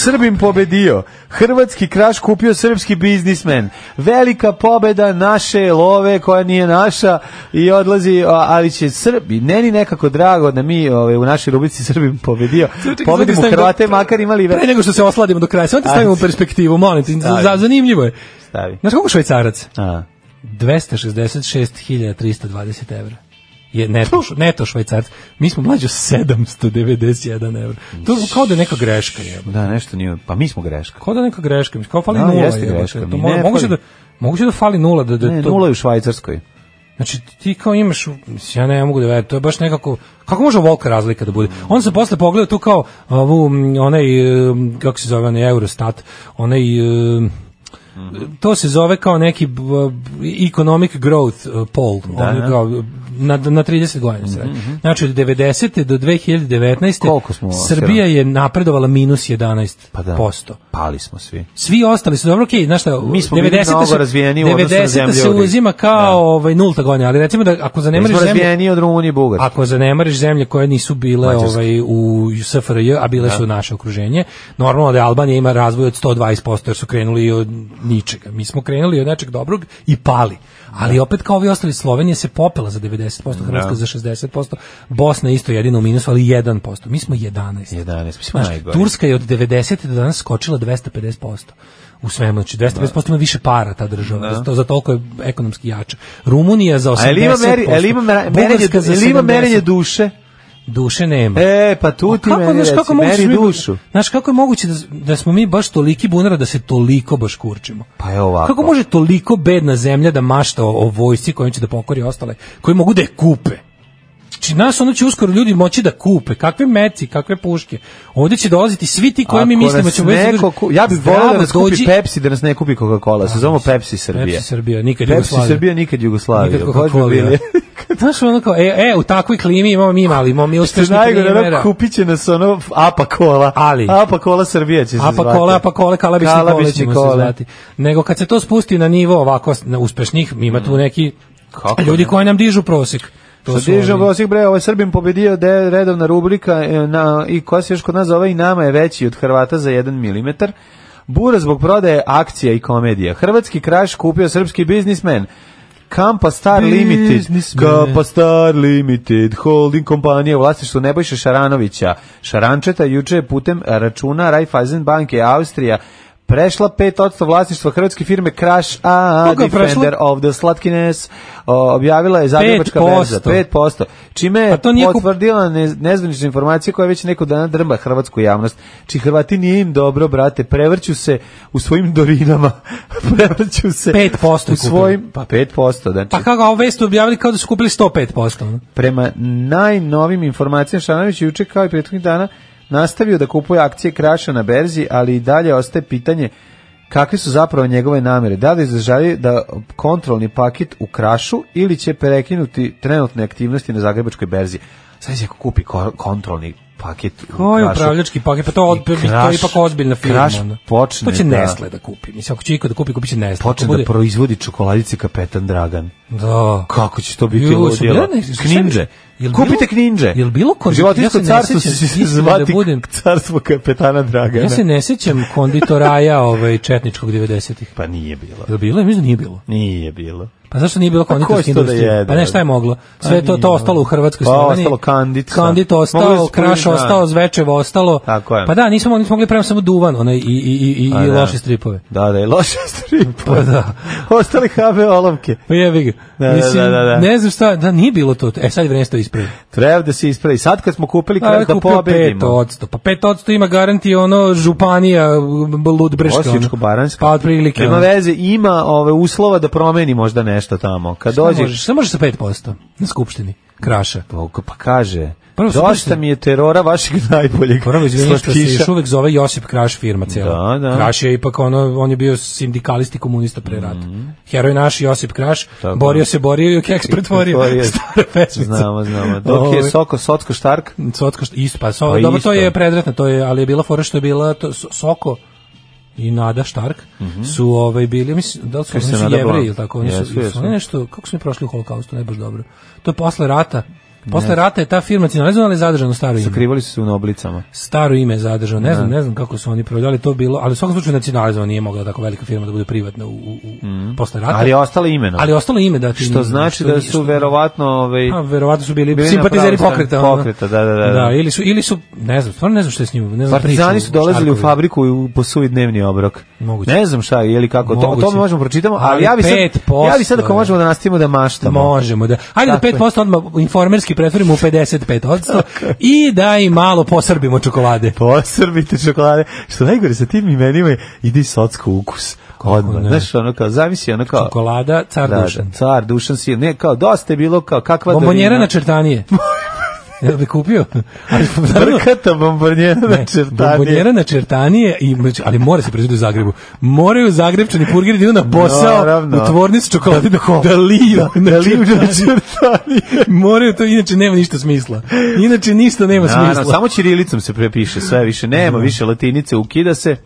Speaker 6: Srbim pobedio. Hrvatski kraš kupio srpski biznismen. Velika pobeda naše love koja nije naša i odlazi, a, ali će Srbi, meni nekako drago da mi ovaj, u našoj rubrici Srbim pobedio. Pobedimo
Speaker 5: Stavimo
Speaker 6: Hrvate,
Speaker 5: do-
Speaker 6: makar imali... ve-
Speaker 5: Pre nego što se osladimo do kraja, samo ti stavimo u
Speaker 6: Ajde.
Speaker 5: perspektivu, molim te, za- za- zanimljivo je.
Speaker 6: Stavi.
Speaker 5: Znaš koliko švajcarac?
Speaker 6: A,
Speaker 5: 266.320 evra. je neto, š- neto švajcarac. Mi smo mlađo 791 evra. To je kao da je neka greška. Je.
Speaker 6: Da, nešto nije, pa mi smo greška.
Speaker 5: Kao da je neka greška. Mislim, kao fali
Speaker 6: Da,
Speaker 5: nula.
Speaker 6: jeste
Speaker 5: jebote.
Speaker 6: greška,
Speaker 5: To
Speaker 6: mi
Speaker 5: mora-
Speaker 6: ne
Speaker 5: moguće, da,
Speaker 6: fali.
Speaker 5: moguće da fali nula. Da, da
Speaker 6: Ne,
Speaker 5: to,
Speaker 6: nula je u Švajcarskoj.
Speaker 5: Znači ti kao imaš, u- mislim, ja ne mogu da verujem, to je baš nekako, kako može volka razlika da bude? On se posle pogledao tu kao ovu, m, onaj, e, m, kako se zove, onaj Eurostat, onaj, e, to se zove kao neki b- b- economic growth e, poll, ono
Speaker 6: da. Mhm,
Speaker 5: kao, na, na 30 godina se radi. Znači od 90. do 2019.
Speaker 6: Koliko smo Pa
Speaker 5: Srbija je napredovala minus 11%. posto.
Speaker 6: Pali smo svi.
Speaker 5: Svi ostali su dobro, okej, znaš šta,
Speaker 6: Mi smo bili
Speaker 5: 90-te
Speaker 6: mnogo
Speaker 5: se-
Speaker 6: razvijeniji u odnosu na
Speaker 5: 90-te
Speaker 6: zemlje
Speaker 5: se
Speaker 6: drugih.
Speaker 5: uzima kao ovaj, nulta godina, ali recimo da ako
Speaker 6: Mi
Speaker 5: zanemariš
Speaker 6: smo
Speaker 5: zemlje,
Speaker 6: razvijeniji od Rumunije i Bugarske.
Speaker 5: ako zanemariš zemlje koje nisu bile
Speaker 6: Mađarska.
Speaker 5: ovaj, u SFRJ, a bile su naše okruženje, normalno da je Albanija ima razvoj od 120% jer su krenuli od ničega. Mi smo krenuli od nečeg dobrog i pali. Ali opet kao ovi ostali Slovenija se popela za 90%, Hrvatska
Speaker 6: Da.
Speaker 5: za 60%, Bosna isto jedina u minusu, ali 1%. Mi smo 11.
Speaker 6: 11, mi smo
Speaker 5: Znaš,
Speaker 6: najgori.
Speaker 5: Turska je od 90. do danas skočila 250% u svemu, znači 250% ima više para ta država,
Speaker 6: Da.
Speaker 5: zato, za toliko je ekonomski jača. Rumunija za 80%,
Speaker 6: A jel ima, meri, jel ima, mera- merenje,
Speaker 5: Bugarska za
Speaker 6: jel ima
Speaker 5: 70%.
Speaker 6: merenje duše?
Speaker 5: Duše nema.
Speaker 6: E, pa tu ti
Speaker 5: Hm. kako,
Speaker 6: meni
Speaker 5: znaš,
Speaker 6: reci,
Speaker 5: kako moguće
Speaker 6: meri
Speaker 5: da mi-
Speaker 6: dušu.
Speaker 5: Znaš, kako je moguće da, da smo mi baš toliki bunara da se toliko baš kurčimo?
Speaker 6: Pa je ovako.
Speaker 5: Kako može toliko bedna zemlja da mašta o, o vojsci kojom će da pokori ostale, koji mogu da je kupe? Znači nas ono će uskoro ljudi moći da kupe, kakve meci, kakve puške. Ovde će dolaziti svi ti koji mi
Speaker 6: Ako
Speaker 5: mislimo
Speaker 6: nas
Speaker 5: ćemo već
Speaker 6: neko ku- Ja bih
Speaker 5: Zdravo,
Speaker 6: volao da nas kupi
Speaker 5: dođi-
Speaker 6: Pepsi, da nas ne kupi Coca-Cola. Se zovemo Pepsi Srbije.
Speaker 5: Pepsi Srbija, nikad
Speaker 6: Pepsi
Speaker 5: Jugoslavija.
Speaker 6: Srbija, nikad Jugoslavija.
Speaker 5: Nikad
Speaker 6: Baš bi
Speaker 5: Coca-Cola,
Speaker 6: bili.
Speaker 5: da. <laughs> Znaš, ono kao, e, e, u takvoj klimi imamo mi mali, imamo mi
Speaker 6: Što je
Speaker 5: uspešni
Speaker 6: <laughs> najgore, ono,
Speaker 5: klimera.
Speaker 6: kupit će nas ono Apa Cola.
Speaker 5: Ali-
Speaker 6: Apa Cola Srbija će se zvati.
Speaker 5: Apa pa kole, apa kole, kalabični,
Speaker 6: Kalabični
Speaker 5: kole ćemo
Speaker 6: kole.
Speaker 5: se zvati. Nego kad se to spusti na nivo ovako s- na uspešnih, ima tu neki
Speaker 6: Kako
Speaker 5: ljudi
Speaker 6: ne?
Speaker 5: koji nam dižu prosek. To su
Speaker 6: Što diže
Speaker 5: oni.
Speaker 6: Gosik bre, ovaj Srbin pobedio de, redovna rubrika e, na, i koja se još kod nas zove i nama je veći od Hrvata za 1 mm. Bura zbog prodaje akcija i komedija. Hrvatski kraš kupio srpski biznismen. Kampa Star Limited,
Speaker 5: Biznismen.
Speaker 6: Kampa Star Limited, holding kompanija u vlasništvu Nebojše Šaranovića. Šarančeta juče je putem računa Raiffeisen banke Austrija prešla 5% vlasništva hrvatske firme Crash A,
Speaker 5: Koga je prešla?
Speaker 6: Defender of the Slatkines, O, objavila je Zagrebačka berza,
Speaker 5: 5%.
Speaker 6: 5%, čime je
Speaker 5: Pa to nije kup-
Speaker 6: potvrdila ne, nezvanična informacija koja već neko dana drma hrvatsku javnost. Či Hrvati nije im dobro, brate, prevrću se u svojim dorinama, <laughs> prevrću se
Speaker 5: 5%
Speaker 6: u
Speaker 5: je kupila.
Speaker 6: svojim, pa 5%, znači,
Speaker 5: Pa kako, a ovo vest objavili kao da su kupili 105%. ono.
Speaker 6: prema najnovim informacijama Šanović je juče kao i prethodnih dana nastavio da kupuje akcije Kraša na berzi, ali i dalje ostaje pitanje kakve su zapravo njegove namere. Da li zaželi da kontrolni paket u Krašu ili će prekinuti trenutne aktivnosti na Zagrebačkoj berzi. Sad će ako kupi ko- kontrolni paket u
Speaker 5: Koji
Speaker 6: Krašu.
Speaker 5: Pa ovaj upravljački paket, pa to, od,
Speaker 6: I
Speaker 5: to je
Speaker 6: Kraš-
Speaker 5: ipak ozbiljna firma.
Speaker 6: Kraš
Speaker 5: ono.
Speaker 6: počne
Speaker 5: to će
Speaker 6: da-
Speaker 5: Nestle da kupi. Mislim, ako će iko da kupi, kupit će Nestle.
Speaker 6: Počne
Speaker 5: Ako
Speaker 6: da
Speaker 5: bude-
Speaker 6: proizvodi čokoladice kapetan Dragan.
Speaker 5: Da.
Speaker 6: Kako će to biti
Speaker 5: Ju, su
Speaker 6: ludilo?
Speaker 5: bile neke-
Speaker 6: Kninđe.
Speaker 5: Jel bilo-
Speaker 6: Kupite kninđe.
Speaker 5: jel bilo kod- ja se
Speaker 6: Životinsko
Speaker 5: ne
Speaker 6: carstvo
Speaker 5: sjećam,
Speaker 6: će se
Speaker 5: iskreno da
Speaker 6: zvati
Speaker 5: budem-
Speaker 6: carstvo kapetana Dragana.
Speaker 5: Ja se ne sjećam konditoraja <laughs> ovaj, četničkog 90-ih.
Speaker 6: Pa nije bilo.
Speaker 5: Je li bilo? Ja Mislim da nije bilo.
Speaker 6: Nije bilo.
Speaker 5: Pa zašto nije bilo
Speaker 6: ko će
Speaker 5: konditorske
Speaker 6: to da
Speaker 5: industrije?
Speaker 6: jede?
Speaker 5: pa ne, šta je moglo?
Speaker 6: Pa
Speaker 5: Sve to,
Speaker 6: nije.
Speaker 5: to ostalo u Hrvatskoj
Speaker 6: Pa
Speaker 5: Sloveniji.
Speaker 6: ostalo kandit, šta?
Speaker 5: Kandit
Speaker 6: Mogli
Speaker 5: ostao,
Speaker 6: su
Speaker 5: kraš
Speaker 6: prvi dan.
Speaker 5: ostao, zvečevo ostalo.
Speaker 6: Tako je.
Speaker 5: Pa da, nismo, mogli- nismo mogli prema samo duvan onaj, i, i, i, i,
Speaker 6: A
Speaker 5: i
Speaker 6: da.
Speaker 5: loše stripove.
Speaker 6: Da, da, i loše strip.
Speaker 5: Pa da.
Speaker 6: Ostali habe olovke.
Speaker 5: Pa jebi ga.
Speaker 6: Da, da,
Speaker 5: Mislim,
Speaker 6: da, da, da.
Speaker 5: Ne znam šta, da nije bilo to. E, sad je vreme to ispravi.
Speaker 6: Treba da se ispravi. Sad kad smo kupili
Speaker 5: Da,
Speaker 6: kraš
Speaker 5: je
Speaker 6: da
Speaker 5: kupio
Speaker 6: pobedimo.
Speaker 5: 5%. Pa 5% ima garanti ono županija Ludbreška. ono.
Speaker 6: Osječko-baranjska.
Speaker 5: Pa otprilike.
Speaker 6: Nema
Speaker 5: ono.
Speaker 6: veze, ima ove uslova da promeni možda nešto tamo. Kad
Speaker 5: Šta
Speaker 6: dođe,
Speaker 5: možeš, šta možeš sa 5% na skupštini? Kraša.
Speaker 6: pa, pa kaže,
Speaker 5: Prvo su
Speaker 6: dosta
Speaker 5: prišli-
Speaker 6: mi je terora vašeg najboljeg
Speaker 5: Prvo izvinite što se
Speaker 6: slatkiša."
Speaker 5: još uvek zove Josip Kraš firma cela.
Speaker 6: Da, da.
Speaker 5: Kraš je ipak ono, on je bio sindikalist i komunista pre rata. Heroj naš Josip Kraš,
Speaker 6: Mhm. Tako.
Speaker 5: borio se, borio i u
Speaker 6: <laughs>
Speaker 5: keks pretvorio.
Speaker 6: pretvorio.
Speaker 5: <laughs> Stara pesmica. <laughs>
Speaker 6: Znamo, znamo. Dok je
Speaker 5: Ovaj,
Speaker 6: Soko, Socko Štark,
Speaker 5: Socko što isto, pa so,
Speaker 6: Pa
Speaker 5: dobro,
Speaker 6: isto.
Speaker 5: to je predretno, to je, ali je bila fora što je bila to, so- Soko i Nada Štark su ovaj bili, ja mislim, da li su,
Speaker 6: Kaže
Speaker 5: oni
Speaker 6: Mhm. se
Speaker 5: su
Speaker 6: Nada Blan.
Speaker 5: jevreji ili tako, oni su,
Speaker 6: Jesu,
Speaker 5: jesu,
Speaker 6: jesu.
Speaker 5: Oni nešto, kako su mi prošli u holokaustu, ne baš dobro. To je posle rata, posle rata je ta firma nacionalizovana, ali je zadržano staro ime.
Speaker 6: sakrivali su se u noblicama.
Speaker 5: staro ime je zadržao, ne znam, ne znam kako su oni prodali, to bilo, ali u svakom slučaju nacionalizovano nije mogla tako velika firma da bude privatna u, u, u posle rata.
Speaker 6: Mhm. Ali je ostalo imeno.
Speaker 5: Ali je ostalo ime da ti
Speaker 6: što znači da su verovatno ovaj
Speaker 5: a Pa, verovatno su bili,
Speaker 6: Bili na
Speaker 5: simpatizeri
Speaker 6: pravu stranu
Speaker 5: pokreta. ono.
Speaker 6: pokreta, da, da, da.
Speaker 5: Da, ili su ili su, ne znam, stvarno ne znam što je s njim, ne znam priču
Speaker 6: Partizani su dolazili u
Speaker 5: Štarkovi.
Speaker 6: fabriku i u- po suvi dnevni obrok.
Speaker 5: Moguće.
Speaker 6: Ne znam šta je ili kako to, o
Speaker 5: Moguće.
Speaker 6: tome možemo pročitamo, ali,
Speaker 5: Ali
Speaker 6: ja bi sad
Speaker 5: 5%
Speaker 6: ja bi sad ako
Speaker 5: je.
Speaker 6: možemo da nastavimo da maštamo.
Speaker 5: Možemo da. Hajde
Speaker 6: Tako je.
Speaker 5: da 5% odmah informerski pretvorimo u
Speaker 6: <laughs>
Speaker 5: 55% i da i malo posrbimo čokolade.
Speaker 6: Posrbite čokolade. Što najgore sa tim imenima je ide i socko ukus. Odmah.
Speaker 5: ne?
Speaker 6: Znaš, ono kao, zamisli, ono kao...
Speaker 5: Čokolada, car
Speaker 6: Da,
Speaker 5: Dušan.
Speaker 6: da, car Dušan si, ne, kao, dosta je bilo, kao, kakva
Speaker 5: Bombonjera na
Speaker 6: <laughs>
Speaker 5: čertanije. Jel bi kupio? Ali, naravno,
Speaker 6: Brkata bombonjera na
Speaker 5: ne,
Speaker 6: čertanije.
Speaker 5: Bombonjera na čertanije, i, ali mora se proizvodi u Zagrebu. Moraju Zagrebčani purgeri da idu na posao
Speaker 6: Naravno.
Speaker 5: u tvornicu čokolade da, da liju na čertanije. Moraju to, inače nema ništa smisla. Inače ništa nema
Speaker 6: Naravno,
Speaker 5: smisla.
Speaker 6: samo ćirilicom se prepiše, sve više nema, više latinice, ukida se.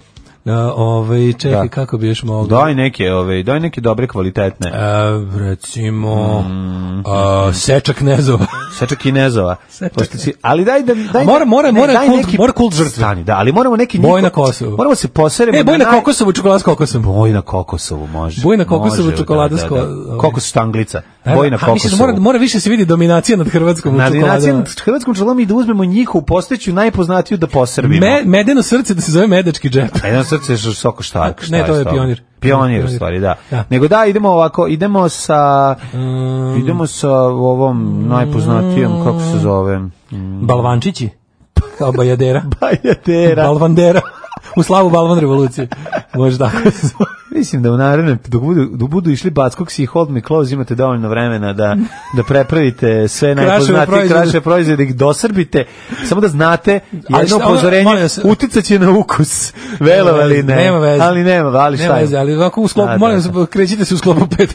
Speaker 5: Da, ovaj, čekaj,
Speaker 6: Da.
Speaker 5: kako bi još mogao?
Speaker 6: Daj neke, ove, daj neke dobre kvalitetne.
Speaker 5: E, recimo
Speaker 6: Mm-hmm.
Speaker 5: a, seča knezova.
Speaker 6: Seča Kinezova.
Speaker 5: Seča.
Speaker 6: Pošto si- ali daj da daj
Speaker 5: Mora- mora- mora
Speaker 6: daj
Speaker 5: kult- mora kult žrtve.
Speaker 6: Stani, da, ali moramo neki
Speaker 5: Boj
Speaker 6: niko-
Speaker 5: na Kosovu.
Speaker 6: Moramo se poseremo.
Speaker 5: E, boj na
Speaker 6: naj-
Speaker 5: kokosovu, čokolada s kokosom.
Speaker 6: Boj na kokosovu može.
Speaker 5: Boj na kokosovu,
Speaker 6: Može,
Speaker 5: čokolada s ko-
Speaker 6: Kokos štanglica. Boj na
Speaker 5: A, misliš da
Speaker 6: kokosovu.
Speaker 5: mora, mora više se vidi dominacija nad Hrvatskom
Speaker 6: na
Speaker 5: u
Speaker 6: dinaciju
Speaker 5: čokoladama.
Speaker 6: hrvatskom čelom i da uzmemo njihovu postojeću najpoznatiju da posrbimo.
Speaker 5: Me, medeno srce da se zove medački džep.
Speaker 6: A jedan Pa srce je što soko šta, je, šta
Speaker 5: Ne, to je
Speaker 6: s tobom?
Speaker 5: pionir.
Speaker 6: Pionir, u
Speaker 5: Pionir.
Speaker 6: stvari, da.
Speaker 5: Da. Um,
Speaker 6: Nego da, idemo ovako, idemo sa, idemo sa ovom najpoznatijom, kako se
Speaker 5: <laughs>
Speaker 6: zove? Mm.
Speaker 5: Balvančići. Pa, Kao bajadera.
Speaker 6: <laughs> Bajadera.
Speaker 5: Balvandera. U slavu Balvan revolucije. Može tako. se zove.
Speaker 6: Mislim da u naredne, dok budu, dok budu išli Backog i Hold Me Close, imate dovoljno vremena da, da prepravite sve
Speaker 5: Kraševe
Speaker 6: najpoznatije
Speaker 5: proizvode.
Speaker 6: kraše proizvode, ih dosrbite, samo da znate,
Speaker 5: Ali
Speaker 6: jedno
Speaker 5: šta, ono,
Speaker 6: upozorenje,
Speaker 5: molim vas-
Speaker 6: uticat će na ukus, velovali ali ne,
Speaker 5: Nema veze.
Speaker 6: ali nema, <laughs> ali šta
Speaker 5: Nema
Speaker 6: je?
Speaker 5: veze, ali ovako u sklopu,
Speaker 6: Da, da,
Speaker 5: molim
Speaker 6: da.
Speaker 5: vas, krećite se u sklopu
Speaker 6: <laughs>
Speaker 5: 5%.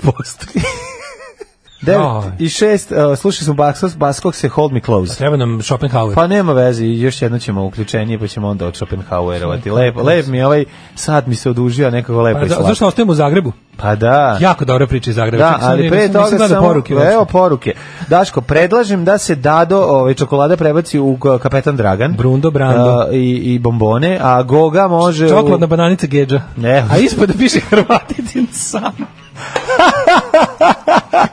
Speaker 6: 9 i 6, uh, slušali smo Baskog, Baskog se Hold Me Close.
Speaker 5: Treba nam Schopenhauer.
Speaker 6: Pa nema veze, još jedno ćemo uključenje, pa ćemo onda od Schopenhauerovati. Lep, lep mi je ovaj sat mi se odužio, nekako lepo
Speaker 5: Pa,
Speaker 6: i
Speaker 5: da,
Speaker 6: slatko.
Speaker 5: zašto ostajemo u Zagrebu?
Speaker 6: Pa da.
Speaker 5: Jako dobra priča iz Zagreba.
Speaker 6: Da,
Speaker 5: Čekaj, sad
Speaker 6: ali
Speaker 5: ne-
Speaker 6: pre
Speaker 5: nisam- nisam
Speaker 6: toga
Speaker 5: gledao
Speaker 6: samo
Speaker 5: poruke.
Speaker 6: evo poruke. Daško, predlažem da se Dado ovaj čokolada prebaci u k- Kapetan Dragan.
Speaker 5: Brundo, Brando.
Speaker 6: A, i, i bombone, a Goga može
Speaker 5: Čokoladna bananica Geđa.
Speaker 6: Ne.
Speaker 5: A ispod piše Hrvatitin san. <laughs>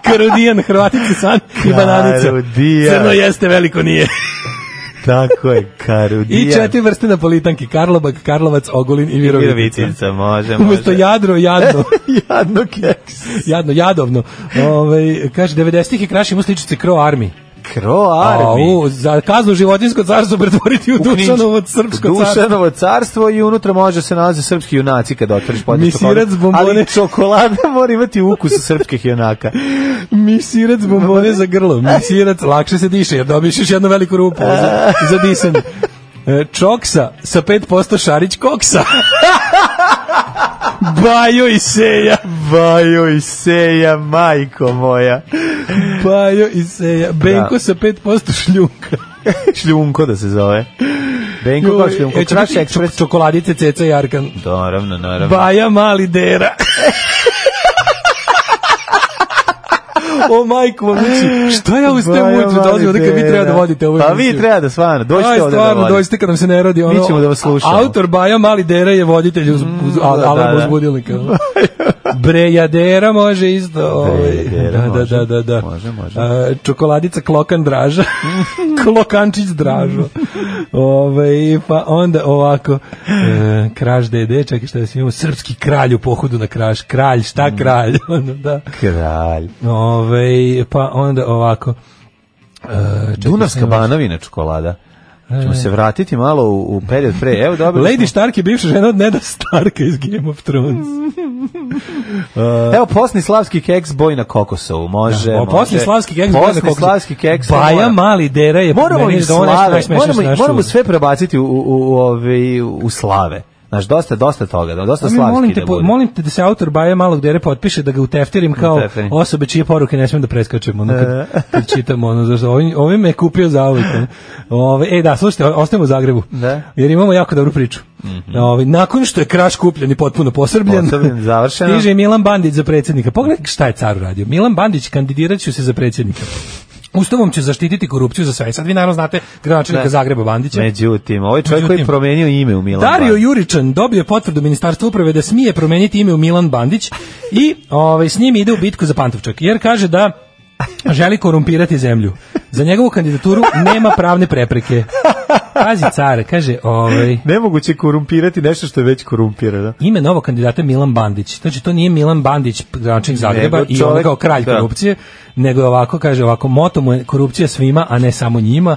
Speaker 5: Karudijan, Hrvatitin san i bananica.
Speaker 6: Karudijan.
Speaker 5: Crno jeste, veliko nije.
Speaker 6: u... Tako je, Karudijan.
Speaker 5: I četiri vrste napolitanki. Karlobag, Karlovac, Ogulin i <laughs> Virovitica.
Speaker 6: Virovitica, može, može.
Speaker 5: Umesto jadro, <laughs> jadno.
Speaker 6: Jadno keks.
Speaker 5: jadno, jadovno. Ove, kaže, 90-ih je kraš imao sličice Crow Army.
Speaker 6: Kro
Speaker 5: A,
Speaker 6: Armi.
Speaker 5: u, za kaznu životinsko carstvo pretvoriti u,
Speaker 6: Knjiž-
Speaker 5: Dušanovo srpsko carstvo.
Speaker 6: Dušanovo carstvo i unutra može se nalaze srpski junaci kada otvoriš podne
Speaker 5: Misirac, bombone.
Speaker 6: Ali čokolada <laughs> mora imati ukus srpskih junaka.
Speaker 5: Misirac bombone za grlo. Misirac lakše se diše jer dobiješ još jednu veliku rupu za, za disanje. E, Čoksa sa 5% Šarić koksa. <laughs> Bajo i seja.
Speaker 6: Bajo i seja, majko moja.
Speaker 5: Bajo i seja. Benko sa 5% šljunka.
Speaker 6: šljunko da se zove. Benko kao šljunko.
Speaker 5: Joj, e, će
Speaker 6: Crash
Speaker 5: biti
Speaker 6: Express.
Speaker 5: čok- Čokoladice, ceca i arkan.
Speaker 6: Naravno, naravno.
Speaker 5: Baja mali dera. <laughs> o majko, mamući, šta ja ustajem
Speaker 6: Baja
Speaker 5: ujutru da ozim,
Speaker 6: Mali
Speaker 5: da vi
Speaker 6: Dera.
Speaker 5: treba da vodite ovu
Speaker 6: Pa vi
Speaker 5: emisiju?
Speaker 6: treba da, stvarno, dođite
Speaker 5: Aj,
Speaker 6: ovde da
Speaker 5: stvarno,
Speaker 6: vodite.
Speaker 5: dođite kad nam se ne radi ono.
Speaker 6: Mi ćemo da vas slušamo. Mm,
Speaker 5: Autor Baja Mali Dera je voditelj uz, uz al, ono.
Speaker 6: da,
Speaker 5: alarm
Speaker 6: da.
Speaker 5: uzbudilnika.
Speaker 6: <laughs>
Speaker 5: Brejadera može isto. ovaj.
Speaker 6: Brejadera
Speaker 5: <laughs> da,
Speaker 6: može.
Speaker 5: da, da, da.
Speaker 6: Može, može.
Speaker 5: A, čokoladica Klokan
Speaker 6: <laughs>
Speaker 5: Draža. Klokančić Dražo. Ove, pa onda ovako. E, kraš dede, čekaj šta da si imamo. Srpski kralj u pohodu na kraš. Kralj, šta
Speaker 6: Mm.
Speaker 5: kralj? <laughs> Ono, da.
Speaker 6: Kralj.
Speaker 5: Ove, pa onda ovako. E, čekaj, E. šta
Speaker 6: Dunavska
Speaker 5: imamo?
Speaker 6: banovina čokolada. Ćemo se vratiti malo u, u period pre. Evo dobro.
Speaker 5: Lady Stark je bivša žena od Neda Starka iz Game of Thrones.
Speaker 6: Evo posni slavski keks boj na kokosovu. Može.
Speaker 5: O,
Speaker 6: može.
Speaker 5: posle slavski keks.
Speaker 6: Posni
Speaker 5: gledaj kako-
Speaker 6: slavski keks.
Speaker 5: Baja
Speaker 6: mora-
Speaker 5: mali dera je
Speaker 6: Moramo
Speaker 5: meni
Speaker 6: i
Speaker 5: je da ono nešto
Speaker 6: slave,
Speaker 5: najsmešnije
Speaker 6: moramo,
Speaker 5: što
Speaker 6: i-
Speaker 5: sam
Speaker 6: moramo
Speaker 5: čuo.
Speaker 6: sve prebaciti u, u, u, ovaj, u slave. Znaš, dosta, dosta toga, dosta
Speaker 5: Ali molim
Speaker 6: slavski
Speaker 5: te,
Speaker 6: da
Speaker 5: po-
Speaker 6: bude.
Speaker 5: molim te da se autor Baja malog dere potpiše da ga uteftirim kao
Speaker 6: Uteftirim.
Speaker 5: osobe čije poruke ne smem da preskačemo. Ono kad,
Speaker 6: E.
Speaker 5: kad čitam ono, zašto, ovim, ovim me je kupio za uvijek. Ove, e da, slušajte, o- ostajemo u Zagrebu.
Speaker 6: Da. Mhm.
Speaker 5: Jer imamo jako dobru priču. Ove, nakon što je kraš kupljen i potpuno posrbljen,
Speaker 6: Posrbljen,
Speaker 5: <laughs>
Speaker 6: završeno.
Speaker 5: stiže i Milan Bandić za predsjednika. Pogledaj šta je car uradio. Milan Bandić kandidirat će se za predsjednika. Ustavom će zaštititi korupciju za sve. Sad vi naravno znate gradonačelnika
Speaker 6: Da.
Speaker 5: Zagreba Bandića.
Speaker 6: Međutim, ovaj čovjek koji je
Speaker 5: Međutim.
Speaker 6: promenio ime u Milan
Speaker 5: Dario
Speaker 6: Bandić.
Speaker 5: Juričan dobio je potvrdu ministarstva uprave da smije promeniti ime u Milan Bandić i ovaj, s njim ide u bitku za Pantovčak, jer kaže da želi korumpirati zemlju. Za njegovu kandidaturu nema pravne prepreke. Pazi car, kaže, ovaj
Speaker 6: Nemoguće korumpirati nešto što je već korumpirano.
Speaker 5: Ime novog kandidata je Milan Bandić. Znači, to nije Milan Bandić, gradonačelnik Zagreba
Speaker 6: Nego
Speaker 5: i
Speaker 6: čovek-
Speaker 5: on kao kralj
Speaker 6: da.
Speaker 5: korupcije, nego je ovako, kaže ovako, moto mu je korupcija svima, a ne samo
Speaker 6: <laughs>
Speaker 5: njima.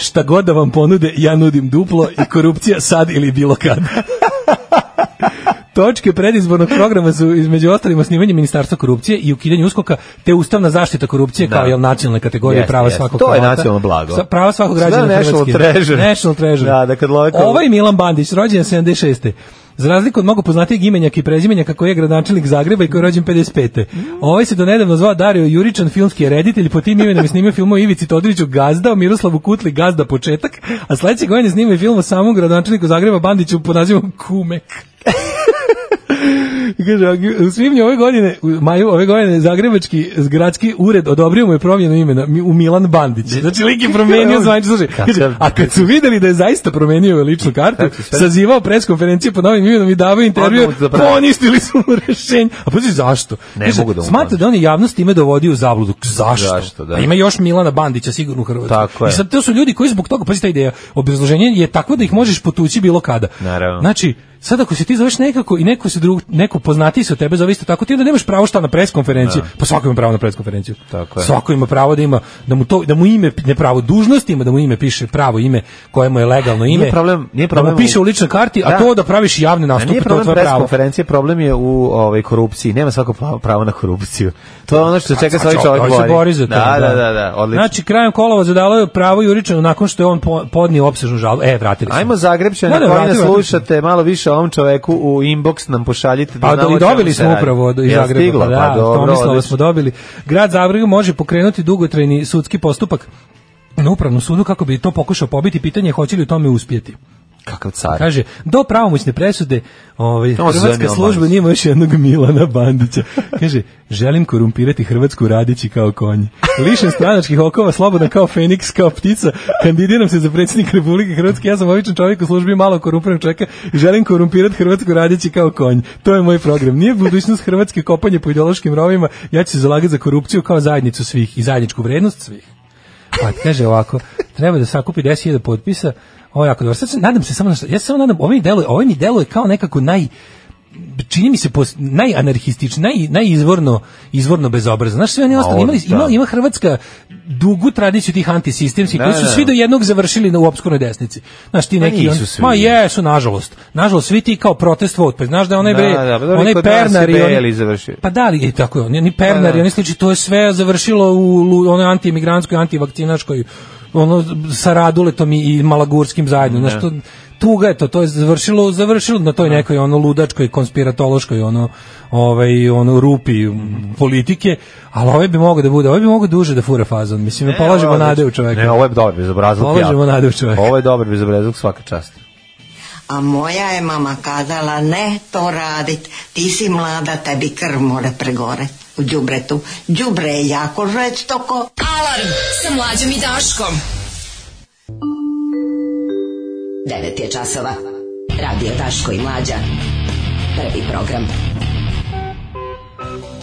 Speaker 5: Šta god da vam ponude, ja nudim duplo i korupcija sad ili bilo
Speaker 6: <laughs>
Speaker 5: kad. Točke predizbornog programa su između ostalim osnivanje ministarstva korupcije i ukidanje uskoka, te ustavna zaštita korupcije kao jel nacionalne kategorije
Speaker 6: Jeste,
Speaker 5: prava
Speaker 6: jeste.
Speaker 5: svakog
Speaker 6: To je
Speaker 5: Hrvata,
Speaker 6: nacionalno blago.
Speaker 5: sa- prava svakog
Speaker 6: Sve
Speaker 5: građana
Speaker 6: national
Speaker 5: Hrvatske.
Speaker 6: treasure.
Speaker 5: National treasure.
Speaker 6: Da, da kad love korup-
Speaker 5: Ovaj Milan Bandić, rođen 76. Za razliku od mnogo poznatijeg imenjaka i prezimenjaka koji je gradonačelnik Zagreba i koji je rođen 55. Ovaj se donedavno zvao Dario Juričan, filmski je reditelj, po tim imenom je snimio film o Ivici Todoriću Gazda, o Miroslavu Kutli Gazda početak, a sledeće godine snimio je film o samom gradonačelniku Zagreba Bandiću pod nazivom Kumek. I Kaže, u svibnju ove godine, u maju ove godine, Zagrebački gradski ured odobrio mu je promjenu imena mi- u Milan Bandić. Znači, lik je promenio zvanično, slušaj, kaže, a kad su videli da je zaista promenio ličnu kartu, sazivao preskonferencije po novim imenom i davao intervju,
Speaker 6: Odmah mu zabrani.
Speaker 5: poništili su mu rešenje. A pazi, zašto?
Speaker 6: Ne mogu da mu
Speaker 5: smatra da on je javnost time dovodio u zabludu. Zašto?
Speaker 6: Zašto, da.
Speaker 5: A ima još Milana Bandića sigurno u Hrvatskoj.
Speaker 6: Tako je.
Speaker 5: I sad to su ljudi koji zbog toga, pazi ta ideja, obrazloženje je takvo da ih možeš potući bilo kada.
Speaker 6: Naravno.
Speaker 5: Znači, sad ako se ti zoveš nekako i neko se drug, neko poznati se od tebe zove isto tako, ti onda nemaš pravo šta na preskonferenciju. Pa svako ima pravo na preskonferenciju.
Speaker 6: Tako je.
Speaker 5: Svako ima pravo da ima da mu to da mu ime ne pravo dužnost ima da mu ime piše pravo ime koje mu je legalno ime.
Speaker 6: Nije problem, nije
Speaker 5: Da
Speaker 6: problem.
Speaker 5: mu piše u ličnoj karti, a
Speaker 6: Da.
Speaker 5: to da praviš javne
Speaker 6: A
Speaker 5: nastupe,
Speaker 6: nije
Speaker 5: to je
Speaker 6: problem
Speaker 5: tvoje pravo.
Speaker 6: preskonferencije, problem je u ovaj korupciji. Nema svako pravo- pravo na korupciju. To je ono što čeka svoj
Speaker 5: Znači,
Speaker 6: čovjek
Speaker 5: on se bori za to.
Speaker 6: Da, da, da, da, odlično.
Speaker 5: Znači, krajem kolova zadalo je pravo Juričanu nakon što je on po- podnio opsežnu žalbu. E, vratili smo.
Speaker 6: Ajmo Zagrebčani,
Speaker 5: Da, da,
Speaker 6: koji
Speaker 5: vrati,
Speaker 6: nas
Speaker 5: vrati.
Speaker 6: slušate, malo više o ovom čoveku u inbox nam pošaljite.
Speaker 5: Pa
Speaker 6: znamo
Speaker 5: do,
Speaker 6: o
Speaker 5: i
Speaker 6: čemu
Speaker 5: dobili
Speaker 6: se
Speaker 5: smo
Speaker 6: radi.
Speaker 5: upravo od iz
Speaker 6: Jel
Speaker 5: Zagreba.
Speaker 6: stiglo?
Speaker 5: pa
Speaker 6: Pa
Speaker 5: da,
Speaker 6: dobro,
Speaker 5: Tomislava
Speaker 6: odlično.
Speaker 5: smo dobili. Grad Zagreb može pokrenuti dugotrajni sudski postupak na upravnom sudu kako bi to pokušao pobiti. Pitanje je hoće li u tome uspjeti.
Speaker 6: Kakav car.
Speaker 5: Kaže, do pravomoćne presude ovaj,
Speaker 6: To se zove
Speaker 5: Hrvatska
Speaker 6: Milan
Speaker 5: služba
Speaker 6: Bandić.
Speaker 5: nije imao još jednog Milana Bandića. Kaže, želim korumpirati Hrvatsku radići kao konji. Lišen stranačkih okova, slobodan kao Feniks, kao ptica. Kandidiram se za predsjednik Republike Hrvatske. Ja sam običan čovjek u službi malo korumpiranog čovjeka. i Želim korumpirati Hrvatsku radići kao konji. To je moj program. Nije budućnost Hrvatske kopanje po ideološkim rovima. Ja ću se zalagati za korupciju kao zajednicu svih i zajedničku vrednost svih. Pa kaže ovako, treba da sakupi 10.000 potpisa. Ovo je jako dobro. Sad se nadam se samo na šta- ja se samo nadam, ovo mi deluje, ovo mi deluje kao nekako naj čini mi se pos, najanarhistično, naj, najizvorno izvorno bezobrazno. Znaš, sve oni ostali,
Speaker 6: od-
Speaker 5: imali,
Speaker 6: da.
Speaker 5: ima, ima Hrvatska dugu tradiciju tih antisistemskih,
Speaker 6: Da,
Speaker 5: koji su
Speaker 6: da, da.
Speaker 5: svi do jednog završili na, u opskornoj desnici. Znaš, ti
Speaker 6: Ma
Speaker 5: neki...
Speaker 6: nisu
Speaker 5: on-
Speaker 6: svi.
Speaker 5: Ma jesu, nažalost. Nažalost, svi ti kao protest vote. Pa znaš da je onaj, bre,
Speaker 6: Da, da, pa dobro,
Speaker 5: onaj
Speaker 6: i kod nas je
Speaker 5: Pernar i
Speaker 6: Beli
Speaker 5: oni...
Speaker 6: završio.
Speaker 5: Pa da li, e, tako je, oni, oni Pernar
Speaker 6: Pa da.
Speaker 5: i oni sliči, to je sve završilo u lu- onoj antiemigrantskoj, antivakcinačkoj, ono, sa Raduletom i, i Malagurskim zajedno, znaš, to, tuga je to, to je završilo, završilo na toj nekoj ono ludačkoj, konspiratološkoj ono, ovaj, ono rupi m, politike, ali ovaj bi mogao da bude, ovaj bi mogao duže da fura fazon, mislim, ne, polažemo
Speaker 6: ovo je
Speaker 5: nade u
Speaker 6: odlično.
Speaker 5: čoveka.
Speaker 6: Ne, ovo je dobar bezobrazluk. ja.
Speaker 5: Polažemo nade u čoveka.
Speaker 6: Ovo je dobar bezobrazluk svaka čast.
Speaker 13: A moja je mama kazala ne to radit, ti si mlada, tebi krv more pregore u đubretu. Đubre je jako žestoko.
Speaker 4: Alarm sa mlađom i Daškom.
Speaker 11: 9 je časova. Radio Daško i Mlađa. Prvi program.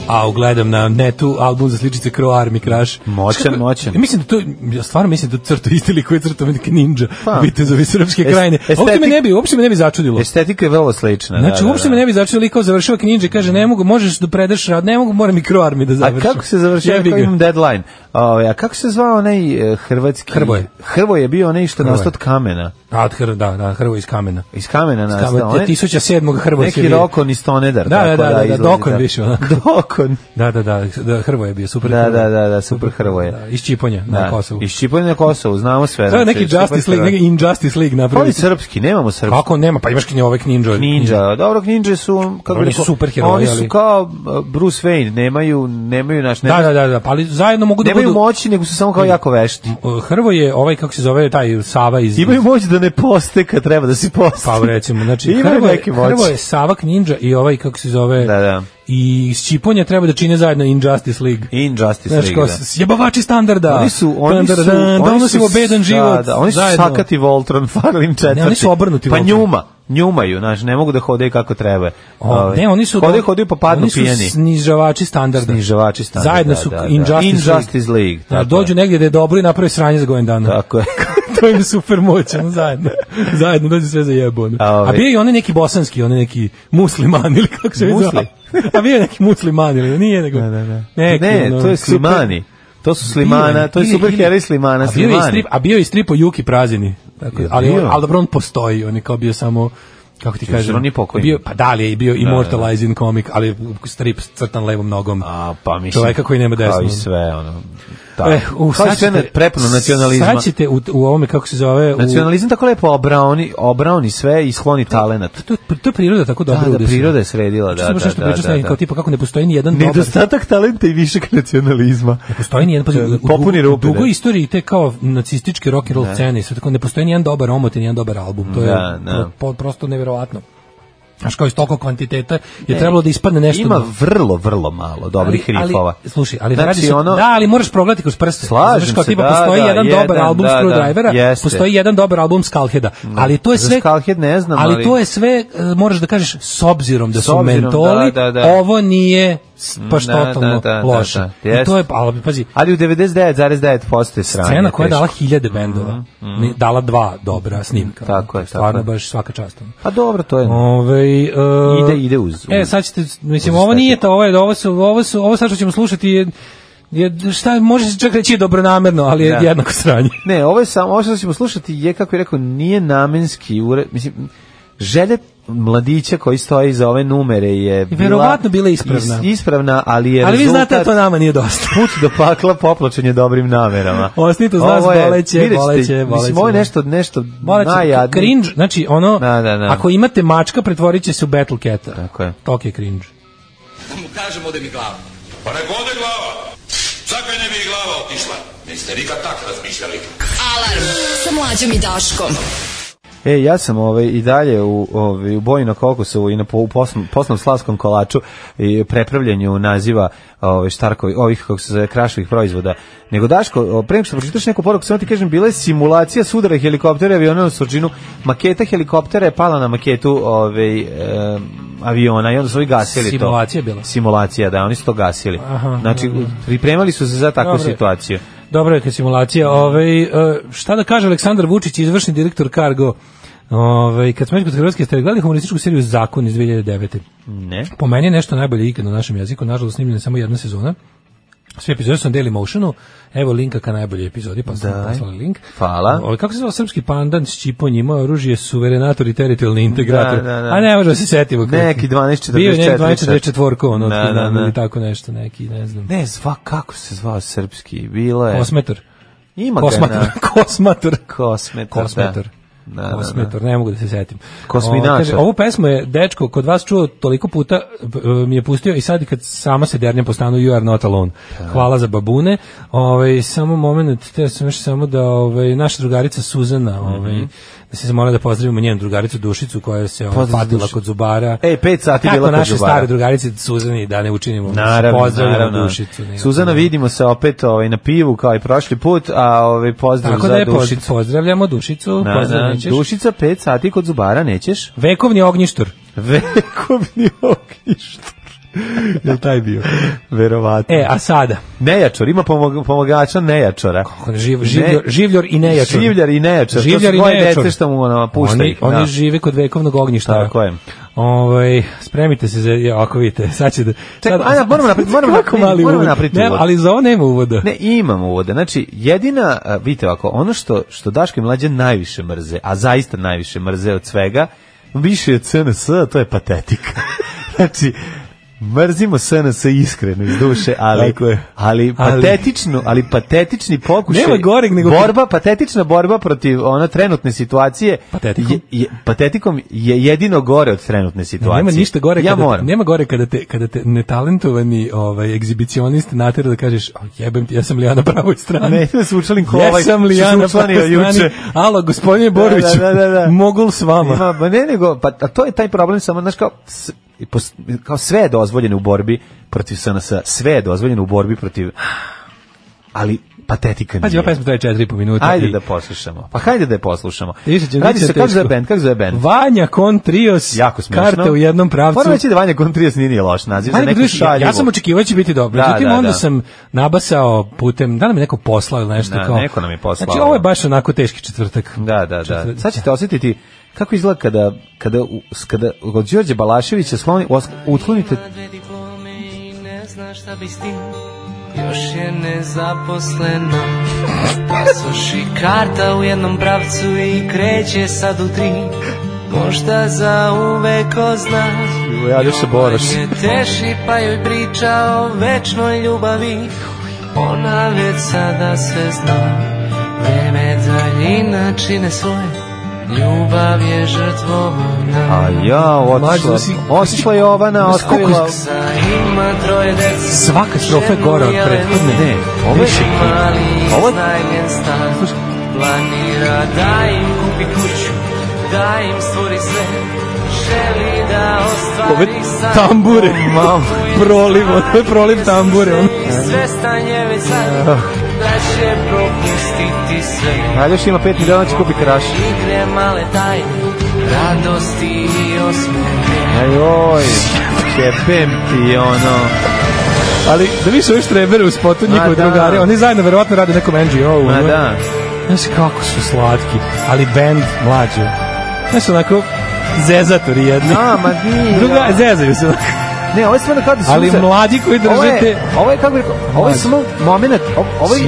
Speaker 5: A gledam na netu album za sličice Crow Army Crash.
Speaker 6: Moćan, moćan.
Speaker 5: Ja E, Mislim da to, ja stvarno mislim da crto isti lik koji crto neka ninja.
Speaker 6: Pa.
Speaker 5: Pa. Vitezovi srpske
Speaker 6: Es-
Speaker 5: krajine. A Uopšte me
Speaker 6: estetik-
Speaker 5: ne bi, uopšte me ne bi začudilo.
Speaker 6: Estetika je vrlo slična.
Speaker 5: Znači,
Speaker 6: da, da,
Speaker 5: uopšte
Speaker 6: da.
Speaker 5: me ne bi začudilo lik kao završava knjiže i kaže ne mogu, možeš da predaš rad, ne mogu, moram i Crow Army da
Speaker 6: A
Speaker 5: završim.
Speaker 6: kako se završio,
Speaker 5: Jebi
Speaker 6: ja
Speaker 5: ga.
Speaker 6: imam deadline. Ovaj, a kako se zvao onaj e, hrvatski...
Speaker 5: Hrvoje.
Speaker 6: Hrvoje je bio onaj što je
Speaker 5: Hrvoje.
Speaker 6: nastao od kamena.
Speaker 5: A, od Hr- da, da, Hrvo iz kamena.
Speaker 6: Iz kamena nastao.
Speaker 5: kamena,
Speaker 6: onaj-
Speaker 5: 1007. Hrvoje se
Speaker 6: Neki
Speaker 5: bio.
Speaker 6: rokon i stonedar.
Speaker 5: Da, da,
Speaker 6: tako
Speaker 5: da, da, da,
Speaker 6: izlazi,
Speaker 5: dokon više, onako.
Speaker 6: <laughs> Dokon.
Speaker 5: Da, da, da, da Hrvo je bio, super.
Speaker 6: Da,
Speaker 5: Hrvoje.
Speaker 6: da, da, da, super Hrvoje.
Speaker 5: Da, iz Čiponja na Kosovu.
Speaker 6: Iz Čipolja na Kosovu, znamo sve.
Speaker 5: To je neki
Speaker 6: znači, super
Speaker 5: Justice League,
Speaker 6: Hrvoje.
Speaker 5: neki Injustice League
Speaker 6: Ali
Speaker 5: napravili.
Speaker 6: srpski, nemamo srpski.
Speaker 5: Kako nema, pa imaš knje ove ninja.
Speaker 6: Ninja, dobro, ninja su kako
Speaker 5: Oni
Speaker 6: bih rekao,
Speaker 5: su superheroji,
Speaker 6: Oni su
Speaker 5: ali-
Speaker 6: kao uh, Bruce Wayne, nemaju nemaju naš
Speaker 5: Da,
Speaker 6: nemaju,
Speaker 5: da, da, da, pa ali zajedno mogu da
Speaker 6: nemaju
Speaker 5: budu... Mm.
Speaker 6: moći, nego su samo kao jako vešti.
Speaker 5: Hrvo je ovaj kako se zove taj Sava iz
Speaker 6: Imaju moć da ne poste kad treba da se poste.
Speaker 5: pa recimo znači
Speaker 6: Imaju
Speaker 5: Hrvo je,
Speaker 6: neke moći.
Speaker 5: Hrvo je Savak Ninja i ovaj kako se zove
Speaker 6: Da, da.
Speaker 5: i iz Čiponja treba da čine zajedno Injustice League.
Speaker 6: Injustice
Speaker 5: Znaš,
Speaker 6: League.
Speaker 5: kao
Speaker 6: da.
Speaker 5: sjebavači standarda.
Speaker 6: Oni su, oni su,
Speaker 5: Standarda,
Speaker 6: oni su,
Speaker 5: donosimo bedan život.
Speaker 6: Da, da, oni su
Speaker 5: zajedno.
Speaker 6: Sakati Voltron, Farlim četvrti.
Speaker 5: Ne, oni su obrnuti
Speaker 6: Pa
Speaker 5: Voltron.
Speaker 6: Njuma. njumaju, znaš, ne mogu da hode kako treba.
Speaker 5: O, ne, oni su
Speaker 6: hode, hode pa padnu
Speaker 5: oni su
Speaker 6: pijeni.
Speaker 5: snižavači standarda.
Speaker 6: Snižavači standarda,
Speaker 5: Zajedno su
Speaker 6: da, da.
Speaker 5: Injustice,
Speaker 6: Injustice League,
Speaker 5: Da,
Speaker 6: tako
Speaker 5: dođu negdje da je dobro i naprave sranje za godin dana. <laughs>
Speaker 6: Tako je.
Speaker 5: to im je super moć, ono, zajedno. Zajedno dođu sve za jebo. ono.
Speaker 6: A ovi-
Speaker 5: A bio je i onaj neki bosanski, onaj neki musliman ili kako se već
Speaker 6: Musli?
Speaker 5: zove. <laughs> A bio je neki musliman ili nije nego. Da, da, da. Neki,
Speaker 6: ne,
Speaker 5: ono,
Speaker 6: to je
Speaker 5: super-
Speaker 6: Slimani. To su Slimana, to je
Speaker 5: Ili-
Speaker 6: superheroj
Speaker 5: ili-
Speaker 6: Slimana,
Speaker 5: a bio je i
Speaker 6: Slimani.
Speaker 5: strip- A bio je i strip o Juki Prazini. Tako,
Speaker 6: Jel
Speaker 5: ali,
Speaker 6: bio?
Speaker 5: ali dobro, on postoji, on je kao bio samo kako ti
Speaker 6: Znači,
Speaker 5: kažem,
Speaker 6: on je pokojni.
Speaker 5: bio, pa da li je bio
Speaker 6: Da,
Speaker 5: immortalizing komik, ali strip crtan levom nogom.
Speaker 6: A, pa mislim,
Speaker 5: Čoveka koji nema desnu.
Speaker 6: Kao i sve, ono. Da.
Speaker 5: Eh, u,
Speaker 6: kao i
Speaker 5: sad
Speaker 6: sve
Speaker 5: ćete-
Speaker 6: prepuno nacionalizma.
Speaker 5: Sad ćete u, u ovome, kako se zove... u-
Speaker 6: Nacionalizam tako lepo obraoni, obraoni sve i skloni talenat.
Speaker 5: To, to je priroda tako dobro
Speaker 6: Da, da,
Speaker 5: udesila.
Speaker 6: priroda je sredila, da,
Speaker 5: Čuo sam baš
Speaker 6: da,
Speaker 5: nešto
Speaker 6: da,
Speaker 5: pričao sa
Speaker 6: da,
Speaker 5: nekim
Speaker 6: da.
Speaker 5: kao tipa kako ne postoji ni jedan dobar...
Speaker 6: <laughs> Nedostatak talenta i višak nacionalizma.
Speaker 5: Ne postoji ni jedan pazi, u- u-
Speaker 6: Popuni
Speaker 5: u
Speaker 6: rupe. da.
Speaker 5: dugoj istoriji te kao nacističke rock and roll
Speaker 6: Da.
Speaker 5: scene i sve tako ne postoji ni jedan dobar omot i ni jedan dobar album to je
Speaker 6: Da, da.
Speaker 5: po- prosto neverovatno Znaš kao iz toliko kvantiteta je
Speaker 6: Ne.
Speaker 5: trebalo da ispadne nešto
Speaker 6: E, Ima
Speaker 5: drugo.
Speaker 6: vrlo, vrlo malo dobrih
Speaker 5: ali,
Speaker 6: rifova.
Speaker 5: Ali, slušaj, ali
Speaker 6: Znači,
Speaker 5: radi se,
Speaker 6: ono-
Speaker 5: da, ali moraš progledati kroz prste.
Speaker 6: Slažem
Speaker 5: Znaš, kao,
Speaker 6: se,
Speaker 5: tipa,
Speaker 6: da,
Speaker 5: postoji
Speaker 6: da,
Speaker 5: jedan, dobar
Speaker 6: jedan,
Speaker 5: album
Speaker 6: da, da,
Speaker 5: Screwdrivera,
Speaker 6: jeste.
Speaker 5: postoji jedan dobar album Skullheada, ali to je
Speaker 6: Za
Speaker 5: sve...
Speaker 6: Skullhead ne znam, ali-
Speaker 5: ali... to je sve, e, moraš da kažeš, s obzirom da
Speaker 6: S
Speaker 5: su
Speaker 6: obzirom,
Speaker 5: mentoli,
Speaker 6: da, da, da.
Speaker 5: ovo nije s- baš
Speaker 6: Da, da,
Speaker 5: totalno
Speaker 6: da, da,
Speaker 5: loše.
Speaker 6: da,
Speaker 5: I to
Speaker 6: jeste.
Speaker 5: je, ali pazi,
Speaker 6: Ali u 99,9% je sranje.
Speaker 5: Scena koja je
Speaker 6: teško. Mhm,
Speaker 5: dala hiljade bendova, ni- dala dva dobra snimka.
Speaker 6: Tako je, tako
Speaker 5: Stvarno
Speaker 6: je.
Speaker 5: baš svaka čast. ono.
Speaker 6: Pa dobro, to je.
Speaker 5: Ovaj e,
Speaker 6: Ide, ide uz.
Speaker 5: E
Speaker 6: uz-
Speaker 5: sad ćete mislim ovo nije to, ovo je ovo su ovo su ovo sad što ćemo slušati je, je šta može se čak reći je dobronamerno, ali je
Speaker 6: Da.
Speaker 5: jednako sranje.
Speaker 6: Ne, ovo je samo, ovo što ćemo slušati je, kako je rekao, nije namenski ure, mislim, želje mladića koji stoji za ove numere je bila...
Speaker 5: Verovatno bila ispravna.
Speaker 6: is- ispravna, ali je
Speaker 5: ali vi
Speaker 6: rezultat-
Speaker 5: znate da to nama nije dosta.
Speaker 6: put do pakla poplačen je dobrim namerama.
Speaker 5: Osnito zna
Speaker 6: Ovo je-
Speaker 5: boleće,
Speaker 6: vidjet ćete,
Speaker 5: boleće, boleće,
Speaker 6: Mislim, ovo je
Speaker 5: da.
Speaker 6: nešto, nešto
Speaker 5: Morat će-
Speaker 6: najjadnije.
Speaker 5: cringe, znači ono,
Speaker 6: Da, da, da.
Speaker 5: ako imate mačka, pretvorit će se u Battle Cata.
Speaker 6: Tako je.
Speaker 5: Tok je cringe.
Speaker 14: mu kažem ode mi glava. Pa nek ode glava. Zakaj ne bi i glava otišla? Niste nikad tak razmišljali.
Speaker 4: Alarm sa mlađom i Daškom.
Speaker 6: E, ja sam ovaj, i dalje u, ovaj, u boji na kokosovu i na, po- u posnom, posnom slavskom kolaču i prepravljanju naziva ovaj, štarkovi, ovih, kako se zove, krašovih proizvoda. Nego, Daško, o, pre nego što pročitaš neku poruku, samo ti kažem, bila je simulacija sudara helikoptera i aviona na Sorđinu. Maketa helikoptera je pala na maketu ovaj, em, aviona i onda su ovi gasili to.
Speaker 5: Simulacija je bila.
Speaker 6: Simulacija, da, oni su to gasili.
Speaker 5: Aha,
Speaker 6: znači, pripremali su se za takvu
Speaker 5: Dobro.
Speaker 6: situaciju.
Speaker 5: Dobro je kad simulacija. Ovaj, e, šta da kaže Aleksandar Vučić, izvršni direktor Cargo? Ovaj, kad smo već kod Hrvatske, ste gledali humorističku seriju Zakon iz 2009.
Speaker 6: Ne.
Speaker 5: Po meni je nešto najbolje ikad na našem jeziku. Nažalost, snimljena je samo jedna sezona. Sve epizode su na Dailymotionu. Evo linka ka najboljoj epizodi, pa sam
Speaker 6: Daj.
Speaker 5: poslali link.
Speaker 6: Hvala.
Speaker 5: Ovaj, kako se zove srpski pandan s čipom njima oružje suverenator i teritorijalni integrator.
Speaker 6: Da, da, da.
Speaker 5: A ne možemo da se setimo. kako-
Speaker 6: Neki 12-44.
Speaker 5: Bio je neki 1244, ono,
Speaker 6: Da, da,
Speaker 5: otkud nam,
Speaker 6: da.
Speaker 5: ili tako nešto, neki, ne znam.
Speaker 6: Ne, zva, kako se zvao srpski? Bilo je...
Speaker 5: Kosmetor.
Speaker 6: Ima
Speaker 5: Kosmator,
Speaker 6: ga na...
Speaker 5: <laughs> kosmator,
Speaker 6: Kosmetar.
Speaker 5: kosmetor.
Speaker 6: Da, da, da.
Speaker 5: Kosmetor, ne mogu da se setim.
Speaker 6: Kosminačar.
Speaker 5: O, kaže, ovu pesmu je dečko kod vas čuo toliko puta, b- e, mi je pustio i sad kad sama se dernjem po stanu You are not alone. Hvala za babune. Ovaj samo moment, te sam još samo da ovaj naša drugarica Suzana,
Speaker 6: Mhm.
Speaker 5: ovaj da se mora da pozdravimo njenu drugaricu Dušicu koja se ovaj,
Speaker 6: Pozdrav za
Speaker 5: patila
Speaker 6: Dušicu.
Speaker 5: kod zubara.
Speaker 6: Ej, pet sati bila kod
Speaker 5: Kako naše
Speaker 6: zubara.
Speaker 5: stare drugarice Suzani da ne učinimo.
Speaker 6: Naravno,
Speaker 5: Pozdravljamo
Speaker 6: naravno.
Speaker 5: Dušicu. nema
Speaker 6: Suzana,
Speaker 5: problema.
Speaker 6: vidimo se opet ovaj, na pivu kao i prošli put, a ovaj, pozdrav
Speaker 5: Tako
Speaker 6: za
Speaker 5: da je poz-
Speaker 6: Dušicu.
Speaker 5: pozdravljamo Dušicu,
Speaker 6: Na, na,
Speaker 5: pozdravit ćeš.
Speaker 6: dušica, pet sati kod zubara, nećeš? <laughs>
Speaker 5: Vekovni ognjištor.
Speaker 6: Vekovni ognjištor. <laughs> Jel taj bio? Verovatno.
Speaker 5: E, a sada?
Speaker 6: Nejačor, ima pomog, pomagača nejačora.
Speaker 5: Živ, življor,
Speaker 6: Ne-
Speaker 5: življor i nejačor.
Speaker 6: Življar i nejačor.
Speaker 5: Življar
Speaker 6: to
Speaker 5: i
Speaker 6: su moje
Speaker 5: nejačor.
Speaker 6: dece što mu ono, pušta
Speaker 5: Oni,
Speaker 6: ih.
Speaker 5: oni
Speaker 6: da.
Speaker 5: žive kod vekovnog ognjištara.
Speaker 6: Tako je.
Speaker 5: Ovaj, spremite se za, ja, ako vidite, <laughs> sad ćete...
Speaker 6: Čekaj, ajde, moramo napred- moramo
Speaker 5: Kako
Speaker 6: napred-
Speaker 5: mali
Speaker 6: moramo
Speaker 5: uvod?
Speaker 6: napred
Speaker 5: Ne,
Speaker 6: uvod.
Speaker 5: ali za ovo nema <laughs> uvoda.
Speaker 6: Ne, imam uvode. Znači, jedina, a, vidite ovako, ono što, što Daško i Mlađe najviše mrze, a zaista najviše mrze od svega, više od SNS, a to je patetika. <laughs> znači, mrzimo SNS iskreno iz duše, ali,
Speaker 5: Tako je.
Speaker 6: ali,
Speaker 5: Ali-
Speaker 6: patetično, ali patetični pokušaj,
Speaker 5: Nema goreg nego-
Speaker 6: borba, patetična borba protiv ona trenutne situacije,
Speaker 5: Patetikom?
Speaker 6: je, je- patetikom je jedino gore od trenutne situacije.
Speaker 5: Nema ništa gore
Speaker 6: ja
Speaker 5: kada, te-
Speaker 6: moram.
Speaker 5: nema gore kada te kada te netalentovani ovaj egzibicionist natera da kažeš "A, jebem ti ja sam li ja na pravoj strani.
Speaker 6: Ne, da se učlanim ko ovaj
Speaker 5: Jesam li
Speaker 6: što
Speaker 5: ja
Speaker 6: se
Speaker 5: na
Speaker 6: učlanio
Speaker 5: pravoj strani?
Speaker 6: juče.
Speaker 5: Alo, gospodine Borović,
Speaker 6: Da, da, da, da.
Speaker 5: mogul s vama.
Speaker 6: Ima, ma ne nego, pa a to je taj problem samo, znaš, kao, s- i pos- kao sve je dozvoljeno u borbi protiv SNS, sve je dozvoljeno u borbi protiv ali patetika
Speaker 5: Pazi,
Speaker 6: nije.
Speaker 5: ova pesma traje 4,5 minuta.
Speaker 6: Ajde
Speaker 5: i-
Speaker 6: da poslušamo. Pa hajde da je poslušamo.
Speaker 5: Više će-
Speaker 6: Radi
Speaker 5: biće
Speaker 6: se, kako
Speaker 5: teško.
Speaker 6: zove band, kako zove band?
Speaker 5: Vanja kon trios,
Speaker 6: Jako smešno.
Speaker 5: karte u jednom pravcu.
Speaker 6: Moram reći da Vanja Kontrijas nije ni loš naziv za
Speaker 5: Ajde,
Speaker 6: neku
Speaker 5: Petrušić, ja-
Speaker 6: šaljivu.
Speaker 5: Ja sam očekivao da će biti dobro.
Speaker 6: Da,
Speaker 5: Međutim,
Speaker 6: da,
Speaker 5: onda
Speaker 6: da.
Speaker 5: sam nabasao putem, da li mi neko poslao ili nešto
Speaker 6: Da,
Speaker 5: kao.
Speaker 6: neko nam je poslao.
Speaker 5: Znači, ovo je baš onako teški četvrtak.
Speaker 6: Da, da, da. Sad ćete osjetiti kako izgleda kada, kada, u- s- kada od Đorđe Balaševića sloni, os- utklonite
Speaker 15: dve diplome i ne zna šta bi s tim Još je nezaposlena Pasoš i karta u jednom pravcu i kreće sad u tri Možda za uvek ko zna
Speaker 6: Ja još se boraš.
Speaker 15: Je teši pa joj priča o večnoj ljubavi Ona već sada sve zna Vreme daljina čine svoje Ljubav je žrtvovana
Speaker 6: A ja, otišla,
Speaker 15: Mlađo, si-
Speaker 6: otišla je Jovana,
Speaker 15: Znaš koliko
Speaker 6: ostavila...
Speaker 15: iz- Ima troje dece.
Speaker 5: Svaka strofa je gora od prethodne.
Speaker 6: Ne, ovo je
Speaker 15: Mali
Speaker 6: Ovo je-
Speaker 15: iznajmljen stan. Planira da im kupi kuću, da im stvori sve. Želi da
Speaker 5: Ove
Speaker 15: ostvari san.
Speaker 5: tambure,
Speaker 6: mam,
Speaker 5: proliv, ovo je proliv tambure. ono.
Speaker 15: I svestan je već sad da će propustiti sve.
Speaker 6: Aljoš ima 5 miliona, će kupi karaš.
Speaker 15: Igre male tajne, radosti i osmehe.
Speaker 6: Aj, oj, kepem ti, ono...
Speaker 5: Ali da više ove štrebere u spotu
Speaker 6: Ma
Speaker 5: njihove
Speaker 6: da.
Speaker 5: drugare, oni zajedno verovatno rade nekom NGO-u.
Speaker 6: Ma
Speaker 5: ono.
Speaker 6: da.
Speaker 5: Znaš kako su slatki, ali band mlađe. Znaš onako, zezatori jedni.
Speaker 6: A, ma nije,
Speaker 5: Druga,
Speaker 6: ja.
Speaker 5: zezaju se. onako.
Speaker 6: Ne, ovo je stvarno kao da su
Speaker 5: Ali
Speaker 6: uzeli-
Speaker 5: mladi koji
Speaker 6: Ovo je-
Speaker 5: držite-
Speaker 6: Ovo je, kako bih rekao, ovo je
Speaker 5: Mlađi.
Speaker 6: samo moment, o- ovo je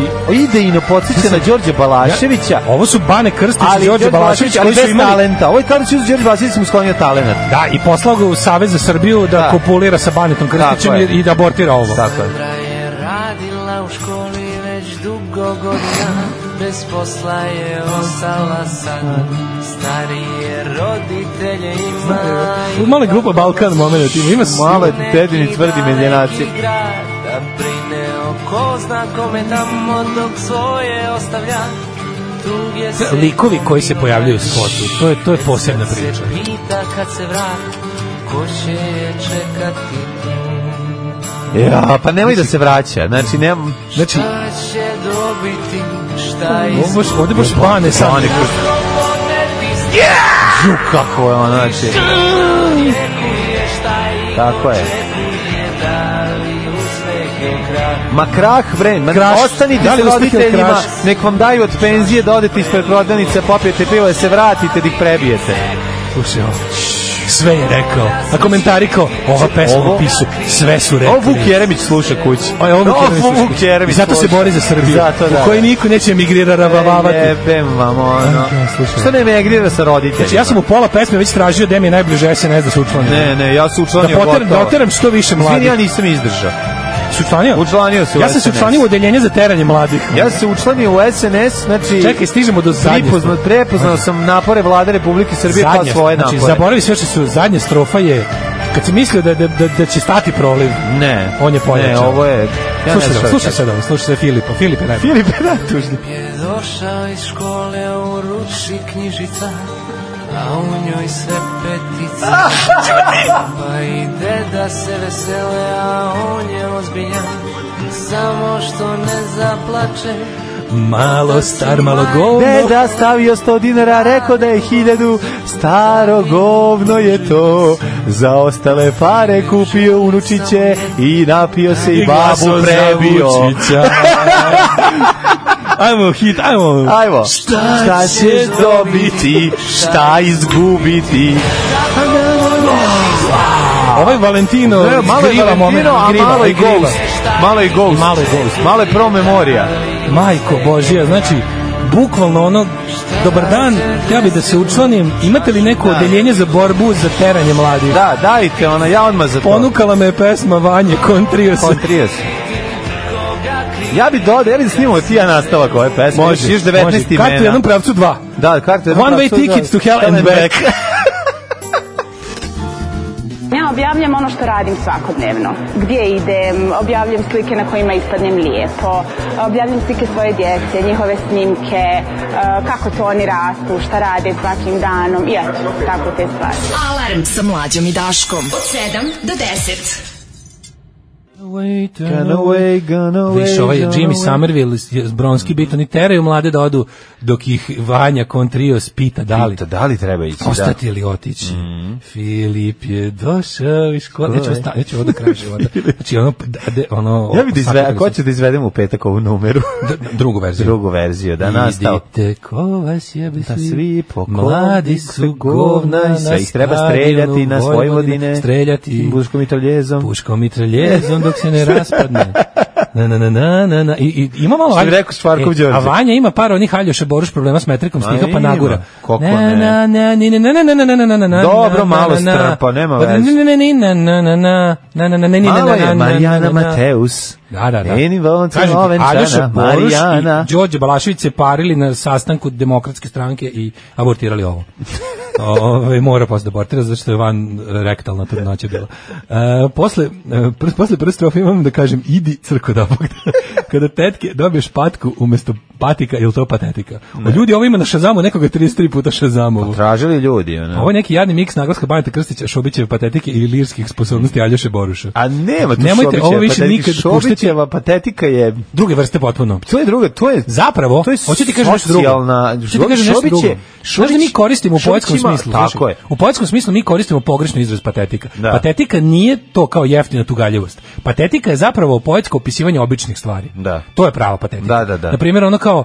Speaker 6: idejno podsjeća na Đorđe Balaševića.
Speaker 5: Ovo su Bane Krstić i
Speaker 6: Ali
Speaker 5: Đorđe
Speaker 6: Đorđe
Speaker 5: Balašević
Speaker 6: Balašević, ali
Speaker 5: koji su
Speaker 6: bez
Speaker 5: imali...
Speaker 6: talenta. Ovo je kao da će uz Đorđe Balašević mu sklonio talenat.
Speaker 5: Da, i poslao ga u Savez za Srbiju da,
Speaker 6: Da.
Speaker 5: kopulira sa Banetom Krstićem
Speaker 6: Tako je.
Speaker 5: i da abortira ovo.
Speaker 6: Tako je.
Speaker 15: je radila u školi već dugo godina Bez posla je ostala sad Starije roditelje ima
Speaker 5: U male grupa Balkan moment, ima, ima
Speaker 6: Male dedini tvrdi medljenaci.
Speaker 15: neki grad Da brine o ko zna kome tamo dok svoje ostavlja Tuge se
Speaker 5: Likovi koji se pojavljaju u spotu, to je, to je posebna priča.
Speaker 15: pita kad se vrati Ko će je čekati
Speaker 6: Ja, pa nemoj da se vraća. Znači, nemam...
Speaker 5: Znači,
Speaker 15: Šta će dobiti, šta
Speaker 5: ovo baš,
Speaker 15: izgubiti
Speaker 5: ovde baš Bane sad.
Speaker 6: Bane Krstić. Ju, kako je ono, znači... Tako je. Ma krah, bre, ma
Speaker 5: Kraš.
Speaker 6: ostanite
Speaker 5: Da li
Speaker 6: s
Speaker 5: uspeh ili
Speaker 6: roditeljima,
Speaker 5: kraš?
Speaker 6: nek vam daju od penzije da odete ispred prodavnice, popijete pivo, da se vratite, da ih prebijete.
Speaker 5: Slušaj ovo. Sve je rekao. A komentari kao, ova pesma
Speaker 6: Ovo-
Speaker 5: u pisu, sve su rekli.
Speaker 6: Ovo Vuk Jeremić sluša kući.
Speaker 5: O, je ovo Vuk
Speaker 6: Ovo
Speaker 5: Jeremić sluša.
Speaker 6: Vuk Jeremić
Speaker 5: I Zato se
Speaker 6: sluša.
Speaker 5: bori za Srbiju.
Speaker 6: Zato da.
Speaker 5: U kojoj niko neće emigrira rabavavati.
Speaker 6: E, Jebem vam ono.
Speaker 5: Ja, slušaj.
Speaker 6: Što ne emigrira sa roditeljima?
Speaker 5: Znači, ja sam u pola pesme već tražio da mi je najbliže SNS da se učlanim.
Speaker 6: Ne, ne, ja sam
Speaker 5: Da
Speaker 6: učlanio
Speaker 5: poteram, da oteram što više mladih.
Speaker 6: Izvini, ja nisam izdržao.
Speaker 5: Se učlanio?
Speaker 6: Učlanio se u
Speaker 5: Ja sam se
Speaker 6: SNS.
Speaker 5: učlanio u odeljenje za teranje mladih.
Speaker 6: Ja sam se učlanio u SNS, znači...
Speaker 5: Čekaj, stižemo do zadnje.
Speaker 6: Prepoznao,
Speaker 5: strofe.
Speaker 6: prepoznao sam napore vlade Republike Srbije kao
Speaker 5: Zadnja-
Speaker 6: pa svoje
Speaker 5: znači,
Speaker 6: napore.
Speaker 5: zaboravi sve što su zadnja strofa je kad si mislio da, da, da, da će stati proliv
Speaker 6: Ne,
Speaker 5: on je pojačan
Speaker 6: ne, ovo je... Ja ne
Speaker 5: slušaj,
Speaker 6: znam
Speaker 5: da,
Speaker 6: šta
Speaker 5: slušaj
Speaker 6: ću.
Speaker 5: sad ovo, slušaj se Filipa Filip je najbolji
Speaker 6: Filip je najtužniji.
Speaker 15: je došao iz škole u ruči knjižica a u njoj sve petice
Speaker 5: Ah,
Speaker 15: pa ide da se vesele a on je ozbiljan samo što ne zaplače
Speaker 5: malo star, malo govno
Speaker 6: Deda stavio 100 dinara, rekao da je hiljadu, staro govno je to. Za ostale pare kupio unučiće i napio se i babu prebio.
Speaker 5: <laughs> ajmo hit, ajmo
Speaker 6: Ajmo, šta ćeš dobiti, šta izgubiti.
Speaker 5: ovaj Valentino
Speaker 6: Ne, malo je
Speaker 5: griva
Speaker 6: Valentino,
Speaker 5: moment,
Speaker 6: a
Speaker 5: griva,
Speaker 6: malo je
Speaker 5: griva.
Speaker 6: Ghost. Malo je Ghost.
Speaker 5: Malo je Ghost.
Speaker 6: Malo je Pro Memoria.
Speaker 5: majko božija, znači bukvalno ono dobar dan, ja bih da se učlanim imate li neko
Speaker 6: Da.
Speaker 5: odeljenje za borbu za teranje mladih
Speaker 6: Da, dajte ona, ja odmah za to.
Speaker 5: ponukala me je pesma Vanje Kontrios
Speaker 6: Kontrijas. Ja bi dodao, ja bi snimao ti ja nastavak ove pesme. Još- još 19 imena.
Speaker 5: Kartu u jednom pravcu dva.
Speaker 6: Da, kartu jednom
Speaker 5: One way
Speaker 6: pravcu,
Speaker 5: ticket
Speaker 6: da.
Speaker 5: to hell and back.
Speaker 16: Ja objavljam ono što radim svakodnevno. Gdje idem, objavljam slike na kojima ispadnem lijepo, objavljam slike svoje djece, njihove snimke, eh, kako to oni rastu, šta rade svakim danom i eto, tako te stvari.
Speaker 4: Alarm sa mlađom i Daškom. Od 7 do 10.
Speaker 5: away, turn
Speaker 6: Gone away, gone away,
Speaker 5: Viš, ovaj
Speaker 6: gone
Speaker 5: Jimmy
Speaker 6: away.
Speaker 5: Somerville iz iz Bronski bit, oni teraju mlade da odu dok ih Vanja Kontrios pita da li.
Speaker 6: da li treba ići, da. Mhm.
Speaker 5: Ostati ili otići. Filip je došao iz škole. Ja ću, osta, ja ću ovo do kraja života.
Speaker 6: <laughs>
Speaker 5: Znači, ono, da, de, ono,
Speaker 6: Ja bih da izve,
Speaker 5: svakako
Speaker 6: ako ću da izvedem u petak ovu numeru.
Speaker 5: drugu verziju.
Speaker 6: Drugu verziju, da nastav.
Speaker 5: Idite ko vas jebe
Speaker 6: Da svi po
Speaker 5: Mladi
Speaker 6: kolik
Speaker 5: su govna na
Speaker 6: sve ih treba
Speaker 5: stadionu
Speaker 6: streljati na
Speaker 5: Vojvodine,
Speaker 6: Vojvodine.
Speaker 5: Streljati
Speaker 6: Puškom i traljezom.
Speaker 5: Puškom i traljezom dok se ne raspadne. Na, na, na, na, na, na. I, i, ima malo...
Speaker 6: Što bi
Speaker 5: Alj-
Speaker 6: rekao Švarkov Đorđe?
Speaker 5: A Vanja ima par onih Aljoša Boruš problema s metrikom
Speaker 6: Ma
Speaker 5: stiha pa
Speaker 6: ima.
Speaker 5: nagura.
Speaker 6: Kako
Speaker 5: Na,
Speaker 6: ne?
Speaker 5: na, na, ni, ni, na, na, na, na, na, na, na, na, na,
Speaker 6: Dobro,
Speaker 5: na,
Speaker 6: malo
Speaker 5: na, na.
Speaker 6: strpa, nema
Speaker 5: Pa,
Speaker 6: veze.
Speaker 5: ni, ni, ni, na, na, na, na, na, na, na, ni, ni, na,
Speaker 6: Malo
Speaker 5: na, na,
Speaker 6: je Marijana
Speaker 5: na, na, na.
Speaker 6: Mateus.
Speaker 5: Da, da, da.
Speaker 6: Eni volonci
Speaker 5: Kažem ti, Aljoša
Speaker 6: ovenčana,
Speaker 5: Boruš
Speaker 6: Marijana.
Speaker 5: i Đorđe Balašević se parili na sastanku demokratske stranke i abortirali
Speaker 6: <laughs>
Speaker 5: ovo. Ove, mora posle da abortira, zato što je van rektalna trudnoća bila. E, posle, e, pr, posle prve strofe imam da kažem, idi crko da Bog da. <laughs> Kada tetke dobiješ patku umesto patika, ili to patetika? O, ljudi, ovo ima na Šazamu, nekoga 33 puta Šazamovu.
Speaker 6: Tražili ljudi, ono.
Speaker 5: Ovo je neki jadni miks naglaska Baneta Krstića, Šobićeve patetike i lirskih sposobnosti Aljoše Boruša.
Speaker 6: A nema tu
Speaker 5: Nemojte
Speaker 6: Šobićeva
Speaker 5: ovo više
Speaker 6: patetika.
Speaker 5: nikad puštati.
Speaker 6: Šobićeva patetika je...
Speaker 5: Druge vrste potpuno.
Speaker 6: To je druga, to je...
Speaker 5: Zapravo,
Speaker 6: To je
Speaker 5: hoću ti kažem nešto drugo.
Speaker 6: socijalna-
Speaker 5: Hoću ti kažem nešto
Speaker 6: Šobić
Speaker 5: drugo.
Speaker 6: je-
Speaker 5: Znaš da mi
Speaker 6: Šobić-
Speaker 5: koristimo u
Speaker 6: Šobić
Speaker 5: poetskom
Speaker 6: ima-
Speaker 5: smislu.
Speaker 6: tako
Speaker 5: slušaj.
Speaker 6: je.
Speaker 5: U poetskom smislu mi koristimo pogrešno izraz patetika.
Speaker 6: Da.
Speaker 5: Patetika nije to kao jeftina tugaljivost. Patetika je zapravo poetsko opisivanje običnih stvari.
Speaker 6: Da.
Speaker 5: To je prava patetika.
Speaker 6: Da, da, da.
Speaker 5: Na primjer, ono kao,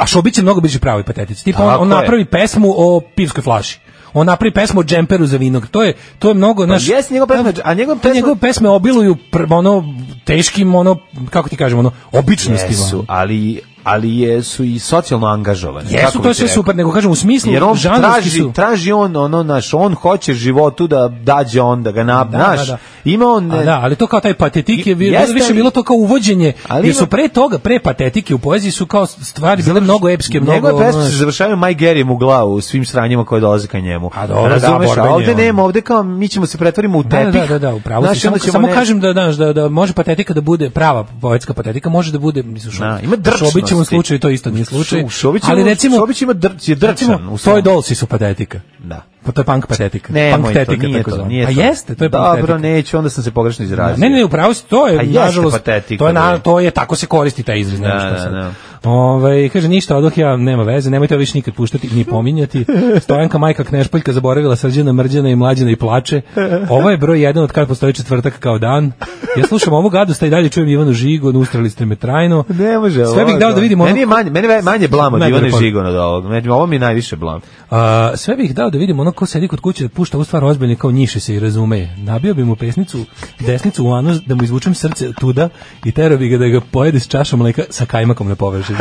Speaker 5: a Šobić je mnogo bliži pravoj patetici. Tipa, on,
Speaker 6: Tako
Speaker 5: on
Speaker 6: je.
Speaker 5: napravi pesmu o pivskoj flaši. On napravi pesmu o džemperu za vinog. To je, to je mnogo, naš,
Speaker 6: jes Pa njegov pesma, a njegov
Speaker 5: te
Speaker 6: pesma-
Speaker 5: njegove pesme obiluju pr- ono, teškim, ono, kako ti kažem, ono, običnostima.
Speaker 6: Jesu, ali ali je, su i socijalno angažovani.
Speaker 5: Jesu, to
Speaker 6: kako
Speaker 5: je
Speaker 6: bih
Speaker 5: sve
Speaker 6: rekao.
Speaker 5: super, nego kažem, u smislu
Speaker 6: Jer on
Speaker 5: žanrovski
Speaker 6: traži,
Speaker 5: su-
Speaker 6: traži on, ono, naš, on hoće životu da dađe on, da ga nab,
Speaker 5: Da,
Speaker 6: naš.
Speaker 5: da, da.
Speaker 6: Ima on... e,
Speaker 5: A da, ali to kao taj patetik je bilo
Speaker 6: Jeste,
Speaker 5: više
Speaker 6: ali-
Speaker 5: bilo to kao uvođenje.
Speaker 6: Ali
Speaker 5: jer su
Speaker 6: ima-
Speaker 5: pre toga, pre patetike u poeziji su kao stvari bile mnogo epske, mnogo.
Speaker 6: Njegove pesme
Speaker 5: ono,
Speaker 6: se završavaju Maj Gerijem u glavu u svim sranjima koje dolaze ka njemu.
Speaker 5: A dobro, da,
Speaker 6: Razumeš,
Speaker 5: borben
Speaker 6: a
Speaker 5: je
Speaker 6: ovde
Speaker 5: on.
Speaker 6: nema, ovde kao mi ćemo se pretvorimo u
Speaker 5: Da,
Speaker 6: tepih.
Speaker 5: da, da, da, da, upravo
Speaker 6: Znaš,
Speaker 5: si. Samo,
Speaker 6: onda ćemo
Speaker 5: samo
Speaker 6: ne-
Speaker 5: kažem da, znaš, da, da može patetika da bude prava poetska patetika, može da bude, mislim, šo,
Speaker 6: Da,
Speaker 5: u
Speaker 6: ima
Speaker 5: Šobićevom
Speaker 6: drčnosti.
Speaker 5: slučaju to isto nije slučaj.
Speaker 6: Šo- u Šobićevom-
Speaker 5: ali recimo,
Speaker 6: Šobić ima drč- je drčan
Speaker 5: recimo,
Speaker 6: u
Speaker 5: Toy
Speaker 6: svom-
Speaker 5: Dolls su patetika.
Speaker 6: Da.
Speaker 5: Pa to je punk patetika. punk
Speaker 6: Nemoj to,
Speaker 5: tetika,
Speaker 6: nije
Speaker 5: tako
Speaker 6: to,
Speaker 5: zvano.
Speaker 6: nije
Speaker 5: Pa
Speaker 6: to.
Speaker 5: jeste, to je punk
Speaker 6: Dobro,
Speaker 5: tetika.
Speaker 6: neću, onda sam se pogrešno izrazio.
Speaker 5: Ne, ne, upravo si, to
Speaker 6: A
Speaker 5: je,
Speaker 6: jeste
Speaker 5: nažalost,
Speaker 6: patetika,
Speaker 5: to je, na,
Speaker 6: da.
Speaker 5: to je, tako se koristi taj izraz, ne znam
Speaker 6: Da,
Speaker 5: šta
Speaker 6: da,
Speaker 5: sad.
Speaker 6: da.
Speaker 5: Ovaj, kaže, ništa, odoh ja, nema veze, nemojte ovo više nikad puštati, ni pominjati. Stojanka majka Knešpoljka zaboravila srđana, mrđana i mlađana i plače. Ovo je broj jedan od kada postoji četvrtak kao dan. Ja slušam ovu gadost, a i dalje čujem Ivanu Žigu, nustrali ste me trajno.
Speaker 6: Ne može.
Speaker 5: Sve bih
Speaker 6: ovo,
Speaker 5: dao da vidim ono-
Speaker 6: Meni je manje, meni je manje blam od
Speaker 5: Najgore
Speaker 6: Ivane
Speaker 5: poruke.
Speaker 6: Žigona od ovog. Meni- Ovo mi je najviše blam.
Speaker 5: A, sve bih dao da vidim ono ko sedi kod kuće da pušta u stvar ozbiljno kao njiše se i razume. Nabio bi mu pesnicu, desnicu u anus da mu izvučem srce tuda i terao bi ga da ga pojede s čašom mleka sa kajmakom na
Speaker 6: <laughs>
Speaker 5: površini.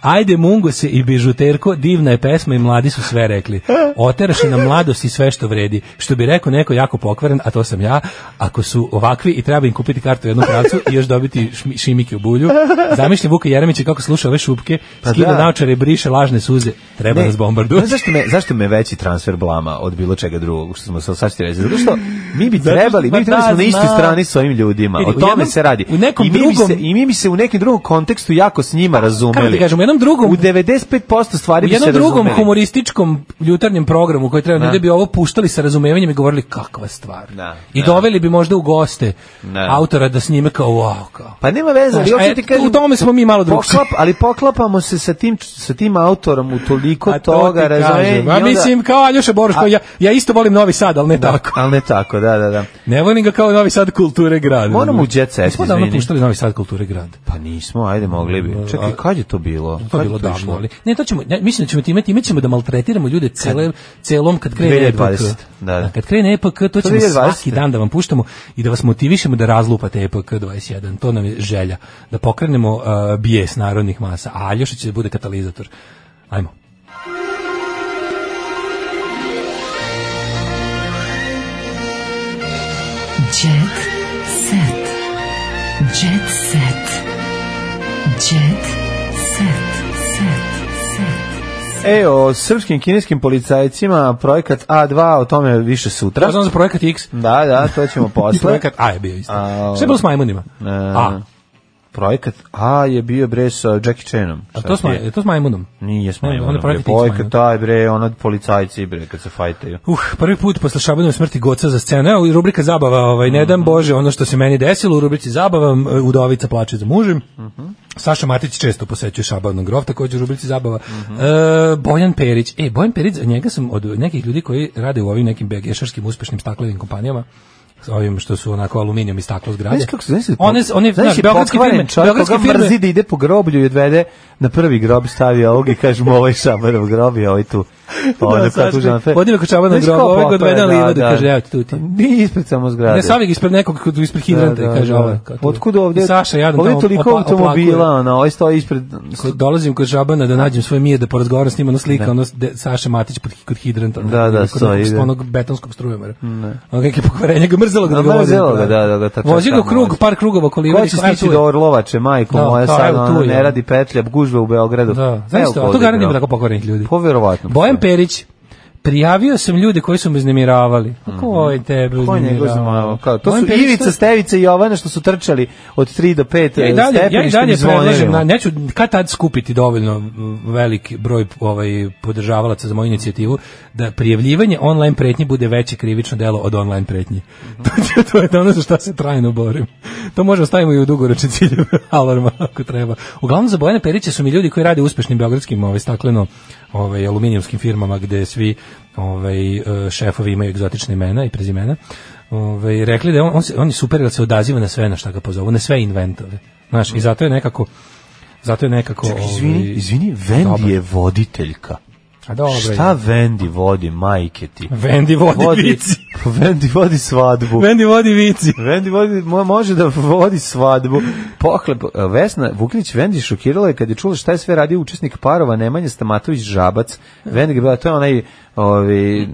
Speaker 5: Ajde mungo se i bižuterko, divna je pesma i mladi su sve rekli. Oteraš i na mladost i sve što vredi. Što bi rekao neko jako pokvaren, a to sam ja, ako su ovakvi i treba im kupiti kartu u jednom pravcu i još dobiti šmi- šimike u bulju. Zamišljam Vuka Jeremića kako sluša ove šupke,
Speaker 6: Pa
Speaker 5: skida
Speaker 6: da.
Speaker 5: naočare, briše lažne suze. Treba
Speaker 6: Ne,
Speaker 5: nas bombarduje.
Speaker 6: <laughs> znaš zašto me, zašto me veći transfer blama od bilo čega drugog, što smo sad sad ćete reći? Zato što mi
Speaker 5: <laughs>
Speaker 6: bi
Speaker 5: Zato što-
Speaker 6: trebali, mi
Speaker 5: pa
Speaker 6: bi trebali
Speaker 5: da,
Speaker 6: smo na istoj
Speaker 5: znam.
Speaker 6: strani s ovim ljudima.
Speaker 5: Vidi,
Speaker 6: O
Speaker 5: u
Speaker 6: tome
Speaker 5: jednom-
Speaker 6: se radi.
Speaker 5: u nekom
Speaker 6: I mi, bi se,
Speaker 5: drugom- Pa,
Speaker 6: I mi bi se u nekim drugom kontekstu jako s njima razumeli.
Speaker 5: Kako ti kažem, u jednom drugom-
Speaker 6: U 95% stvari
Speaker 5: U
Speaker 6: bi se
Speaker 5: jednom drugom
Speaker 6: razumeli.
Speaker 5: humorističkom jutarnjem programu koji treba
Speaker 6: Da.
Speaker 5: negde bi ovo puštali sa razumevanjem i govorili kakva stvar.
Speaker 6: Da,
Speaker 5: I
Speaker 6: da.
Speaker 5: doveli bi možda u goste
Speaker 6: Da.
Speaker 5: autora da snime kao wow, kao.
Speaker 6: Pa nema veze, ali
Speaker 5: Znaš,
Speaker 6: hoću
Speaker 5: e,
Speaker 6: ti kažem, pa
Speaker 5: u tome smo mi malo drugčiji.
Speaker 6: Poklap, ali poklapamo se sa tim sa tim autorom u toliko
Speaker 5: A to ti
Speaker 6: toga,
Speaker 5: kažem.
Speaker 6: razumeš?
Speaker 5: A mislim, kao Aljoša Boruš, kao ja, ja isto volim Novi Sad, ali ne tako.
Speaker 6: ali ne tako, da, da, da.
Speaker 5: Ne volim ga kao Novi Sad kulture grad.
Speaker 6: Moramo u jet set,
Speaker 5: Nismo davno
Speaker 6: izvini.
Speaker 5: ono puštali Novi Sad kulture grad.
Speaker 6: Pa nismo, ajde mogli bi. Čekaj, kad je to bilo?
Speaker 5: Pa, To
Speaker 6: Kad
Speaker 5: je bilo davno,
Speaker 6: išlo?
Speaker 5: ali ne, to ćemo, ne, mislim da ćemo time, time ćemo da maltretiramo ljude cele, celom kad krene
Speaker 6: 2020,
Speaker 5: EPK.
Speaker 6: da, da.
Speaker 5: A Kad krene EPK, to ćemo
Speaker 6: 2020.
Speaker 5: svaki dan da vam puštamo i da vas motivišemo da razlupate EPK 21. To nam je želja. Da pokrenemo uh, bijes narodnih masa. A Aljoša će da bude katalizator. Ajmo.
Speaker 4: Jet set. Jet set. Jet set. Set. Set.
Speaker 6: E, o srpskim i kineskim policajcima, projekat A2, o tome više sutra.
Speaker 5: Ja znam za projekat X.
Speaker 6: Da, da, to ćemo
Speaker 5: I <laughs>
Speaker 6: posle.
Speaker 5: projekat A je bio isto.
Speaker 6: A,
Speaker 5: Sve je bilo s majmunima.
Speaker 6: E,
Speaker 5: A.
Speaker 6: projekat A je bio bre sa Jackie Chanom.
Speaker 5: A to s ma- je to s Majmunom?
Speaker 6: Nije s
Speaker 5: Ne,
Speaker 6: Majmunom.
Speaker 5: on je
Speaker 6: bre.
Speaker 5: projekat X
Speaker 6: projekat
Speaker 5: Majmun.
Speaker 6: taj bre, ono policajci bre kad se fajtaju.
Speaker 5: Uh, prvi put posle Šabanove smrti Goca za scenu. Evo, rubrika zabava, ovaj, ne
Speaker 6: Mhm.
Speaker 5: dam Bože, ono što se meni desilo u rubrici zabava, m, e, udovica plače za mužem.
Speaker 6: Mhm.
Speaker 5: Saša Matić često posećuje Šabanov grov, takođe u rubrici zabava.
Speaker 6: Mhm.
Speaker 5: E, Bojan Perić. E, Bojan Perić, za njega sam od nekih ljudi koji rade u ovim nekim begešarskim uspešnim staklenim kompanijama, s ovim što su onako aluminijum i staklo zgrade.
Speaker 6: Znaš kako se znaš,
Speaker 5: One, one,
Speaker 6: znaš,
Speaker 5: znaš, beogradske
Speaker 6: pokvaren
Speaker 5: firme,
Speaker 6: čovjek
Speaker 5: beogradske
Speaker 6: koga
Speaker 5: firme,
Speaker 6: mrzi da ide po groblju i odvede na prvi grob stavi ovog i kaže mu ovaj šabanov grob i ovaj
Speaker 5: <laughs>
Speaker 6: tu. Ovaj
Speaker 5: Da,
Speaker 6: da, sad
Speaker 5: Saško,
Speaker 6: tu žanfe.
Speaker 5: podijeli kod šabanov
Speaker 6: Znaš
Speaker 5: groba,
Speaker 6: ko
Speaker 5: ovaj ga
Speaker 6: pokvaren,
Speaker 5: odvede, ali
Speaker 6: da, Pa
Speaker 5: ima da kaže, evo ti tu ti.
Speaker 6: Nije ispred samo zgrade.
Speaker 5: Ne stavi ga ispred nekog kod- ispred hidranta i kaže ovo. kao tu.
Speaker 6: Otkud ovde?
Speaker 5: I Saša, jadan
Speaker 6: ovde
Speaker 5: tamo
Speaker 6: je toliko
Speaker 5: opla-
Speaker 6: automobila,
Speaker 5: oplakuje.
Speaker 6: ono, ovaj stoji ispred...
Speaker 5: Ko- dolazim kod Žabana da nađem svoje mije, da porazgovaram s njima, ono slika,
Speaker 6: Da.
Speaker 5: ono de, Saša Matić pod, kod hidranta. ono,
Speaker 6: Da, da,
Speaker 5: kod
Speaker 6: stoji,
Speaker 5: Kod
Speaker 6: da.
Speaker 5: onog betonskog strujomera.
Speaker 6: Ne.
Speaker 5: Ono kakve pokvarenje ga mrzelo da
Speaker 6: Da,
Speaker 5: ga vozi.
Speaker 6: mrzelo ga, da, da, da, ta
Speaker 5: Vozi ga
Speaker 6: čeka,
Speaker 5: krug,
Speaker 6: vozi.
Speaker 5: par krugova koli
Speaker 6: Ko će stići do Orlovače, majko
Speaker 5: Da,
Speaker 6: moja,
Speaker 5: pa,
Speaker 6: sad
Speaker 5: evo, tu
Speaker 6: ono,
Speaker 5: je,
Speaker 6: ne
Speaker 5: ono.
Speaker 6: radi petlja, gužve u Beogradu. ono. Da,
Speaker 5: Znaš što, to garantimo tako pokvarenih ljudi.
Speaker 6: Pa Poverovatno.
Speaker 5: Bojan Perić, prijavio sam ljude koji su me uznemiravali. A ko je tebe
Speaker 6: Mhm. Ko je njegov
Speaker 5: uznemiravao?
Speaker 6: zmajo? Kao, to
Speaker 5: Bojan
Speaker 6: su
Speaker 5: Perić, to
Speaker 6: Ivica,
Speaker 5: je-
Speaker 6: Stevica i Jovana što su trčali od 3 do 5
Speaker 5: Ja i dalje, ja i
Speaker 6: stepeništa
Speaker 5: dalje
Speaker 6: i zvonili
Speaker 5: predlažem,
Speaker 6: mu.
Speaker 5: na, neću kad tad skupiti dovoljno mm, veliki broj ovaj, podržavalaca za moju inicijativu, da prijavljivanje online pretnji bude veće krivično delo od online pretnji. <laughs> To je- to je ono za šta se trajno borim. To možemo stavimo i u dugoročne ciljeve <laughs> alarma ako treba. Uglavnom za Bojana Perića su mi ljudi koji rade u uspešnim beogradskim ovaj, stakleno ovaj, aluminijumskim firmama gde svi ovaj, eh, šefovi imaju egzotične imena i prezimena. Ovaj, rekli da je on, on, se, on je super jer se odaziva na sve na šta ga pozovu, na sve inventove. Znaš, i zato je nekako zato je nekako...
Speaker 6: Čekaj, izvini,
Speaker 5: ovaj,
Speaker 6: izvini, Vendi je voditeljka.
Speaker 5: A dobro je.
Speaker 6: Šta Vendi vodi, majke ti?
Speaker 5: Vendi vodi vici.
Speaker 6: <laughs> Vendi vodi svadbu.
Speaker 5: Vendi vodi vici.
Speaker 6: Vendi vodi, mo- može da vodi svadbu. Pohleb, Vesna Vuklić Vendi šokirala je kad je čula šta je sve radio učesnik parova Nemanja Stamatović Žabac. Vendi ga je bila, to je onaj, ovi,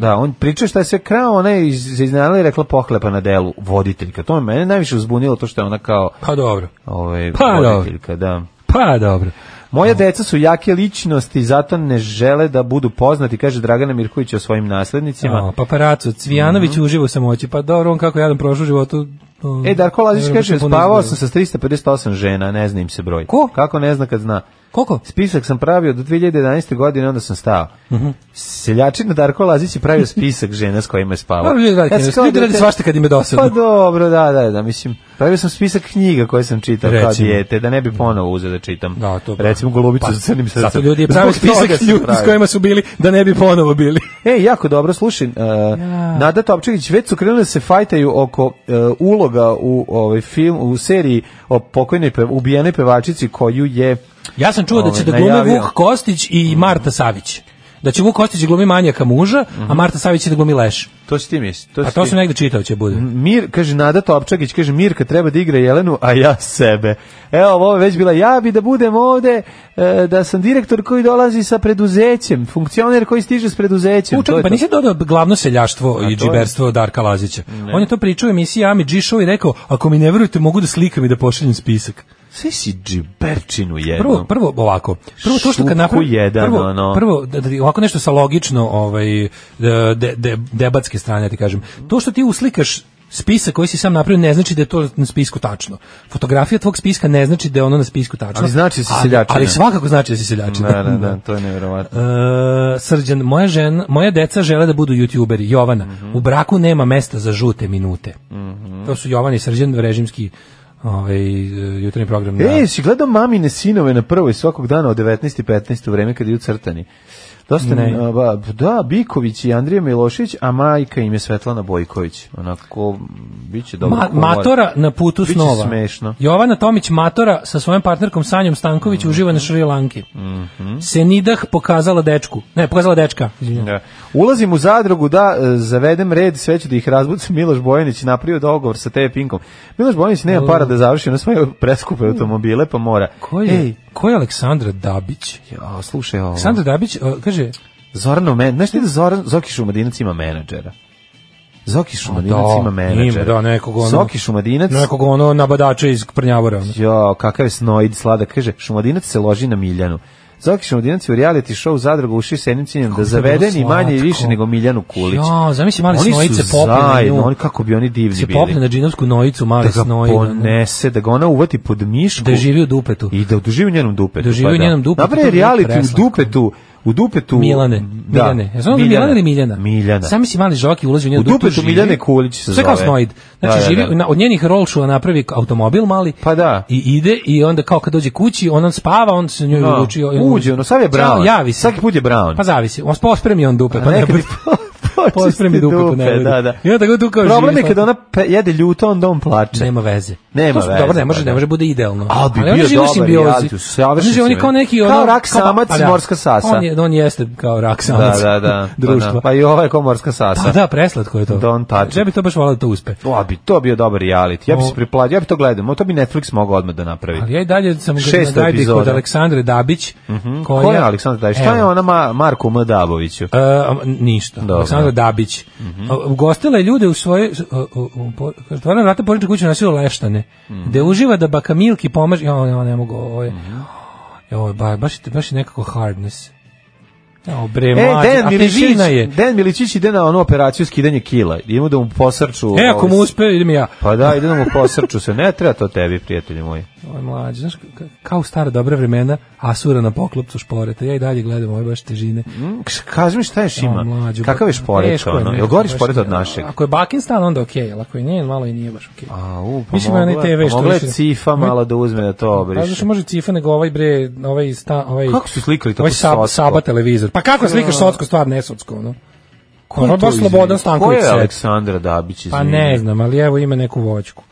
Speaker 6: da, on priča šta je sve krao, ona je iz- iznenadila i rekla pohlepa na delu, voditeljka. To je mene najviše uzbunilo to što je ona kao
Speaker 5: Pa dobro.
Speaker 6: Ovaj
Speaker 5: Pa dobro.
Speaker 6: voditeljka, da.
Speaker 5: Pa dobro.
Speaker 6: Moja deca su jake ličnosti, zato ne žele da budu poznati, kaže Dragana Mirković o svojim naslednicima.
Speaker 5: O, paparaco, Cvijanović uživo u samoći. Pa dobro, on kako jadan prošao u životu... o,
Speaker 6: E, Darko Lazić
Speaker 5: ne
Speaker 6: kaže,
Speaker 5: znam, puno
Speaker 6: spavao sam sa 358 žena, ne zna im se broj. Ko? Kako ne zna kad zna?
Speaker 5: Koliko?
Speaker 6: Spisak sam pravio do 2011. godine, onda sam stao.
Speaker 5: Mhm.
Speaker 6: Seljačina Darko Lazić je pravio spisak žena s kojima je spavao.
Speaker 5: Dobro, ljudi rade
Speaker 6: sam
Speaker 5: knjige.
Speaker 6: kao
Speaker 5: Ljudi rade
Speaker 6: dete-
Speaker 5: svašta kad im je dosadno.
Speaker 6: Pa dobro, da, da, da, mislim, pravio sam spisak knjiga koje sam čitao kao
Speaker 5: Recimo.
Speaker 6: dijete, da ne bi ponovo uzeo da čitam. Da,
Speaker 5: to- pa,
Speaker 6: Recimo Golubicu sa crnim srcem.
Speaker 5: Zato ljudi je pravi
Speaker 6: Zbog toga
Speaker 5: spisak
Speaker 6: sam
Speaker 5: ljudi s
Speaker 6: pravio.
Speaker 5: kojima su bili, da ne bi ponovo bili.
Speaker 6: E, jako dobro, slušaj, uh, Nada Topčević, već su krenuli da se fajtaju oko uh, uloga u ovaj film, u seriji o pokojnoj pe, ubijenoj pevačici koju je
Speaker 5: Ja sam čuo da
Speaker 6: ovaj,
Speaker 5: će da glume
Speaker 6: najavio.
Speaker 5: Vuk Kostić i Marta Savić. Da će Vuk Kostić glumi manjaka muža, a Marta Savić će da glumi leš.
Speaker 6: To si ti misli.
Speaker 5: A
Speaker 6: si
Speaker 5: Pa to
Speaker 6: ti.
Speaker 5: su negde čitao će bude.
Speaker 6: Mir, kaže Nada Topčagić, kaže Mirka treba da igra Jelenu, a ja sebe. Evo, ovo je već bila, ja bi da budem ovde, e, da sam direktor koji dolazi sa preduzećem, funkcioner koji stiže s preduzećem.
Speaker 5: U,
Speaker 6: to
Speaker 5: čekaj,
Speaker 6: je
Speaker 5: pa
Speaker 6: to.
Speaker 5: nisi dodao glavno seljaštvo i
Speaker 6: A to je?
Speaker 5: džiberstvo Darka Lazića. On je to pričao u emisiji Ami G Show i rekao, ako mi ne verujete, mogu da slikam i da pošaljem spisak.
Speaker 6: Sve si džiberčinu jednu.
Speaker 5: Prvo, prvo ovako. Prvo to što
Speaker 6: Šutku
Speaker 5: kad napravi
Speaker 6: jedan,
Speaker 5: prvo,
Speaker 6: ono.
Speaker 5: prvo da, da, ovako nešto sa logično ovaj de, de, debatske strane ja ti kažem. To što ti uslikaš spisak koji si sam napravio ne znači da je to na spisku tačno. Fotografija tvog spiska ne znači da je ono na spisku tačno.
Speaker 6: Ali znači da si
Speaker 5: Ali-
Speaker 6: seljačina.
Speaker 5: Ali svakako znači da si seljačina.
Speaker 6: Da, da,
Speaker 5: <laughs>
Speaker 6: da, to je nevjerovatno.
Speaker 5: E, srđan, moja, žena, moja deca žele da budu youtuberi. Jovana, u braku nema mesta za žute minute.
Speaker 6: Mhm.
Speaker 5: To su Jovan i Srđan, režimski ovaj, e, jutarnji program. na-
Speaker 6: E, si gledao mamine sinove na prvoj svakog dana od 19.15 u vreme kad idu crtani. Dosta
Speaker 5: Ne.
Speaker 6: ne. Ba, da, Biković i Andrija Milošić, a majka im je Svetlana Bojković. Onako, m, bit će dobro.
Speaker 5: Ma,
Speaker 6: humor.
Speaker 5: matora na putu
Speaker 6: Biće
Speaker 5: snova.
Speaker 6: smešno.
Speaker 5: Jovana Tomić Matora sa svojom partnerkom Sanjom Stanković uživa na Šri Lanki.
Speaker 6: Mhm.
Speaker 5: Senidah pokazala dečku. Ne, pokazala dečka. izvinjavam.
Speaker 6: Da. Ulazim u zadrugu da e, zavedem red, sve ću da ih razbucam. <laughs> Miloš Bojanić napravio dogovor sa TV Pinkom. Miloš Bojanić nema para da završi na svoje preskupe automobile, pa mora.
Speaker 5: Ko je,
Speaker 6: Ej,
Speaker 5: ko je Aleksandra Dabić?
Speaker 6: ja, slušaj ovo.
Speaker 5: Aleksandra Dabić, e, kaže,
Speaker 6: Zoranov men, znaš ti da Zoran, Zoki Šumadinac ima menadžera? Zoki Šumadinac
Speaker 5: da,
Speaker 6: ima menadžera.
Speaker 5: ima, da, nekog ono-
Speaker 6: Zoki Šumadinac,
Speaker 5: nekog ono nabadača iz Prnjavora. ono.
Speaker 6: jo, kakav je snoid sladak, kaže, Šumadinac se loži na Miljanu. Zokiš Mladinac je u reality show zadruga uši s jednim ciljem da zaveden i manje i više nego Miljanu Kulić.
Speaker 5: Jo, zamisli mali
Speaker 6: oni
Speaker 5: snojice
Speaker 6: su
Speaker 5: popne na
Speaker 6: zajedno,
Speaker 5: nju.
Speaker 6: oni kako bi oni divni
Speaker 5: se
Speaker 6: bili.
Speaker 5: popne na džinovsku nojicu, mali
Speaker 6: da ga
Speaker 5: snoj. ono,
Speaker 6: ponese, da ga ona uvati pod mišku.
Speaker 5: Da živi u dupetu.
Speaker 6: I da živi u njenom dupetu. pa
Speaker 5: Da živi u njenom dupetu,
Speaker 6: Napravi
Speaker 5: to bi bilo
Speaker 6: reality u
Speaker 5: preslatko.
Speaker 6: dupetu, u dupetu
Speaker 5: Milane,
Speaker 6: da,
Speaker 5: Miljane. Ja znam da je Milana ili Miljana.
Speaker 6: Miljana.
Speaker 5: Sami si mali žoki ulazi u njenu
Speaker 6: U dupetu Miljane Kulić se
Speaker 5: Sve kao
Speaker 6: zove.
Speaker 5: snoid. Znači
Speaker 6: Da, da,
Speaker 5: živi
Speaker 6: da.
Speaker 5: na- od njenih rolšuva napravi automobil mali.
Speaker 6: Pa da.
Speaker 5: I ide i onda kao kad dođe kući, on spava, on se njoj
Speaker 6: Da.
Speaker 5: uruči.
Speaker 6: Uđe, ono, sav je brown.
Speaker 5: Javi se.
Speaker 6: Svaki put je brown.
Speaker 5: Pa zavisi. On pospremi on dupe, pa
Speaker 6: nekad <laughs>
Speaker 5: nekad
Speaker 6: i
Speaker 5: pospremi dupe, pa ne.
Speaker 6: da, da.
Speaker 5: I onda tako tu kao
Speaker 6: Problem
Speaker 5: živi,
Speaker 6: je kada
Speaker 5: pa-
Speaker 6: ona pe- jede ljuto, onda on plače.
Speaker 5: Nema veze.
Speaker 6: Nema
Speaker 5: To su-
Speaker 6: veze.
Speaker 5: Dobro, ne može,
Speaker 6: pa
Speaker 5: ne
Speaker 6: da.
Speaker 5: može bude idealno.
Speaker 6: Ali bi
Speaker 5: oni
Speaker 6: bio
Speaker 5: žive u
Speaker 6: dobar
Speaker 5: simbiozi.
Speaker 6: reality, savršen
Speaker 5: Oni žive, oni
Speaker 6: simbioz.
Speaker 5: kao neki
Speaker 6: Kao
Speaker 5: ono,
Speaker 6: rak samac i
Speaker 5: pa da.
Speaker 6: morska sasa.
Speaker 5: On je on jeste kao rak
Speaker 6: Da,
Speaker 5: samac. <laughs>
Speaker 6: da, da. Pa, da.
Speaker 5: Društvo.
Speaker 6: pa i ova je komorska sasa.
Speaker 5: Da, da, preslatko je to.
Speaker 6: Don Tači.
Speaker 5: Ja bi to baš volao da to uspe.
Speaker 6: To bi, to bio dobar reality. Ja bi
Speaker 5: O.
Speaker 6: se priplatio, ja bi to gledao. Mo- To bi Netflix mogao odmah da napravi.
Speaker 5: Ali ja i dalje sam ga
Speaker 6: Šest
Speaker 5: na gajbi kod
Speaker 6: epizoda.
Speaker 5: Aleksandre Dabić,
Speaker 6: Mhm.
Speaker 5: koja...
Speaker 6: Ko je Aleksandar Davić? Šta je
Speaker 5: Evo.
Speaker 6: ona Ma- Marku M. Daboviću?
Speaker 5: E, ništa.
Speaker 6: Dobro. Mhm.
Speaker 5: Aleksandra Dabić. A, Ugostila je ljude u svoje... Otvorena vrata porniča kuće na silu Leštane.
Speaker 6: Mhm.
Speaker 5: Gde uživa da baka Milki pomaže... Jo, ne, ne mogu, ovo je... Jo, ba- baš, je- baš je nekako hardness. Jo, bre,
Speaker 6: E,
Speaker 5: mlađe,
Speaker 6: Dan
Speaker 5: a
Speaker 6: Miličić,
Speaker 5: težina je.
Speaker 6: Dan Miličić ide na onu operaciju skidanje kila. Idemo da mu posrču.
Speaker 5: E, ako
Speaker 6: ovaj,
Speaker 5: mu uspe, idem i ja.
Speaker 6: Pa da, idemo mu posrču se. Ne treba to tebi, prijatelji moji.
Speaker 5: Ovo je mlađe, znaš, ka- kao u stara dobra vremena, Asura na poklopcu šporeta. Ja i dalje gledam ove baš težine.
Speaker 6: Kš- Hm? Kaži mi šta je Šima?
Speaker 5: O, mlađo,
Speaker 6: Kakav je
Speaker 5: ba-
Speaker 6: šporet?
Speaker 5: teško je
Speaker 6: Ono? Je
Speaker 5: nekako,
Speaker 6: gori
Speaker 5: baš
Speaker 6: šporet od
Speaker 5: nije.
Speaker 6: našeg?
Speaker 5: Ako je Bakin stan, onda okej, ali ako je njen, malo i nije baš okej.
Speaker 6: A, u, pa
Speaker 5: Mislim, onaj TV što
Speaker 6: pomogla je
Speaker 5: više-
Speaker 6: cifa malo da uzme da
Speaker 5: Pa
Speaker 6: to
Speaker 5: zato
Speaker 6: obriše.
Speaker 5: što može cifa nego ovaj bre, ovaj sta, ovaj
Speaker 6: Kako su slikali tako
Speaker 5: ovaj sab-
Speaker 6: socko?
Speaker 5: saba televizor. Pa kako slikaš socko stvar ne socko, no?
Speaker 6: Ko je
Speaker 5: Ono
Speaker 6: to,
Speaker 5: baš
Speaker 6: izvini?
Speaker 5: Slobodan Stanković
Speaker 6: Ko je
Speaker 5: set.
Speaker 6: Aleksandra Dabić?
Speaker 5: Pa
Speaker 6: izvini?
Speaker 5: ne znam, ali evo ima neku voćku.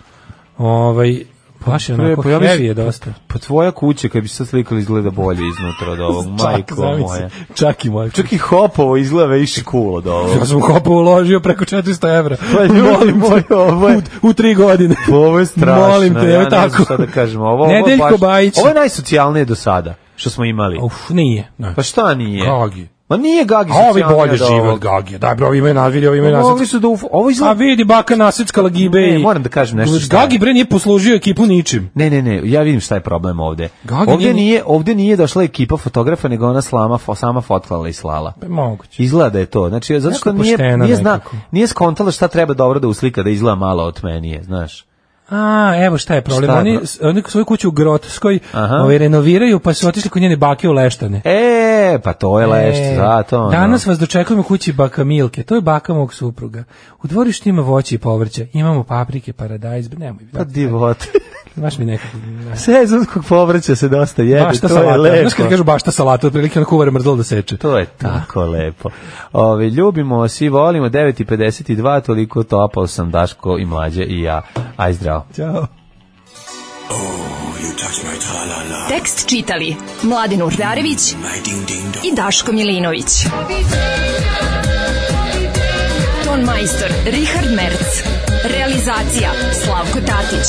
Speaker 5: Ovaj baš je onako
Speaker 6: Pa ja mislim-
Speaker 5: heavy je dosta.
Speaker 6: Pa tvoja kuća, kad bi se slikali, izgleda bolje iznutra od <laughs> ovog. Majko
Speaker 5: zamisli,
Speaker 6: moja.
Speaker 5: Čak i moja.
Speaker 6: Čak i hopovo izgleda više cool od ovog.
Speaker 5: Ja
Speaker 6: <laughs>
Speaker 5: sam u hopu uložio preko 400 evra.
Speaker 6: Pa ljudi
Speaker 5: Molim te,
Speaker 6: moji, ovo je...
Speaker 5: U, u tri godine.
Speaker 6: Ovo je strašno.
Speaker 5: Molim te,
Speaker 6: ja
Speaker 5: evo
Speaker 6: ne znam
Speaker 5: tako.
Speaker 6: šta da kažem. Ovo, ovo,
Speaker 5: Nedeljko
Speaker 6: baš,
Speaker 5: Bajić.
Speaker 6: ovo je najsocijalnije do sada što smo imali.
Speaker 5: Uf, nije. Ne.
Speaker 6: Pa šta nije?
Speaker 5: Gagi.
Speaker 6: Ma nije Gagi
Speaker 5: A ovi
Speaker 6: socijalnije
Speaker 5: bolje
Speaker 6: od ovog.
Speaker 5: žive od Gagija. Daj bro, ovi imaju nas, vidi, ovi imaju
Speaker 6: Pa
Speaker 5: nas.
Speaker 6: Mogli su da uf... Ovo
Speaker 5: A
Speaker 6: izgleda...
Speaker 5: vidi, baka nasickala gibe
Speaker 6: Ne,
Speaker 5: i...
Speaker 6: moram da kažem nešto šta je.
Speaker 5: Gagi bre nije poslužio ekipu ničim.
Speaker 6: Ne, ne, ne, ja vidim šta je problem ovde.
Speaker 5: Gagi
Speaker 6: ovde,
Speaker 5: nije-
Speaker 6: nije, ovde nije došla ekipa fotografa, nego ona slama, fo- sama fotkala i slala.
Speaker 5: Pa moguće.
Speaker 6: Izgleda da je to. Znači, zato što
Speaker 5: Jako
Speaker 6: nije,
Speaker 5: poštena
Speaker 6: nije, zna,
Speaker 5: nekako.
Speaker 6: nije skontala šta treba dobro da uslika, da izgleda malo od menije, znaš.
Speaker 5: A, evo šta je problem.
Speaker 6: Šta je
Speaker 5: oni,
Speaker 6: problem?
Speaker 5: s- oni svoju kuću u Grotskoj
Speaker 6: Aha.
Speaker 5: ovaj, renoviraju, pa su otišli kod njene bake u Leštane.
Speaker 6: E, pa to je lešt,
Speaker 5: E,
Speaker 6: zato. ono.
Speaker 5: Danas vas dočekujemo u kući baka Milke, to je baka mog supruga. U dvorištu ima voće i povrće, imamo paprike, paradajz, nemoj.
Speaker 6: Pa
Speaker 5: <laughs>
Speaker 6: divot.
Speaker 5: Baš mi nekako...
Speaker 6: Sezonskog povrća se dosta jede,
Speaker 5: bašta
Speaker 6: to je
Speaker 5: salata.
Speaker 6: lepo.
Speaker 5: Znaš kad kažu bašta salata, otprilike ono kuvar mrzlo da seče.
Speaker 6: To je tako lepo. Ove, ljubimo vas i volimo, 9.52, toliko topao sam Daško i mlađe i ja. Aj zdravo.
Speaker 5: Ćao.
Speaker 4: Tekst čitali Mladin Urdarević i Daško Milinović. Ton majstor Richard Merc. Realizacija Slavko Tatić.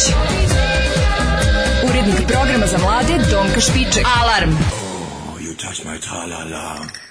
Speaker 4: Urednik programa za mlade Donka Špiček. Alarm!
Speaker 9: You touch my tra-la-la.